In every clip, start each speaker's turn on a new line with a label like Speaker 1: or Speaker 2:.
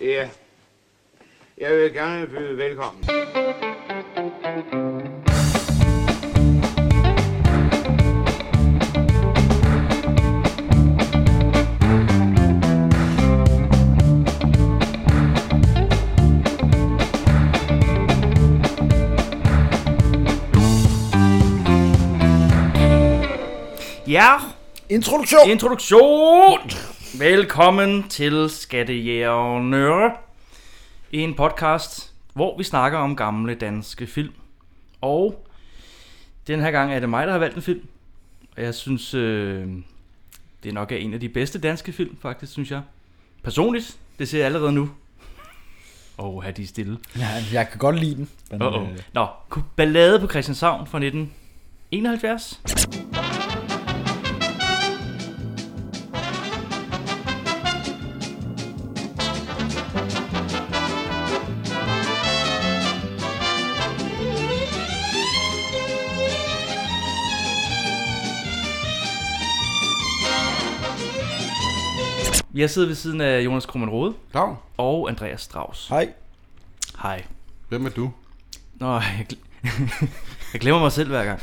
Speaker 1: Ja. Jeg vil gerne byde velkommen.
Speaker 2: Ja,
Speaker 3: Introduktion!
Speaker 2: introduktion! Velkommen til Skattejægerne. En podcast, hvor vi snakker om gamle danske film. Og den her gang er det mig, der har valgt en film. Og jeg synes, øh, det nok er en af de bedste danske film, faktisk, synes jeg. Personligt, det ser jeg allerede nu. Åh, oh, de er stille.
Speaker 3: ja, jeg kan godt lide den. Men,
Speaker 2: Uh-oh.
Speaker 3: øh,
Speaker 2: Nå, Ballade på Christianshavn fra 1971. Jeg sidder ved siden af Jonas Krummen Rode
Speaker 4: Dag.
Speaker 2: og Andreas Strauss.
Speaker 3: Hej.
Speaker 2: Hej.
Speaker 4: Hvem er du?
Speaker 2: Nå, jeg, gl- jeg glemmer mig selv hver gang.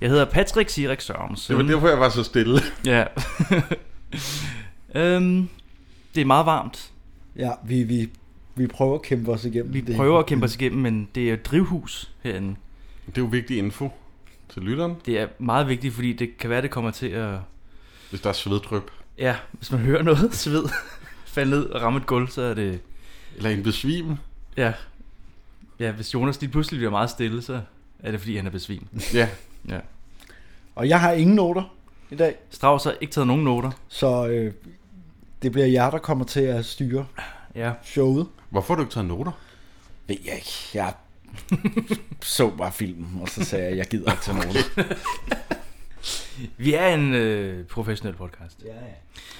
Speaker 2: Jeg hedder Patrick Sirik Sørensen.
Speaker 4: Det var derfor, jeg var så stille.
Speaker 2: Ja. øhm, det er meget varmt.
Speaker 3: Ja, vi, vi, vi prøver at kæmpe os igennem.
Speaker 2: Vi
Speaker 3: det.
Speaker 2: prøver at kæmpe os igennem, men det er jo et drivhus herinde.
Speaker 4: Det er jo vigtig info til lytteren,
Speaker 2: Det er meget vigtigt, fordi det kan være, det kommer til at...
Speaker 4: hvis der er sveddryp.
Speaker 2: Ja, hvis man hører noget sved falde ned og ramme et gulv, så er det...
Speaker 4: Eller en besvim.
Speaker 2: Ja. Ja, hvis Jonas lige pludselig bliver meget stille, så er det fordi, han er besvimt.
Speaker 4: Ja,
Speaker 2: Ja.
Speaker 3: Og jeg har ingen noter i dag,
Speaker 2: Strauss har ikke taget nogen noter.
Speaker 3: så øh, det bliver jer, der kommer til at styre
Speaker 2: Ja.
Speaker 3: showet.
Speaker 4: hvorfor har du ikke taget noter?
Speaker 3: Ved jeg ikke. Jeg så bare filmen, og så sagde jeg, jeg gider ikke tage noter.
Speaker 2: Vi er en øh, professionel podcast.
Speaker 3: ja, ja.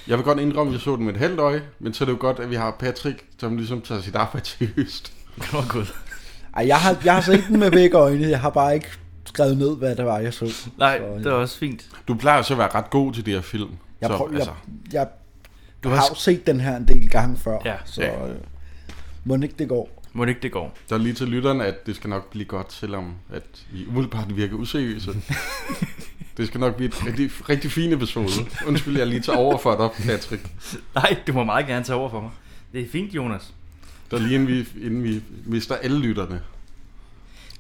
Speaker 4: Jeg vil godt indrømme, at jeg så den med et halvt øje, men så er det jo godt, at vi har Patrick, som ligesom tager sit arbejde seriøst.
Speaker 2: Åh, Gud.
Speaker 3: Ej, jeg har, jeg har set den med begge øjne. Jeg har bare ikke skrevet ned, hvad det var, jeg så.
Speaker 2: Nej,
Speaker 3: Så, øh,
Speaker 2: det er også fint.
Speaker 4: Du plejer jo så at være ret god til det her film.
Speaker 3: Jeg,
Speaker 4: så,
Speaker 3: prøver,
Speaker 4: altså,
Speaker 3: jeg, jeg
Speaker 2: Du
Speaker 3: du
Speaker 2: har
Speaker 3: har jo set den her en del gange før,
Speaker 2: Ja.
Speaker 3: så
Speaker 4: Ja.
Speaker 3: øh, må den ikke det går.
Speaker 2: Må det ikke det går.
Speaker 4: der er lige til lytteren, at det skal nok blive godt, selvom at vi umiddelbart virker useriøse. det skal nok blive et rigtig, rigtig fin episode. Undskyld, jeg lige tager over for dig, Patrick.
Speaker 2: Nej, du må meget gerne tage over for mig. Det er fint, Jonas.
Speaker 4: Der er lige inden vi, inden vi mister alle lytterne.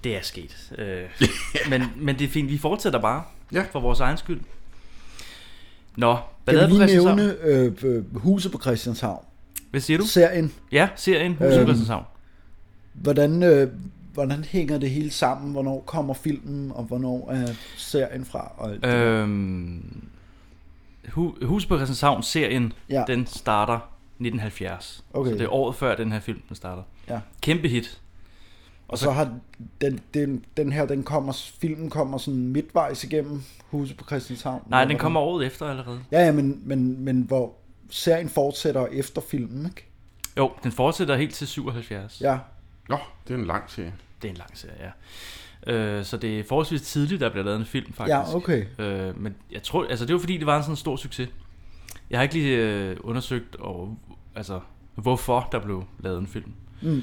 Speaker 2: Det er sket. Øh, men, men det er fint, vi fortsætter bare.
Speaker 4: Ja.
Speaker 2: For vores egen skyld. Nå, ballade
Speaker 3: Kan
Speaker 2: på
Speaker 3: vi lige
Speaker 2: Christianshavn.
Speaker 3: nævne øh, øh, Huset på Christianshavn?
Speaker 2: Hvad siger du?
Speaker 3: Serien
Speaker 2: Ja, serien Huset på
Speaker 3: Øhm.
Speaker 2: Christianshavn.
Speaker 3: Hvordan, øh, hvordan hænger det hele sammen? Hvornår kommer filmen, og hvornår er serien fra? Og alt det
Speaker 2: Øh,
Speaker 3: der?
Speaker 2: Øhm, Hu- Huset på Christianshavn, serien,
Speaker 3: Ja.
Speaker 2: den starter 1970.
Speaker 3: Okay.
Speaker 2: Så det er året før, den her film den starter.
Speaker 3: Ja.
Speaker 2: Kæmpe hit.
Speaker 3: og så har den, den, den her, den kommer, filmen kommer sådan midtvejs igennem huset på Christianshavn.
Speaker 2: Nej, den
Speaker 3: Eller hvordan?
Speaker 2: kommer året efter allerede.
Speaker 3: Ja, ja men, men, men hvor serien fortsætter efter filmen, ikke?
Speaker 2: Jo, den fortsætter helt til 77.
Speaker 3: Ja,
Speaker 4: Nå, det er en lang serie.
Speaker 2: Det er en lang serie, ja. Øh, så det er forholdsvis tidligt, der bliver lavet en film, faktisk.
Speaker 3: ja okay.
Speaker 2: Øh, men jeg tror, altså det var fordi, det var en sådan stor succes. Jeg har ikke lige øh, undersøgt over, altså, hvorfor der blev lavet en film.
Speaker 3: Mm.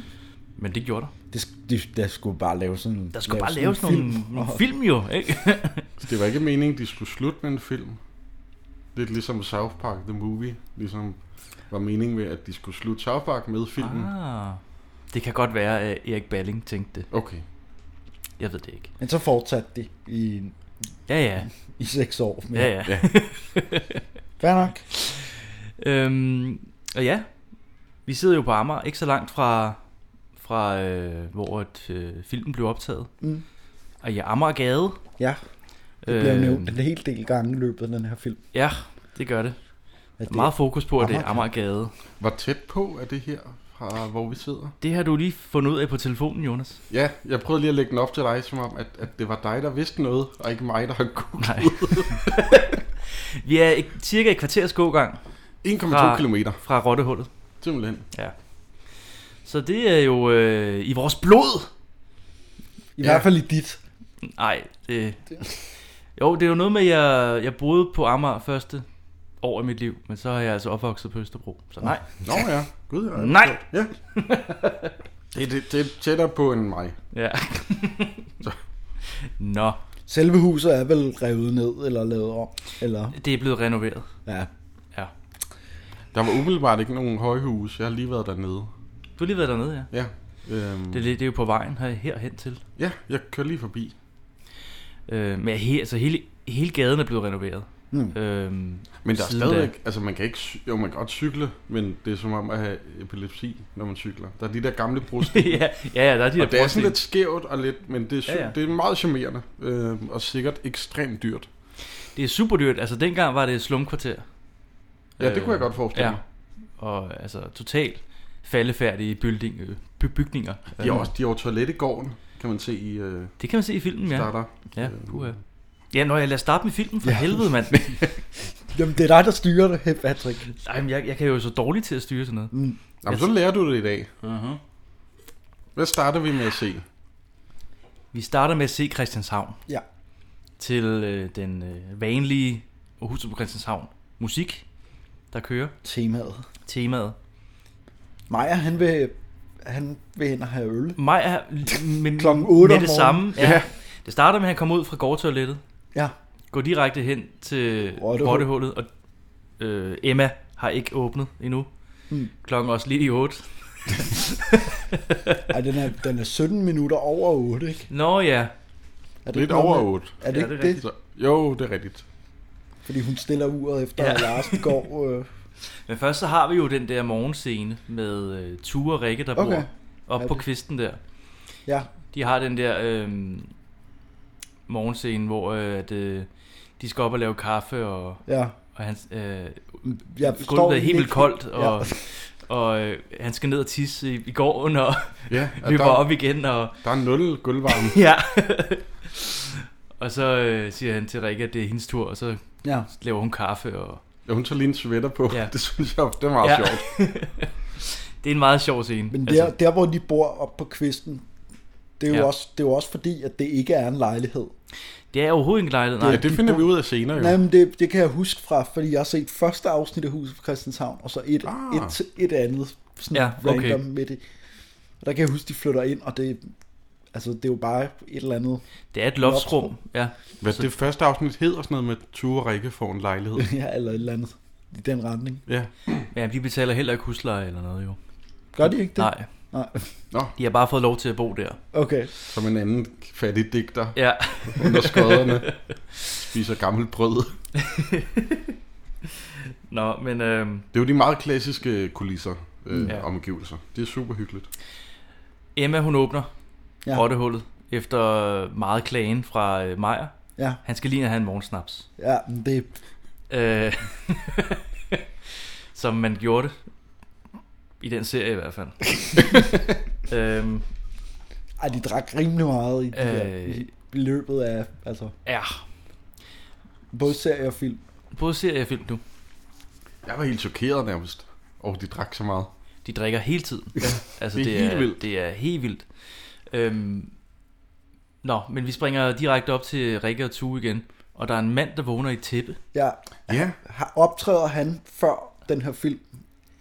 Speaker 2: Men det gjorde der.
Speaker 3: Det, sk- det, der skulle bare lave sådan
Speaker 2: Der skulle bare
Speaker 3: sådan
Speaker 2: laves
Speaker 3: en
Speaker 2: nogle, film. nogle
Speaker 3: og-
Speaker 2: film jo, ikke?
Speaker 4: Så Altså, det var ikke meningen, de skulle slutte med en film. Lidt ligesom South Park The Movie. Ligesom var meningen med, at de skulle slutte South Park med filmen. Ah.
Speaker 2: ah, det kan godt være, at Erik Balling tænkte det.
Speaker 4: Okay.
Speaker 2: Jeg ved det ikke.
Speaker 3: Men så fortsatte det i,
Speaker 2: Ja, ja.
Speaker 3: i seks år. Men
Speaker 2: ja, ja. ja.
Speaker 3: Fair nok.
Speaker 2: øhm, og ja, vi sidder jo på Amager, ikke så langt fra, fra øh, hvor et, øh, filmen blev optaget.
Speaker 3: Mm.
Speaker 2: Og i Amagergade. Øhm,
Speaker 3: Ja, det bliver nævnt en hel del gange i løbet af den her film.
Speaker 2: Ja, det gør det.
Speaker 3: At
Speaker 2: Der er meget fokus på, at det er
Speaker 3: Amagergade.
Speaker 2: Amagergade.
Speaker 4: Var tæt på af det her, fra hvor vi sidder?
Speaker 2: Det har du lige fundet ud af på telefonen, Jonas.
Speaker 4: Ja, jeg prøvede lige at lægge den op til dig, som om, at, at det var dig, der vidste noget, og ikke mig, der har gået
Speaker 2: Nej. vi er et, cirka et kvarters gågang
Speaker 4: 1,2
Speaker 2: Fra-
Speaker 4: kilometer,
Speaker 2: fra Rottehullet.
Speaker 4: simpelthen.
Speaker 2: Ja. Så det er jo øh, i vores blod.
Speaker 3: I
Speaker 4: Ja.
Speaker 3: hvert fald i dit.
Speaker 2: Nej, det... Jo, det er jo noget med, at jeg, jeg boede på Amager første år af mit liv, men så er jeg altså opvokset på Østerbro. Så nej.
Speaker 4: Nå ja, gud ja.
Speaker 2: Nej.
Speaker 4: Ja. Det, det, det er tættere på end mig.
Speaker 2: Ja. Nå,
Speaker 3: Selve huset er vel revet ned eller lavet om? Eller?
Speaker 2: det er blevet renoveret.
Speaker 3: Ja.
Speaker 2: Ja.
Speaker 4: Der var umiddelbart ikke nogen højhus. Jeg har lige været dernede.
Speaker 2: Du har lige været dernede, ja.
Speaker 4: Ja. Øhm,
Speaker 2: Det, er lidt- det er jo på vejen her, herhen til.
Speaker 4: ja, jeg kører lige forbi.
Speaker 2: Øh, men he, altså hele, hele gaden er blevet renoveret.
Speaker 4: Hmm.
Speaker 3: Mm.
Speaker 2: Øh,
Speaker 4: Men der er
Speaker 2: siden da.
Speaker 4: stadigvæk, altså man kan ikke, cy- jo man kan godt cykle, men det er som om at have epilepsi, når man cykler. Der er de der gamle brosten,
Speaker 2: ja, ja, ja, der er de der
Speaker 4: og det er
Speaker 2: brosten.
Speaker 4: sådan lidt skævt og lidt, men det er, sy-
Speaker 2: Ja,
Speaker 4: ja,
Speaker 2: ja.
Speaker 4: ja. det er meget charmerende, øh, og sikkert ekstremt dyrt.
Speaker 2: Det er super dyrt. Altså dengang var det et slumkvarter.
Speaker 4: Ja, det kunne jeg godt forestille
Speaker 2: Ja.
Speaker 4: ja. mig.
Speaker 2: Og altså totalt faldefærdige building, øh, by- bygninger. Øh,
Speaker 4: De har også de har jo toilet i gården, kan man se i øh,
Speaker 2: Det kan man se i filmen, Mm, ja.
Speaker 4: starter.
Speaker 2: Ja, puha. Ja, når jeg lader starte med filmen, for ja.
Speaker 3: Ja.
Speaker 2: helvede, mand.
Speaker 3: Jamen, det er dig, der styrer det, hey, Patrick.
Speaker 2: Ej, men jeg, jeg kan jo så dårligt til at styre sådan noget.
Speaker 3: Mm.
Speaker 4: Nå, men så lærer du det i dag.
Speaker 2: Uh-huh.
Speaker 4: Hvad starter vi med at se?
Speaker 2: Vi starter med at se Christianshavn.
Speaker 3: Ja.
Speaker 2: Til øh, den øh, vanlige Aarhus på Christianshavn musik, der kører
Speaker 3: Temaet.
Speaker 2: temaet.
Speaker 3: Maja, han vil, han vil hen og have øl.
Speaker 2: Mig er med,
Speaker 3: Klokken otte
Speaker 2: Mm, med det
Speaker 3: om morgenen.
Speaker 2: samme. Ja.
Speaker 4: Ja.
Speaker 2: Det starter med, at han kommer ud fra gårdtoilettet,
Speaker 3: Ja.
Speaker 2: går direkte hen til
Speaker 3: Rottehul.
Speaker 2: rottehullet, og øh, Emma har ikke åbnet endnu.
Speaker 3: Mm.
Speaker 2: Klokken er også lige i 8.
Speaker 3: Ej, den er, den er 17 minutter over 8, ikke?
Speaker 2: Nå ja,
Speaker 3: Er
Speaker 4: Lidt
Speaker 3: ikke noget
Speaker 4: over
Speaker 3: med-
Speaker 4: 8.
Speaker 3: Er det
Speaker 2: Ja,
Speaker 3: ikke
Speaker 2: det
Speaker 3: det?
Speaker 2: er
Speaker 3: det?
Speaker 4: Så, jo, det er rigtigt.
Speaker 3: Fordi hun stiller uret efter,
Speaker 2: Ja.
Speaker 3: ja. at Larsen går... Øh,
Speaker 2: men først så har vi jo den der morgenscene med øh, Ture og Rikke, der okay.
Speaker 3: Okay.
Speaker 2: bor op
Speaker 3: Ja,
Speaker 2: på
Speaker 3: det-
Speaker 2: kvisten der.
Speaker 3: ja,
Speaker 2: De har den der øh, morgenscene, hvor øh, at, øh, de skal op og lave kaffe, og,
Speaker 3: ja.
Speaker 2: og hans, øh,
Speaker 3: Jeg forstår
Speaker 2: gulvet er helt vildt
Speaker 3: ikke-
Speaker 2: koldt, og, ja. og øh, han skal ned og tisse i, i gården, og
Speaker 4: Ja, og
Speaker 2: løber
Speaker 4: der,
Speaker 2: op igen, og
Speaker 4: der er nul gulvvarme.
Speaker 2: ja. og så øh, siger han til Rikke, at det er hendes tur, og så
Speaker 3: Ja.
Speaker 2: laver hun kaffe, og
Speaker 4: Ja, hun tager lige en sweater på.
Speaker 2: Ja.
Speaker 4: Ja. Det synes jeg, det er meget
Speaker 2: Ja.
Speaker 4: ja. sjovt.
Speaker 2: det er en meget sjov scene.
Speaker 3: Men der, altså, der, hvor de bor op på kvisten, det er, jo
Speaker 2: Ja.
Speaker 3: ja. også, det er jo også fordi, at det ikke er en lejlighed.
Speaker 2: det er overhovedet ikke en lejlighed, nej.
Speaker 4: Ja, det finder vi ud af senere jo.
Speaker 3: Nej, men det, det kan jeg huske fra, fordi jeg har set første afsnit af Huset på Christianshavn, og så et,
Speaker 4: Ah.
Speaker 3: ah. et, et andet sådan
Speaker 2: Ja,
Speaker 3: ja,
Speaker 2: okay.
Speaker 3: okay. random midt i. Og der kan jeg huske, de flytter ind, og det, altså, det er jo bare et eller andet.
Speaker 2: Det er et loftsrum, ja.
Speaker 4: Hvad det første afsnit hedder sådan noget med, at Ture og Rikke får en lejlighed.
Speaker 3: Ja, eller et eller andet i den retning.
Speaker 4: Ja.
Speaker 2: Men de betaler heller ikke husleje eller noget, jo.
Speaker 3: Gør de ikke det?
Speaker 2: Nej,
Speaker 3: Nej.
Speaker 4: Nå,
Speaker 2: de har bare fået lov til at bo der.
Speaker 3: Okay.
Speaker 4: som en anden fattig digter
Speaker 2: Ja,
Speaker 4: under skodderne spiser gammelt brød.
Speaker 2: nå, men... Øh,
Speaker 4: Det er jo de meget klassiske kulisser, øh,
Speaker 2: Ja.
Speaker 4: ja. omgivelser. Det er super hyggeligt.
Speaker 2: Emma, hun åbner ja.
Speaker 3: Ja.
Speaker 2: rottehullet efter øh, meget klagen fra øh, Meyer.
Speaker 3: Ja,
Speaker 2: Han skal lige have en morgensnaps.
Speaker 3: ja men det,
Speaker 2: Øh, som man gjorde det. I den serie i hvert fald. øhm,
Speaker 3: ej, de drak rimelig meget i, de der,
Speaker 2: Øh.
Speaker 3: i i løbet af altså,
Speaker 2: ja,
Speaker 3: både serie og film.
Speaker 2: både serie og film nu.
Speaker 4: Jeg var helt chokeret nærmest. Og de drak så meget.
Speaker 2: De drikker hele tiden. Ja, altså,
Speaker 4: det er helt vildt.
Speaker 2: Det er helt vildt. Øhm, nå, men vi springer direkte op til Rikke og Tue igen. Og der er en mand, der vågner i et tæppe.
Speaker 3: Ja,
Speaker 4: Ja,
Speaker 3: har, optræder han før den her film,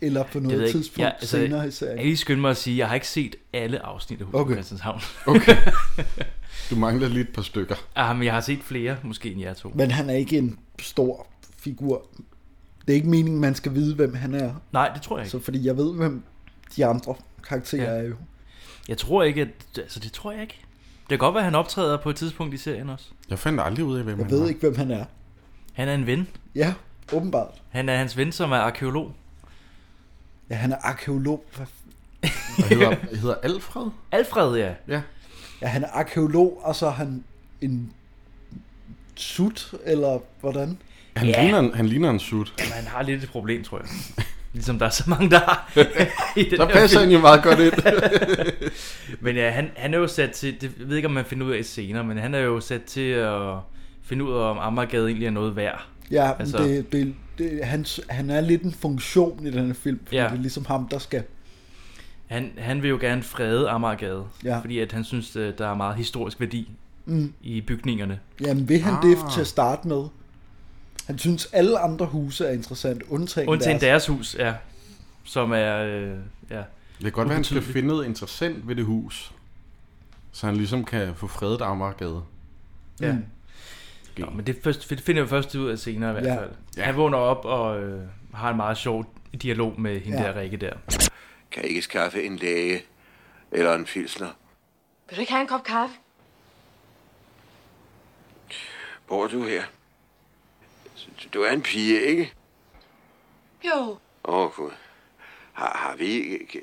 Speaker 3: eller på
Speaker 2: ved jeg
Speaker 3: noget
Speaker 2: ikke.
Speaker 3: tidspunkt
Speaker 2: Ja,
Speaker 3: ja,
Speaker 2: altså,
Speaker 3: altså, senere i
Speaker 2: Jeg
Speaker 3: serien?
Speaker 2: kan lige skynde mig at sige, at jeg har ikke set alle afsnit af Huset okay.
Speaker 3: Okay.
Speaker 2: Christianshavn.
Speaker 4: okay. Du mangler lige et par stykker.
Speaker 2: Ah, men jeg har set flere, måske end jer to.
Speaker 3: Men han er ikke en stor figur. Det er ikke meningen, man skal vide, hvem han er.
Speaker 2: Nej, det tror jeg ikke.
Speaker 3: Så fordi jeg ved, hvem de andre karakterer
Speaker 2: Ja.
Speaker 3: ja. er jo.
Speaker 2: Jeg tror ikke, at... Altså, det tror jeg ikke. Det kan godt være, at han optræder på et tidspunkt i serien også.
Speaker 4: Jeg fandt aldrig ud af, hvem
Speaker 3: Jeg
Speaker 4: han var.
Speaker 3: ved ikke, hvem han er.
Speaker 2: Han er en ven.
Speaker 3: Ja, åbenbart.
Speaker 2: Han er hans ven, som er arkeolog.
Speaker 3: Ja, han er arkeolog. Hvad f-
Speaker 4: Og hedder, hedder Alfred?
Speaker 2: Alfred, ja.
Speaker 4: Ja.
Speaker 3: Ja, han er arkeolog, og så er han en sut, eller hvordan?
Speaker 4: Han,
Speaker 2: Ja.
Speaker 4: ja. ligner, en- han ligner en sut.
Speaker 2: Men han har lidt et problem, tror jeg. Ligesom der er så mange, der har i den
Speaker 4: Der
Speaker 2: her
Speaker 4: passer
Speaker 2: film.
Speaker 4: han jo meget godt ind.
Speaker 2: Men ja, han, han er jo sat til... Det, jeg ved ikke, om man finder ud af det senere, men han er jo sat til at finde ud af, om Amagergade egentlig er noget værd.
Speaker 3: Ja, men
Speaker 2: Altså-
Speaker 3: det, det, det, han, han er lidt en funktion i den her film, fordi
Speaker 2: Ja.
Speaker 3: ja. det er ligesom ham, der skal...
Speaker 2: Han, han vil jo gerne frede Amagergade,
Speaker 3: Ja.
Speaker 2: fordi at han synes, øh, der er meget historisk værdi
Speaker 3: Mm.
Speaker 2: i bygningerne.
Speaker 3: Jamen, vil han
Speaker 4: Ah.
Speaker 3: ah. det til at starte med? Han synes, alle andre huse er interessant,
Speaker 2: Undtagen
Speaker 3: undtagen, undtagen deres. Mm.
Speaker 2: deres hus, ja. Som er, øh, ja.
Speaker 4: Det kan godt være, han skal finde noget interessant ved det hus. Så han ligesom kan få fredet Amagergade.
Speaker 2: ja.
Speaker 3: Mm.
Speaker 2: Nå, men det, først, det finder vi først ud af senere i hvert
Speaker 3: Ja.
Speaker 2: fald.
Speaker 4: Ja.
Speaker 2: Han vågner op og øh, har en meget sjov dialog med hende
Speaker 3: Ja.
Speaker 2: der Rikke der.
Speaker 5: Kan ikke skaffe en læge eller en filsner.
Speaker 6: Vil du ikke have en kop kaffe?
Speaker 5: Bor du her? Du er en pige, ikke?
Speaker 6: Jo.
Speaker 5: Åh, oh, Gud. Har, har vi... ikke-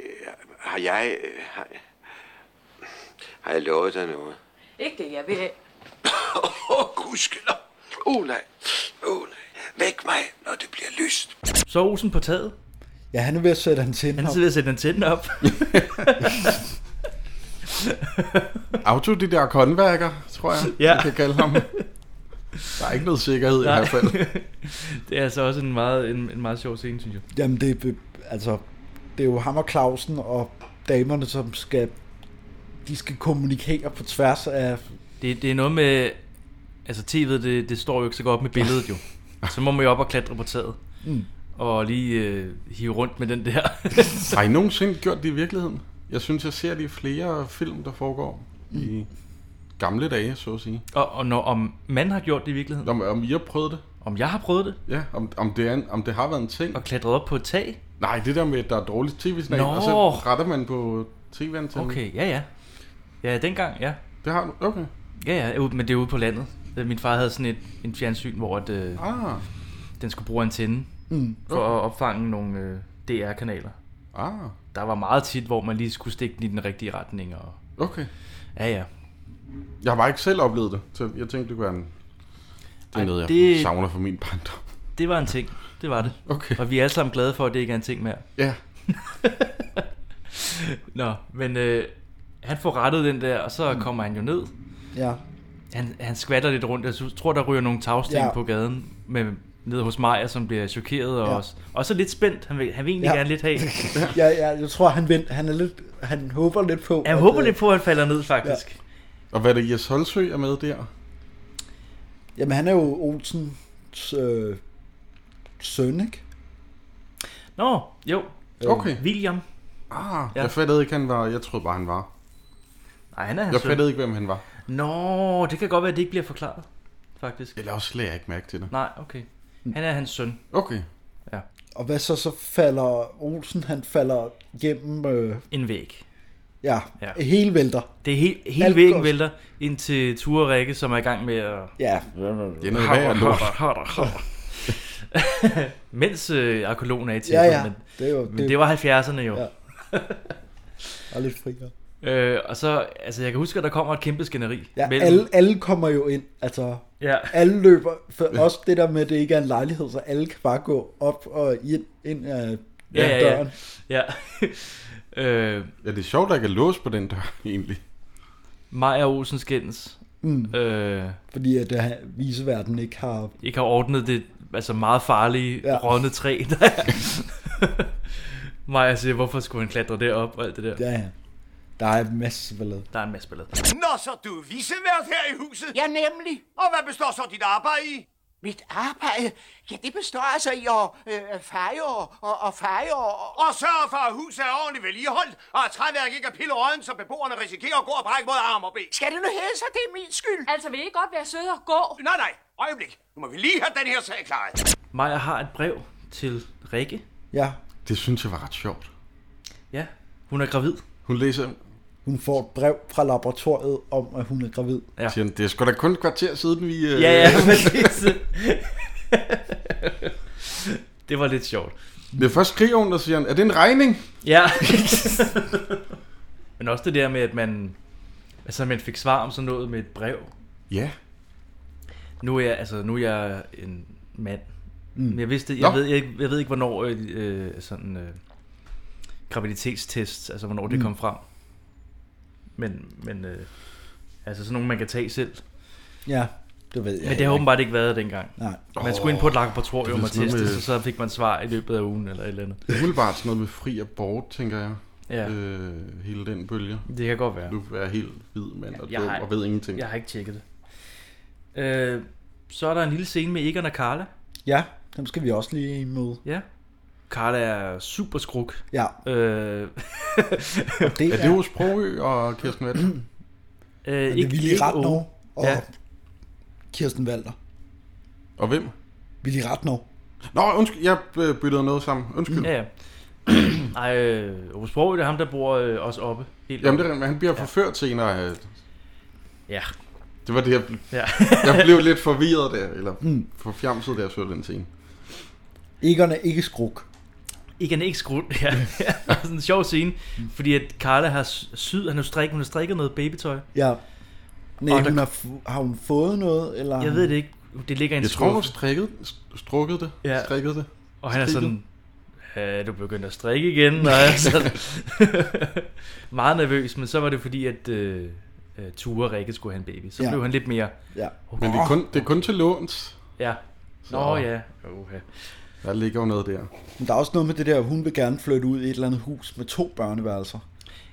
Speaker 5: Har jeg... øh, Har, har jeg lovet dig noget?
Speaker 6: Ikke det, jeg vil.
Speaker 5: Åh, oh, gudskelov. Åh, oh, nej. Åh, oh, nej. Væk mig, når det bliver lyst.
Speaker 2: Så er Olsen på taget.
Speaker 3: Ja, han er ved at sætte antennen
Speaker 2: Han
Speaker 3: op.
Speaker 2: sidder ved at sætte antennen op.
Speaker 4: Auto de der håndværker, tror jeg,
Speaker 2: Ja.
Speaker 4: ja. kan kalde ham. Der er ikke noget sikkerhed
Speaker 2: Nej.
Speaker 4: i hvert fald.
Speaker 2: det er altså også en meget, en, en meget sjov scene, synes jeg.
Speaker 3: Jamen, det er, be- altså, det er jo ham og Clausen og damerne, som skal de skal kommunikere på tværs af...
Speaker 2: Det, det er noget med... Altså tv'et, det, det står jo ikke så godt med billedet jo. Så må man jo op og klatre på taget.
Speaker 3: Mm.
Speaker 2: Og lige øh, hive rundt med den der.
Speaker 4: Har I nogensinde gjort det i virkeligheden? Jeg synes, jeg ser det i flere film, der foregår i gamle dage, så at sige.
Speaker 2: og, og når, om man har gjort det i virkeligheden.
Speaker 4: Om, om I har prøvet det?
Speaker 2: Om jeg har prøvet det.
Speaker 4: Ja, om, om, det, er en, om det har været en ting?
Speaker 2: Og klatret op på et tag.
Speaker 4: Nej, det der med, at der er dårligt tv-signal,
Speaker 2: Nå.
Speaker 4: og så retter man på tv-antennen.
Speaker 2: Okay, ja ja. Ja, dengang, ja.
Speaker 4: Det har du? Okay.
Speaker 2: Ja, ja, ude- men det er ude på landet. Øh, Min far havde sådan et en fjernsyn, hvor at, øh,
Speaker 4: Ah,
Speaker 2: den skulle bruge antenne
Speaker 3: Mm.
Speaker 2: for at opfange nogle øh, DR-kanaler.
Speaker 4: ah,
Speaker 2: Der var meget tit, hvor man lige skulle stikke den i den rigtige retning. Og,
Speaker 4: okay.
Speaker 2: ja, ja.
Speaker 4: Jeg har bare ikke selv oplevet det, så jeg tænkte, det kunne være en... Det
Speaker 2: Ej,
Speaker 4: er noget, jeg
Speaker 2: det-
Speaker 4: det... savner fra min barndom.
Speaker 2: Det var en ting. Det var det.
Speaker 4: Okay,
Speaker 2: Og vi er alle sammen glade for, at det ikke er en ting mere.
Speaker 4: ja.
Speaker 2: Nå, men øh, han får rettet den der, og så mm. kommer han jo ned.
Speaker 3: Ja.
Speaker 2: Han, han skvatter lidt rundt. Jeg synes- tror, der ryger nogle tagsten ja.
Speaker 3: Ja.
Speaker 2: på gaden med, nede hos Maja, som bliver chokeret og
Speaker 3: Ja.
Speaker 2: også, også lidt spændt. Han vil, han vil egentlig ja.
Speaker 3: Ja.
Speaker 2: gerne lidt have.
Speaker 3: Ja, ja, jeg tror, han, vent, han, er lidt, han håber lidt på...
Speaker 2: Jeg
Speaker 3: at,
Speaker 2: håber
Speaker 3: øh,
Speaker 2: lidt på, at han falder ned, faktisk.
Speaker 4: Og hvad er det, Jes Holsø er med der?
Speaker 3: Jamen, han er jo Olsens øh, søn, ikke?
Speaker 2: Nå, jo.
Speaker 4: Okay.
Speaker 2: William.
Speaker 4: Ah,
Speaker 2: Ja.
Speaker 4: ja. jeg fattede ikke, han var... Jeg troede bare, han var.
Speaker 2: Nej, han er
Speaker 4: Jeg
Speaker 2: hans søn.
Speaker 4: fattede ikke, hvem han var.
Speaker 2: Nå, det kan godt være, at det ikke bliver forklaret, faktisk.
Speaker 4: Eller også lagde jeg ikke mærke til det.
Speaker 2: Nej, okay. Han er hans søn.
Speaker 4: Okay.
Speaker 3: Og hvad så, så falder Olsen, han falder gennem, øh,
Speaker 2: En væg.
Speaker 3: ja,
Speaker 2: Ja.
Speaker 3: ja, hele vælter.
Speaker 2: Det er helt, hele
Speaker 3: Alt
Speaker 2: væggen
Speaker 3: går-
Speaker 2: vælter ind til Ture og Rikke, som er i gang med at...
Speaker 3: Ja,
Speaker 4: Det er noget værd lort.
Speaker 2: Mens øh, arkologen er i til,
Speaker 3: ja, ja.
Speaker 2: men,
Speaker 3: Det er jo
Speaker 2: men det var 70'erne jo. Ja.
Speaker 3: Ja. er lidt friere.
Speaker 2: Øh, og så, altså jeg kan huske, at der kommer et kæmpe skænderi.
Speaker 3: Ja, alle, alle kommer jo ind, altså
Speaker 2: Ja,
Speaker 3: alle løber, for også det der med, at det ikke er en lejlighed, så alle kan bare gå op og ind, ind af
Speaker 2: Ja,
Speaker 3: ja,
Speaker 2: ja, ja.
Speaker 3: døren.
Speaker 2: ja. øh,
Speaker 4: Ja, det er sjovt, at der ikke er lås på den dør, egentlig.
Speaker 2: Maja Olsen skændes.
Speaker 3: Mm.
Speaker 2: Øh,
Speaker 3: Fordi at uh, viseverden ikke har...
Speaker 2: ikke har ordnet det altså meget farlige ja.
Speaker 3: Ja.
Speaker 2: rådne træ. der er. Maja siger, hvorfor skulle han klatre derop og alt det der. Ja.
Speaker 3: Ja, ja. Der er en masse ballade.
Speaker 2: Der er en masse ballade.
Speaker 7: Nå, så du er visevært her i huset.
Speaker 8: Ja, nemlig.
Speaker 7: Og hvad består så dit arbejde i?
Speaker 8: Mit arbejde, ja, det består altså i at øh, feje og, og, og feje og...
Speaker 7: Og sørge for, at huset er ordentligt vedligeholdt, og at træværk ikke er pillerøden, så beboerne risikerer at gå og brække både arm og ben.
Speaker 8: Skal det nu hedde sig, det er min skyld?
Speaker 6: Altså, vil I ikke godt være søde og gå?
Speaker 7: Nej, nej, øjeblik. Nu må vi lige have den her sag klaret.
Speaker 2: Maja har et brev til Rikke.
Speaker 3: Ja,
Speaker 4: Det synes jeg var ret sjovt.
Speaker 2: Ja, hun er gravid.
Speaker 4: Hun læser,
Speaker 3: hun får et brev fra laboratoriet om, at hun er gravid.
Speaker 2: Ja.
Speaker 4: siger, det er sgu da kun et kvarter siden, vi... øh,
Speaker 2: Ja, ja, præcis. det var lidt sjovt.
Speaker 4: Det er først skriver hun, der siger, han, er det en regning?
Speaker 2: Ja. Men også det der med, at man, altså, man fik svar om sådan noget med et brev.
Speaker 4: Ja.
Speaker 2: Nu er jeg, altså, nu er jeg en mand. Mm. Jeg, vidste, jeg,
Speaker 4: Nå.
Speaker 2: ved, jeg, jeg ved ikke, hvornår øh, øh, sådan, øh, graviditetstest, altså hvornår det
Speaker 4: Mm.
Speaker 2: kom frem. Men, men øh, altså sådan nogle, man kan tage selv.
Speaker 3: Ja, det ved
Speaker 2: Men
Speaker 3: jeg.
Speaker 2: det har
Speaker 3: ikke.
Speaker 2: åbenbart ikke været dengang.
Speaker 3: Nej.
Speaker 2: Man skulle ind på et laboratorium
Speaker 4: det er
Speaker 2: og
Speaker 4: sådan noget
Speaker 2: teste, så,
Speaker 4: med-
Speaker 2: så fik man svar i løbet af ugen eller et eller andet.
Speaker 4: Umiddelbart sådan noget med fri abort, tænker jeg.
Speaker 2: Ja,
Speaker 4: Øh, hele den bølge.
Speaker 2: det kan godt være.
Speaker 4: Du er helt hvid mand og
Speaker 2: Jeg
Speaker 4: dum
Speaker 2: har-
Speaker 4: og ved ingenting.
Speaker 2: Jeg har ikke tjekket det. Øh, så er der en lille scene med Egon og Carla.
Speaker 3: Ja, dem skal vi også lige møde.
Speaker 2: Ja. Karl er super skruk.
Speaker 3: Ja,
Speaker 2: Øh,
Speaker 3: det
Speaker 4: Er det hos Sprogø og Kirsten Vett?
Speaker 2: øh,
Speaker 3: ikke, Willy Ratnov og
Speaker 2: Ja.
Speaker 3: ja. Kirsten Walter.
Speaker 4: Og hvem?
Speaker 3: Willy Ratnov.
Speaker 4: Nå, undskyld, jeg øh, byttede noget sammen. Undskyld.
Speaker 2: Ja, ja. Ej, øh, Ove Sprogøe, det er ham, der bor øh, også oppe. Helt
Speaker 4: Jamen,
Speaker 2: oppe.
Speaker 4: det er, rent, men han bliver forført senere. øh,
Speaker 2: Ja.
Speaker 4: Det var det, jeg,
Speaker 2: Ja.
Speaker 4: jeg blev lidt forvirret der, eller forfjamset, da jeg så den scene.
Speaker 3: Egon er ikke skruk.
Speaker 2: Igen ikke skru... Ja, det er sådan en sjov scene, fordi at Carla har sy- syet, han har strikket, hun har strikket noget babytøj.
Speaker 3: Ja. Nej,
Speaker 2: Og der-
Speaker 3: hun har, fu- har hun fået noget? Eller?
Speaker 2: Jeg ved det ikke, det ligger i en
Speaker 4: Jeg tror, hun
Speaker 2: skuffe,
Speaker 4: strikkede, st- strukkede det.
Speaker 2: Ja.
Speaker 4: Strikkede det.
Speaker 2: og han er
Speaker 4: strikket.
Speaker 2: sådan, "Øh, du begynder at strikke igen, og jeg er sådan meget nervøs, men så var det fordi, at øh, øh, Ture og Rikke skulle have en baby, så
Speaker 3: Ja.
Speaker 2: blev han lidt mere,
Speaker 3: Ja.
Speaker 4: Men det er kun, det er kun til låns.
Speaker 2: ja, nå ja, okay.
Speaker 4: Der ligger jo noget der.
Speaker 3: Men der er også noget med det der, hun vil gerne flytte ud i et eller andet hus med to børneværelser.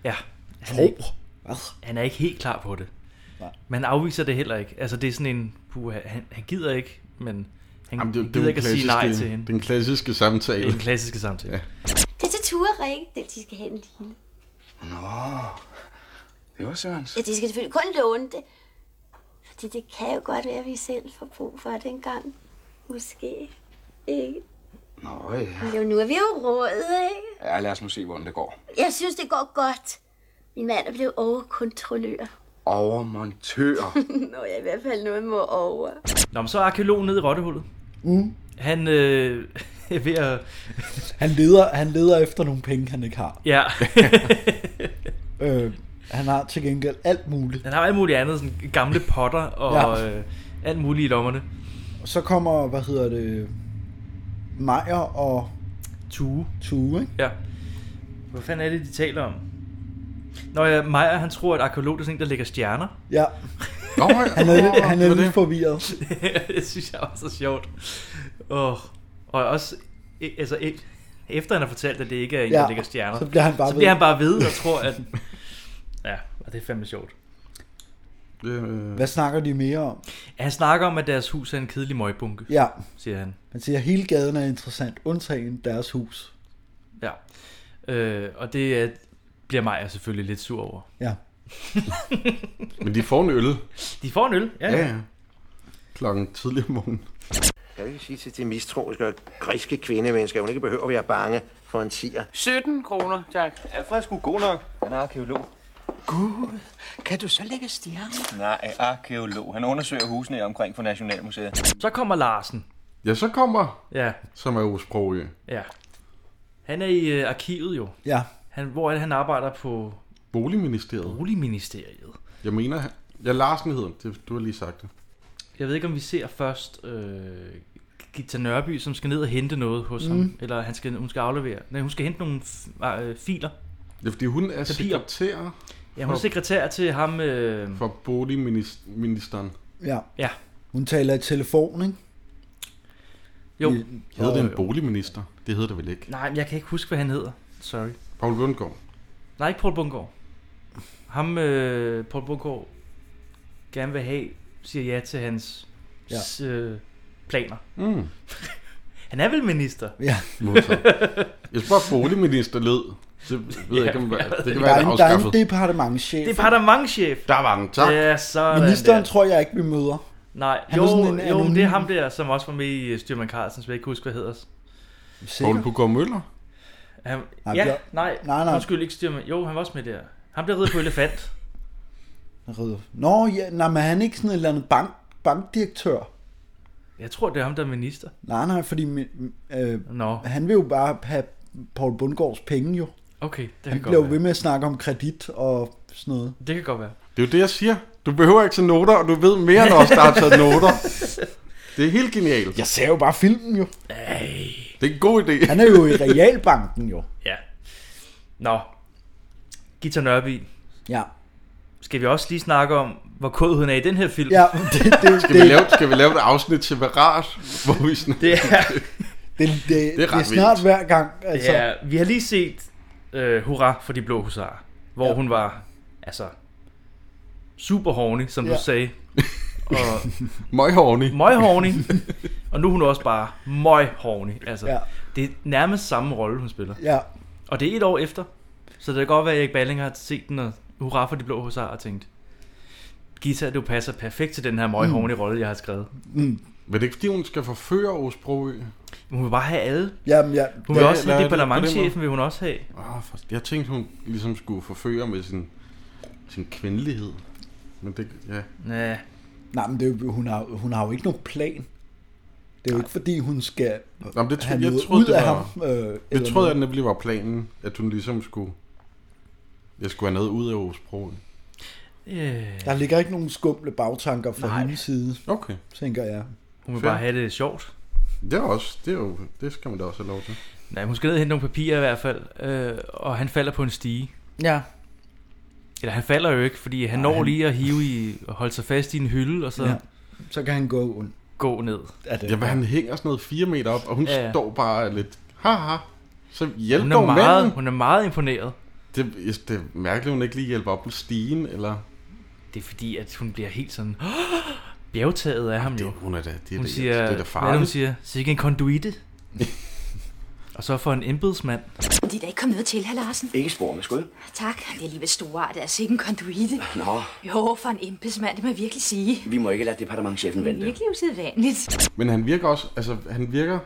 Speaker 2: ja, han
Speaker 3: To?
Speaker 2: er, ikke,
Speaker 3: Hvad?
Speaker 2: han er ikke helt klar på det.
Speaker 3: Nej.
Speaker 2: Man afviser det heller ikke. Altså, det er sådan en... Puha, han, han gider ikke, men han Jamen,
Speaker 4: Jamen,
Speaker 2: det,
Speaker 4: det, det,
Speaker 2: gider
Speaker 4: øh, det,
Speaker 2: ikke at sige nej til hende. Det
Speaker 4: den klassiske samtale.
Speaker 2: er den klassiske samtale. Ja.
Speaker 4: Ja.
Speaker 9: Det er til Ture, Rikke. Det, de skal have en lille.
Speaker 8: Det var Sørens.
Speaker 9: Ja, de skal selvfølgelig kun låne det. Fordi det kan jo godt være, at vi selv får brug for det engang. Måske. Ikke?
Speaker 8: Nå ja.
Speaker 9: Jo, nu er vi jo rådet, ikke?
Speaker 8: ja, lad os nu se, hvordan det går.
Speaker 9: Jeg synes, det går godt. Min mand er blevet overkontrollør.
Speaker 8: Overmontør.
Speaker 9: Nå, jeg i hvert fald noget må over.
Speaker 2: Nå, men så er arkeologen nede i rottehullet. Mm. Han øh, er ved at...
Speaker 3: Han leder, han leder efter nogle penge, han ikke har.
Speaker 2: Ja,
Speaker 3: Øh, han har til gengæld alt muligt.
Speaker 2: han har alt muligt andet. Sådan gamle potter og ja.
Speaker 3: Ja.
Speaker 2: øh, alt muligt i lommerne.
Speaker 3: Og så kommer, hvad hedder det, Meyer og
Speaker 2: Tue.
Speaker 3: Tue, ikke?
Speaker 2: Ja. Hvad fanden er det, de taler om? Nå ja, Maja, han tror, at arkeolog er sådan en, der lægger stjerner.
Speaker 3: Ja,
Speaker 4: Nå, ja.
Speaker 3: han er, lidt, han er
Speaker 4: Det var
Speaker 3: lidt
Speaker 4: det.
Speaker 3: forvirret.
Speaker 2: det synes jeg også er sjovt. Oh. Og også, e- altså, e- efter han har fortalt, at det ikke er en, ja. der
Speaker 3: Ja,
Speaker 2: ligger stjerner,
Speaker 3: så bliver han bare
Speaker 2: så bliver
Speaker 3: ved.
Speaker 2: han bare ved og tror, at... Ja, og det er fandme sjovt.
Speaker 4: Øh,
Speaker 3: Hvad snakker de mere om?
Speaker 2: Ja, han snakker om, at deres hus er en kedelig møgbunke,
Speaker 3: Ja,
Speaker 2: siger han.
Speaker 3: han siger, at hele gaden er interessant, undtagen deres hus.
Speaker 2: Ja. Øh, og det er, bliver Maja selvfølgelig lidt sur over.
Speaker 3: Ja,
Speaker 4: men de får en øl.
Speaker 2: De får en øl. Ja,
Speaker 4: Ja,
Speaker 2: ja.
Speaker 4: ja. Klokken tidlig om morgenen.
Speaker 5: Jeg vil sige til de mistroiske og griske kvindemennesker, at hun ikke behøver at være bange for en tiger.
Speaker 10: 17 kroner, tak.
Speaker 7: Alfred er sgu god nok. Han er arkeolog.
Speaker 8: kan du så lægge stjerner?
Speaker 7: Nej, arkeolog. Han undersøger husene i omkring for Nationalmuseet.
Speaker 2: Så kommer Larsen.
Speaker 4: Ja, så kommer,
Speaker 2: Ja,
Speaker 4: som er Ove Sprogø.
Speaker 2: ja. Han er i øh, arkivet jo.
Speaker 3: ja.
Speaker 2: Han, hvor er det, han arbejder på
Speaker 4: Boligministeriet.
Speaker 2: Boligministeriet.
Speaker 4: Jeg mener, han- ja, Larsen hedder han. det. Du har lige sagt det.
Speaker 2: Jeg ved ikke, om vi ser først øh, Gita Nørby, som skal ned og hente noget hos mm. ham. Eller han skal, hun skal aflevere. Nej, hun skal hente nogle f- øh, filer.
Speaker 4: Det er, fordi hun er
Speaker 2: Papirer.
Speaker 4: sekretær
Speaker 2: Ja, hun er
Speaker 4: For-
Speaker 2: sekretær til ham. Øh,
Speaker 4: for boligministeren.
Speaker 3: ja.
Speaker 2: Ja.
Speaker 3: Hun taler i telefon, ikke?
Speaker 2: jo.
Speaker 4: Hedder det
Speaker 2: Jo,
Speaker 4: en boligminister? Det hedder det vel ikke.
Speaker 2: Nej, men jeg kan ikke huske, hvad han hedder. Sorry.
Speaker 4: Paul Bundgaard.
Speaker 2: Nej, ikke Paul Bungård. Ham, øh, Paul Bungård, gerne vil have, siger ja til hans ja.
Speaker 3: Ja.
Speaker 2: S, øh, planer.
Speaker 4: Mm.
Speaker 2: Han er vel minister?
Speaker 3: Ja.
Speaker 4: modtaget. Jeg spørger boligminister lød. Det ved jeg ikke, om det kan
Speaker 3: Der
Speaker 4: være,
Speaker 3: er
Speaker 4: det er
Speaker 3: en, der er en
Speaker 4: afskaffet.
Speaker 3: departementchef.
Speaker 2: Det er departementchef.
Speaker 4: Der var den, tak.
Speaker 2: Ja, sådan
Speaker 3: Ministeren
Speaker 2: der.
Speaker 3: tror jeg ikke, vi møder.
Speaker 2: Nej,
Speaker 3: Han
Speaker 2: jo,
Speaker 3: er sådan en
Speaker 2: jo, men det er
Speaker 3: anonym-
Speaker 2: ham der, som også var med i øh, Styrman Carlsen, som jeg ikke husker, hvad hedder.
Speaker 4: Poul
Speaker 3: Sikkert.
Speaker 4: Bugård Møller.
Speaker 2: Han,
Speaker 3: Nej,
Speaker 2: ja,
Speaker 3: Bjørn-
Speaker 2: nej, nej,
Speaker 3: nej,
Speaker 2: nej,
Speaker 3: nej.
Speaker 2: undskyld, ikke styrmand. Jo, han var også med der. Han blev ridder på elefant.
Speaker 3: Ridder. Nå, ja, nej, men er han ikke sådan en eller anden bank, bankdirektør?
Speaker 2: Jeg tror, det er ham, der er minister.
Speaker 3: Nej, nej, fordi min- øh,
Speaker 2: Nå,
Speaker 3: han vil jo bare have Paul Bundgaards penge jo.
Speaker 2: okay, det
Speaker 3: Han
Speaker 2: kan,
Speaker 3: bliver jo
Speaker 2: godt
Speaker 3: ved
Speaker 2: være.
Speaker 3: med at snakke om kredit og sådan noget.
Speaker 2: det kan godt være.
Speaker 4: Det er jo det, jeg siger. Du behøver ikke tage noter, og du ved mere end os, der har taget noter. Det er helt genialt.
Speaker 3: Jeg ser jo bare filmen jo.
Speaker 4: Det er en god idé.
Speaker 3: Han er jo i Realbanken jo.
Speaker 2: Ja. Nå, Gita Nørby,
Speaker 3: Ja,
Speaker 2: skal vi også lige snakke om, hvor kod hun er i den her film?
Speaker 3: ja det, det, det,
Speaker 4: Skal vi lave, skal vi lave et afsnit separat, hvor vi sådan...
Speaker 2: Det er,
Speaker 3: det, det,
Speaker 4: Det
Speaker 3: det,
Speaker 4: er
Speaker 3: det
Speaker 4: ret
Speaker 3: er snart
Speaker 4: vildt.
Speaker 3: hver gang.
Speaker 2: det
Speaker 3: Altså.
Speaker 2: er, vi har lige set øh, Hurra for de blå husarer, hvor ja. hun var, altså, super horny, som ja.
Speaker 3: Ja.
Speaker 2: du sagde. og
Speaker 4: Møghorny.
Speaker 2: møghorny. og nu er hun også bare møghorny. Altså, ja.
Speaker 3: Ja.
Speaker 2: det er nærmest samme rolle, hun spiller.
Speaker 3: Ja,
Speaker 2: Og det er et år efter. Så det kan godt være, at Erik Balling har set den og hurra for de blå husarer og tænkt, Gita, du passer perfekt til den her
Speaker 4: Mm.
Speaker 2: møghorny rolle, jeg har skrevet.
Speaker 4: Men det er ikke, fordi hun skal forføre Osbro.
Speaker 2: Men Hun vil bare have alle.
Speaker 3: jamen, ja.
Speaker 2: Hun vil
Speaker 4: Ja,
Speaker 2: også have
Speaker 4: eller er det på den
Speaker 2: departementchefen, vil hun også have.
Speaker 4: Ah, for, jeg tænkte, hun ligesom skulle forføre med sin, sin kvindelighed. Men det, ja.
Speaker 2: Ja,
Speaker 3: Nej, men det er jo, hun, har, hun har jo ikke nogen plan. Det er jo ikke, fordi hun skal
Speaker 4: Nå, men det,
Speaker 3: have
Speaker 4: tro- jeg
Speaker 3: noget
Speaker 4: troede,
Speaker 3: ud
Speaker 4: det
Speaker 3: af
Speaker 4: var,
Speaker 3: ham. Øh,
Speaker 4: Jeg
Speaker 3: eller
Speaker 4: troede,
Speaker 3: noget.
Speaker 4: at nemlig var planen, at hun ligesom skulle... Jeg skulle have noget ud af Osbro.
Speaker 2: yeah.
Speaker 3: Der ligger ikke nogen skumle bagtanker fra
Speaker 2: Nej.
Speaker 3: hendes side,
Speaker 4: Okay.
Speaker 3: tænker jeg.
Speaker 2: hun vil
Speaker 4: Fair.
Speaker 2: bare have det sjovt.
Speaker 4: Det er også, det er jo, det skal man da også have lov til.
Speaker 2: Nej, hun skal ned og hente nogle papirer i hvert fald, øh, og han falder på en stige.
Speaker 3: Ja.
Speaker 2: Eller han falder jo ikke, fordi han når lige at hive i, og holde sig fast i en hylde, og så ja.
Speaker 3: Ja. Så kan han gå ondt.
Speaker 2: gå ned.
Speaker 3: Er det?
Speaker 4: Jamen, han hænger sådan noget fire meter op, og hun
Speaker 2: Ja,
Speaker 4: ja,
Speaker 2: ja.
Speaker 4: ja. står bare lidt, haha, så hjælp
Speaker 2: Hun er,
Speaker 4: dog
Speaker 2: meget,
Speaker 4: manden.
Speaker 2: hun er meget imponeret.
Speaker 4: Det, jeg- det er mærkeligt, at hun ikke lige hjælper op på stigen, eller...
Speaker 2: Det er fordi, at hun bliver helt sådan... Bjergtaget af ham jo.
Speaker 4: Det, hun er da, det, er
Speaker 2: Hun
Speaker 4: da-
Speaker 2: siger,
Speaker 4: det er da
Speaker 2: hvad er det, hun
Speaker 4: farligt.
Speaker 2: siger? Sikke en konduite. og så for en embedsmand.
Speaker 10: De er da ikke kommet noget til, herr Larsen.
Speaker 7: Ikke spor med skud.
Speaker 10: Tak, det er alligevel storart. Altså ikke en konduite.
Speaker 7: Nå,
Speaker 10: Jo, for en embedsmand, det må jeg virkelig sige.
Speaker 7: vi må ikke lade departementchefen
Speaker 10: Det er virkelig usædvanligt.
Speaker 4: Men han virker også, altså han virker...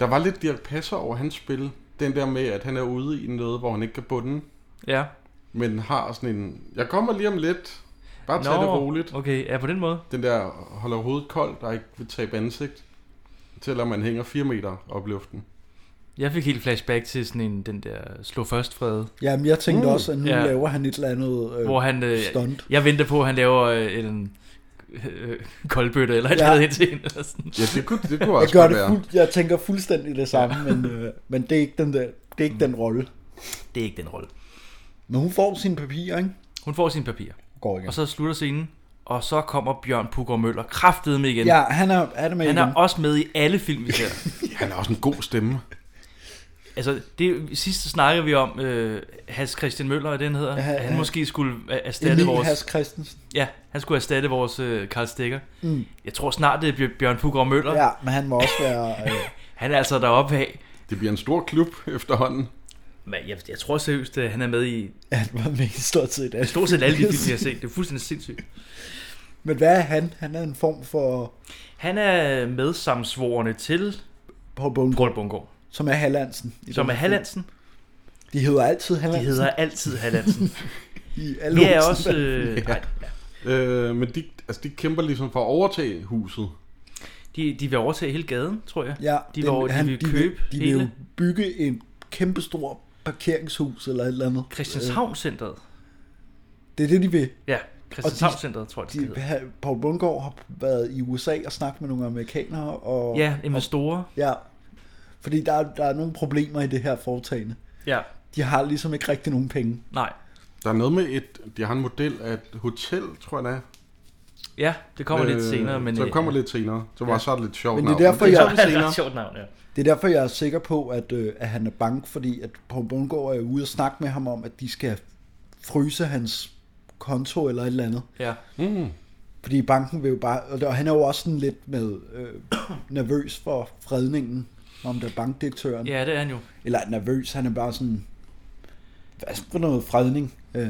Speaker 4: Der var lidt Dirk Passer over hans spil. Den der med, at han er ude i noget, hvor han ikke kan bunde,
Speaker 2: Ja.
Speaker 4: men har sådan en... Jeg kommer lige om lidt. Bare tag det roligt.
Speaker 2: okay. Ja, på den måde.
Speaker 4: Den der holder hovedet koldt og ikke vil tabe ansigt. Selvom man hænger 4 meter op i luften.
Speaker 2: Jeg fik helt flashback til sådan en, den der slå først fred,
Speaker 3: Jamen, jeg tænkte
Speaker 4: Mm.
Speaker 3: mm. også, at nu
Speaker 2: Uh, Ja.
Speaker 3: ja. laver han et eller andet øh,
Speaker 2: hvor han... Øh,
Speaker 3: stunt.
Speaker 2: jeg venter på, at han laver øh, en øh, koldbøtte eller et
Speaker 3: Ja.
Speaker 2: eller andet ind til en. Eller sådan.
Speaker 4: Ja, det kunne, det kunne også
Speaker 3: Jeg, gør
Speaker 4: godt
Speaker 3: det
Speaker 4: være.
Speaker 3: fuld, jeg tænker fuldstændig det samme, men, øh, men det er ikke den, der, det er ikke
Speaker 2: Mm.
Speaker 3: den rolle.
Speaker 2: Det er ikke den rolle.
Speaker 3: Men hun får sine papirer, ikke?
Speaker 2: Hun får sine papirer,
Speaker 3: Går igen.
Speaker 2: og så slutter scenen, og så kommer Bjørn Pugger Møller kraftedeme igen.
Speaker 3: Ja, han er, er det med
Speaker 2: Han
Speaker 3: igen.
Speaker 2: er også med i alle film, vi ser.
Speaker 4: Han har også en god stemme.
Speaker 2: Altså, det sidste snakkede vi om, øh, Hans Christian Møller, er det, han hedder? Ja,
Speaker 3: Ja,
Speaker 2: han
Speaker 3: ja.
Speaker 2: måske skulle a- erstatte
Speaker 3: Emil
Speaker 2: vores...
Speaker 3: Has Christensen.
Speaker 2: Ja, han skulle erstatte vores øh, Karl Stikker. Mm. Jeg tror snart, det er Bjør- Bjørn Pugger Møller. Ja.
Speaker 3: Ja, men han må også være... Øh,
Speaker 2: Han er altså deroppe af.
Speaker 4: Det bliver en stor klub efterhånden.
Speaker 2: Men jeg, jeg tror seriøst, at han er med i
Speaker 3: han var med i stort set alt.
Speaker 2: stort set alle de film, jeg har set. Det er fuldstændig sindssygt.
Speaker 3: Men hvad er han? Han er en form for
Speaker 2: Han er medsamsvorene til
Speaker 3: Paul Bundgaard,
Speaker 2: Paul Bungård,
Speaker 3: som er Hallandsen. i
Speaker 2: som
Speaker 3: den
Speaker 2: er
Speaker 3: film.
Speaker 2: Hallandsen.
Speaker 3: De hedder altid
Speaker 2: De
Speaker 3: Hallandsen.
Speaker 2: hedder altid Hallandsen.
Speaker 3: i alle
Speaker 2: Det er
Speaker 3: Olsen-
Speaker 2: også... Øh, nej,
Speaker 4: Øh, men de, altså, de kæmper ligesom for at overtage huset.
Speaker 2: de, de vil overtage hele gaden, tror jeg.
Speaker 3: Ja,
Speaker 2: de, vil,
Speaker 3: den-
Speaker 2: over- de
Speaker 3: han-
Speaker 2: vil
Speaker 3: de
Speaker 2: købe
Speaker 3: De vil
Speaker 2: hele
Speaker 3: jo bygge et kæmpestort parkeringshus eller et eller andet. Øh,
Speaker 2: Christianshavn-centret.
Speaker 3: Det er det, de vil.
Speaker 2: Ja, Christianshavn-centret, tror jeg, det skal
Speaker 3: De,
Speaker 2: hedde.
Speaker 3: ha- Paul Bundgaard har været i USA og snakket med nogle amerikanere. Og,
Speaker 2: Ja, investorer.
Speaker 3: ja. Fordi der, er- der er nogle problemer i det her foretagende.
Speaker 2: Ja,
Speaker 3: De har ligesom ikke rigtig nogen penge.
Speaker 2: nej.
Speaker 4: Der er noget med et... De har en model af et hotel, tror jeg det er.
Speaker 2: Ja, det kommer øh, lidt senere, men...
Speaker 4: Så det
Speaker 2: øh,
Speaker 4: kommer lidt senere. Så var ja. så er det lidt sjovt
Speaker 3: Men det er
Speaker 4: navn.
Speaker 3: derfor,
Speaker 4: det
Speaker 3: jeg-
Speaker 4: tager vi senere.
Speaker 2: et sjovt navn, ja.
Speaker 3: Det er derfor, jeg er sikker på, at, øh, at han er bange, fordi at Paul Bundgaard er ude og snakke med ham om, at de skal fryse hans konto eller et eller andet.
Speaker 2: Ja,
Speaker 3: Fordi banken vil jo bare... Og og han er jo også sådan lidt med øh, nervøs for fredningen, om der er bankdirektøren.
Speaker 2: ja det er han jo.
Speaker 3: Eller nervøs, han er bare sådan... Hvad for noget fredning? Øh,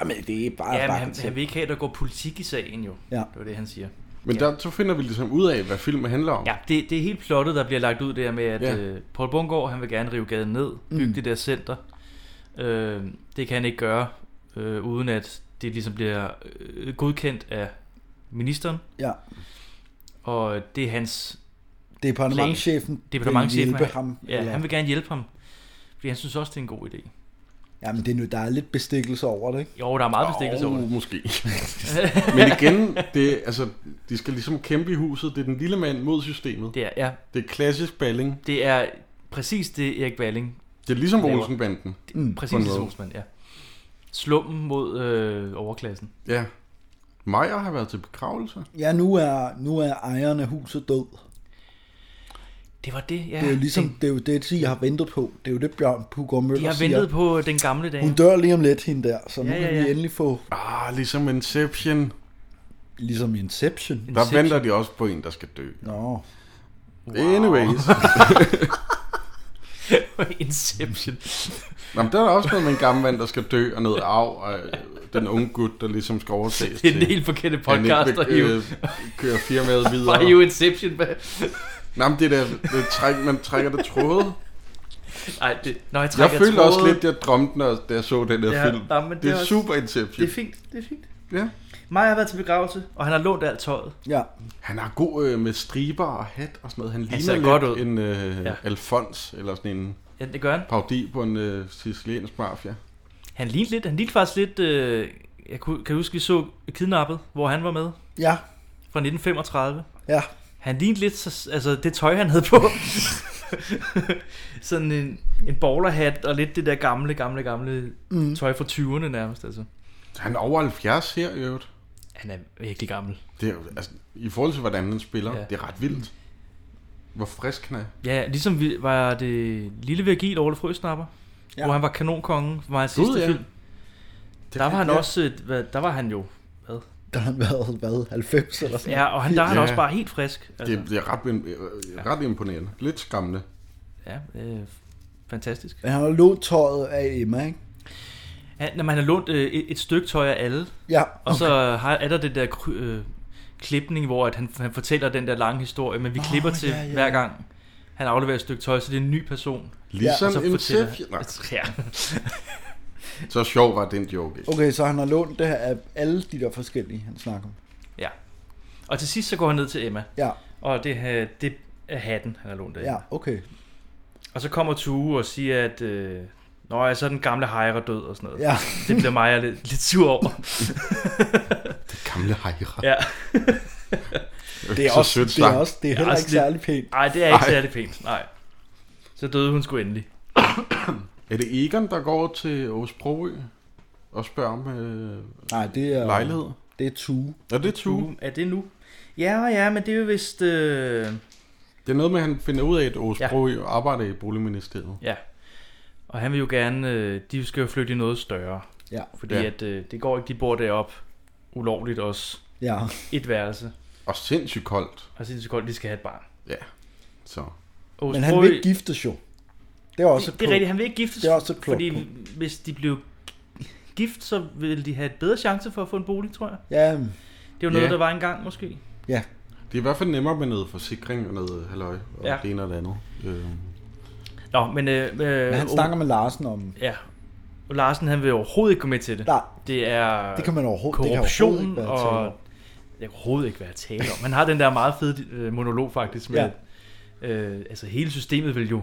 Speaker 3: ej, men det er bare
Speaker 2: Ja, men
Speaker 3: banken
Speaker 2: han,
Speaker 3: selv."
Speaker 2: han vil ikke have, at der går politik i sagen jo.
Speaker 3: Ja.
Speaker 2: Det var det, han siger.
Speaker 4: Men der, så finder vi ligesom ud af, hvad filmen handler om.
Speaker 2: Ja, det, det er helt plottet, der bliver lagt ud der med, at ja.
Speaker 4: Ja.
Speaker 2: øh, Paul Bungård, han vil gerne rive gaden ned, bygge mm. det der center. Øh, det kan han ikke gøre, øh, uden at det ligesom bliver øh, godkendt af ministeren.
Speaker 3: Ja,
Speaker 2: Og det er hans
Speaker 3: departementchefen
Speaker 2: departementchef.
Speaker 3: vil hjælpe ham.
Speaker 2: Ja, han vil gerne hjælpe ham. Fordi han synes også, det er en god idé.
Speaker 3: Jamen, det er nu, der er lidt bestikkelse over det, ikke?
Speaker 2: Jo, der er meget bestikkelse over det.
Speaker 4: oh, måske. men igen, det, altså, de skal ligesom kæmpe i huset. Det er den lille mand mod systemet.
Speaker 2: Det er, ja,
Speaker 4: Det er klassisk balling.
Speaker 2: det er præcis det, Erik Balling.
Speaker 4: Det er ligesom
Speaker 2: Laver.
Speaker 4: Olsenbanden.
Speaker 2: Mm,
Speaker 4: på
Speaker 2: præcis
Speaker 4: en
Speaker 2: det,
Speaker 4: måde.
Speaker 2: Sosmand, ja. Slummen mod øh, overklassen.
Speaker 4: Ja. Majer har været til begravelse.
Speaker 3: Ja, nu er, nu er ejeren af huset død.
Speaker 2: Det var det, ja.
Speaker 3: Det er jo ligesom, det er jo det, de har ventet på. Det er jo det, Bjørn Pugård Møller
Speaker 2: De har
Speaker 3: siger.
Speaker 2: ventet på den gamle dage.
Speaker 3: Hun dør lige om lidt, hende der, så nu
Speaker 2: Ja,
Speaker 3: ja,
Speaker 2: ja,
Speaker 3: ja, ja.
Speaker 2: ja.
Speaker 3: kan vi endelig få...
Speaker 4: Ah, ligesom Inception.
Speaker 3: Ligesom Inception.
Speaker 4: Der venter de også på en, der skal dø.
Speaker 3: Nå.
Speaker 4: Anyways.
Speaker 2: Inception.
Speaker 4: Nå, men der er også noget med en gammel mand, der skal dø, og noget arv, og øh, den unge gut, der ligesom skal overtages
Speaker 2: Det er den
Speaker 4: til-
Speaker 2: helt forkerte
Speaker 4: han ikke
Speaker 2: podcast,
Speaker 4: vil,
Speaker 2: der hiver-
Speaker 4: øh, kører firmaet videre.
Speaker 2: Bare hive Inception med.
Speaker 4: Nå, men det der, det træk, man trækker det tråde.
Speaker 2: Nej, det, når jeg
Speaker 4: Jeg
Speaker 2: trækker
Speaker 4: følte
Speaker 2: tråde,
Speaker 4: også lidt, jeg drømte, når, da jeg så den der film.
Speaker 2: nå, men
Speaker 4: det er,
Speaker 2: også-
Speaker 4: super Inception.
Speaker 2: Det er fint, det er fint.
Speaker 4: Ja.
Speaker 2: Maja har været til begravelse, og han har lånt alt tøjet.
Speaker 3: Ja.
Speaker 4: Han er god øh, med striber og hat og sådan noget. Han
Speaker 2: Han
Speaker 4: ligner
Speaker 2: ser
Speaker 4: lidt
Speaker 2: godt ud.
Speaker 4: en øh,
Speaker 2: Ja.
Speaker 4: ja. Alfons, eller sådan en
Speaker 2: Ja, det gør han.
Speaker 4: parodi på en øh, siciliansk mafia.
Speaker 2: Han lignede lidt, han lignede faktisk lidt, øh, jeg kunne, kan huske, vi så Kidnappet, hvor han var med.
Speaker 3: Ja.
Speaker 2: Fra 1935.
Speaker 3: Ja.
Speaker 2: Han lignede lidt, så, altså det tøj, han havde på. Sådan en, en bowlerhat og lidt det der gamle, gamle, gamle mm. tøj fra 20'erne nærmest, altså.
Speaker 4: Han er over 70 her i øvrigt.
Speaker 2: Han er virkelig gammel.
Speaker 4: Det er, jo- altså, I forhold til, hvordan han spiller,
Speaker 2: Ja.
Speaker 4: ja. det er ret vildt. Hvor frisk han er.
Speaker 2: Ja, ligesom vi, var det Lille Virgil Orle Frøsnapper, ja.
Speaker 3: Ja.
Speaker 2: hvor han var kanonkongen for mig
Speaker 4: Gud,
Speaker 2: sidste
Speaker 4: ja.
Speaker 2: film.
Speaker 4: Det
Speaker 2: Der var han
Speaker 4: ja.
Speaker 2: også, øh, hvad, der var han jo, hvad?
Speaker 3: Der har han været, hvad, 90 eller sådan
Speaker 2: Ja, og han, der er han
Speaker 4: Ja.
Speaker 2: også bare helt frisk. Altså,
Speaker 4: Det, det er ret, im- øh, ret imponerende. Lidt skræmmende.
Speaker 2: ja, øh, fantastisk.
Speaker 3: Men han har lånt tøjet af Emma, ikke?
Speaker 2: Han, når man har lånt øh, et, et stykke tøj af alle,
Speaker 3: Ja.
Speaker 2: og så har, er der det der kry- øh, klipning, hvor at han, han fortæller den der lange historie, men vi
Speaker 3: Åh,
Speaker 2: klipper til
Speaker 3: ja, ja.
Speaker 2: hver gang. Han afleverer et stykke tøj, så det er en ny person.
Speaker 4: Ligesom
Speaker 2: og så
Speaker 4: ja, en
Speaker 2: fortæller
Speaker 4: chef. Nej,
Speaker 2: Ja.
Speaker 4: så sjov var den joke ikke.
Speaker 3: Okay, så han har lånt det her af alle de der forskellige, han snakker om.
Speaker 2: ja. Og til sidst så går han ned til Emma,
Speaker 3: Ja,
Speaker 2: og det, øh, det er hatten, han har lånt af.
Speaker 3: ja, okay.
Speaker 2: Og så kommer Tue og siger, at... Øh, Nå, ja, så er den gamle Hejre død og sådan noget.
Speaker 3: Ja.
Speaker 2: Det bliver Maja lidt, lidt sur over.
Speaker 4: Gamle hejre.
Speaker 2: Ja.
Speaker 3: Det er,
Speaker 4: så
Speaker 3: også,
Speaker 4: sødt
Speaker 3: det er,
Speaker 4: sagt.
Speaker 3: også, det er heller
Speaker 2: Ja,
Speaker 3: ikke
Speaker 2: sådan
Speaker 3: særlig pænt.
Speaker 2: Nej, det er ikke
Speaker 4: Ej.
Speaker 2: særlig pænt. Nej. Så døde hun sgu endelig.
Speaker 4: Er det Egon, der går over til Aarhus Broø og spørger om øh,
Speaker 3: Nej, det er...
Speaker 4: lejlighed?
Speaker 3: Det er Tue.
Speaker 4: Er det Tue?
Speaker 2: Er det nu? Ja, ja, men det er jo vist... Øh...
Speaker 4: Det er noget med, at han finder ud af, at Aarhus
Speaker 2: Ja.
Speaker 4: ja. Broø arbejder i Boligministeriet.
Speaker 2: Ja. Og han vil jo gerne... Øh, de skal jo flytte i noget større.
Speaker 3: Ja,
Speaker 2: Fordi ja.
Speaker 4: Ja.
Speaker 2: at øh, det går ikke, de bor deroppe ulovligt også.
Speaker 3: ja.
Speaker 2: Et værelse.
Speaker 4: Og sindssygt koldt.
Speaker 2: Og sindssygt godt, de skal have et barn.
Speaker 4: Ja. Så.
Speaker 2: Og
Speaker 3: Men han vil ikke giftes jo. Det er også
Speaker 2: det,
Speaker 3: et
Speaker 2: det er
Speaker 3: punkt.
Speaker 2: rigtigt, han vil ikke giftes.
Speaker 3: Det er også et klogt
Speaker 2: Fordi
Speaker 3: punkt.
Speaker 2: hvis de blev gift, så ville de have et bedre chance for at få en bolig, tror jeg.
Speaker 3: Ja,
Speaker 2: Det er jo noget,
Speaker 4: Ja.
Speaker 2: der var engang måske.
Speaker 3: ja.
Speaker 4: Det er i hvert fald nemmere med noget forsikring og noget halløj og
Speaker 2: Ja.
Speaker 4: ja. det ene og det andet. Øh,
Speaker 2: Nå, men... Øh, øh,
Speaker 3: Men han snakker med Larsen om...
Speaker 2: Ja. Og Larsen, han vil overhovedet ikke gå med til det.
Speaker 3: Nej,
Speaker 2: Det er
Speaker 3: det kan man overhovedet, det kan overhovedet
Speaker 2: korruption,
Speaker 3: ikke
Speaker 2: det
Speaker 3: være
Speaker 2: kan
Speaker 3: tale om.
Speaker 2: og det kan overhovedet ikke være tale om. Man har den der meget fede øh, monolog faktisk med, ja. øh, altså hele systemet vil jo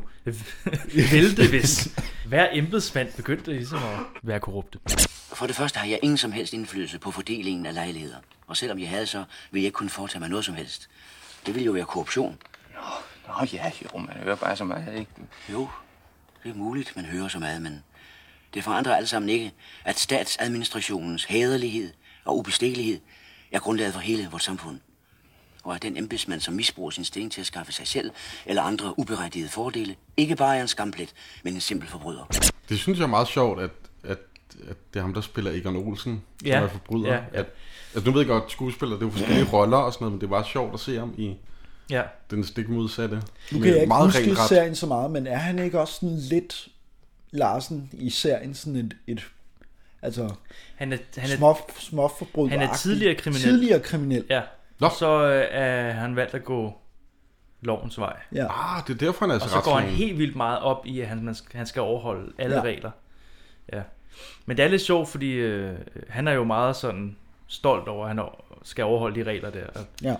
Speaker 2: vælte, hvis hver embedsmand begyndte ligesom at være korrupte.
Speaker 11: For det første har jeg ingen som helst indflydelse på fordelingen af lejligheder. Og selvom jeg havde så, ville jeg ikke kunne foretage mig noget som helst. Det ville jo være korruption.
Speaker 12: Nå ja, jo, man hører bare så meget, ikke?
Speaker 11: Jo, det er muligt, man hører så meget, men det forandrer alt sammen ikke, at statsadministrationens hæderlighed og ubestikkelighed er grundlaget for hele vores samfund. Og at den embedsmand, som misbruger sin stilling til at skaffe sig selv eller andre uberettigede fordele, ikke bare er en skamplet, men en simpel forbryder.
Speaker 4: det synes jeg er meget sjovt, at, at, at det er ham, der spiller Egon Olsen,
Speaker 2: Ja.
Speaker 4: som er forbryder.
Speaker 2: Ja, ja.
Speaker 4: At, altså, nu ved jeg godt, skuespiller, det er jo forskellige roller og sådan noget, men det er bare sjovt at se ham i
Speaker 2: Ja.
Speaker 4: den stik modsatte.
Speaker 3: Nu
Speaker 4: Med
Speaker 3: kan jeg ikke
Speaker 4: meget
Speaker 3: huske
Speaker 4: regelret.
Speaker 3: serien så meget, men er han ikke også sådan lidt Larsen i serien sådan et, et altså
Speaker 2: Han er, han er,
Speaker 3: små, små forbryder
Speaker 2: han er tidligere kriminel.
Speaker 3: Tidligere kriminel.
Speaker 2: ja.
Speaker 4: Nå.
Speaker 2: Så øh, er han valgt at gå lovens vej.
Speaker 3: Ja.
Speaker 4: Ah, det er derfor, han er
Speaker 2: Og
Speaker 4: så
Speaker 2: så går han
Speaker 4: rationel.
Speaker 2: helt vildt meget op i, at han, man skal, han skal overholde alle ja.
Speaker 3: Ja.
Speaker 2: regler. Ja. Men det er lidt sjovt, fordi øh, han er jo meget sådan stolt over, at han o- skal overholde de regler der. Og,
Speaker 3: Ja.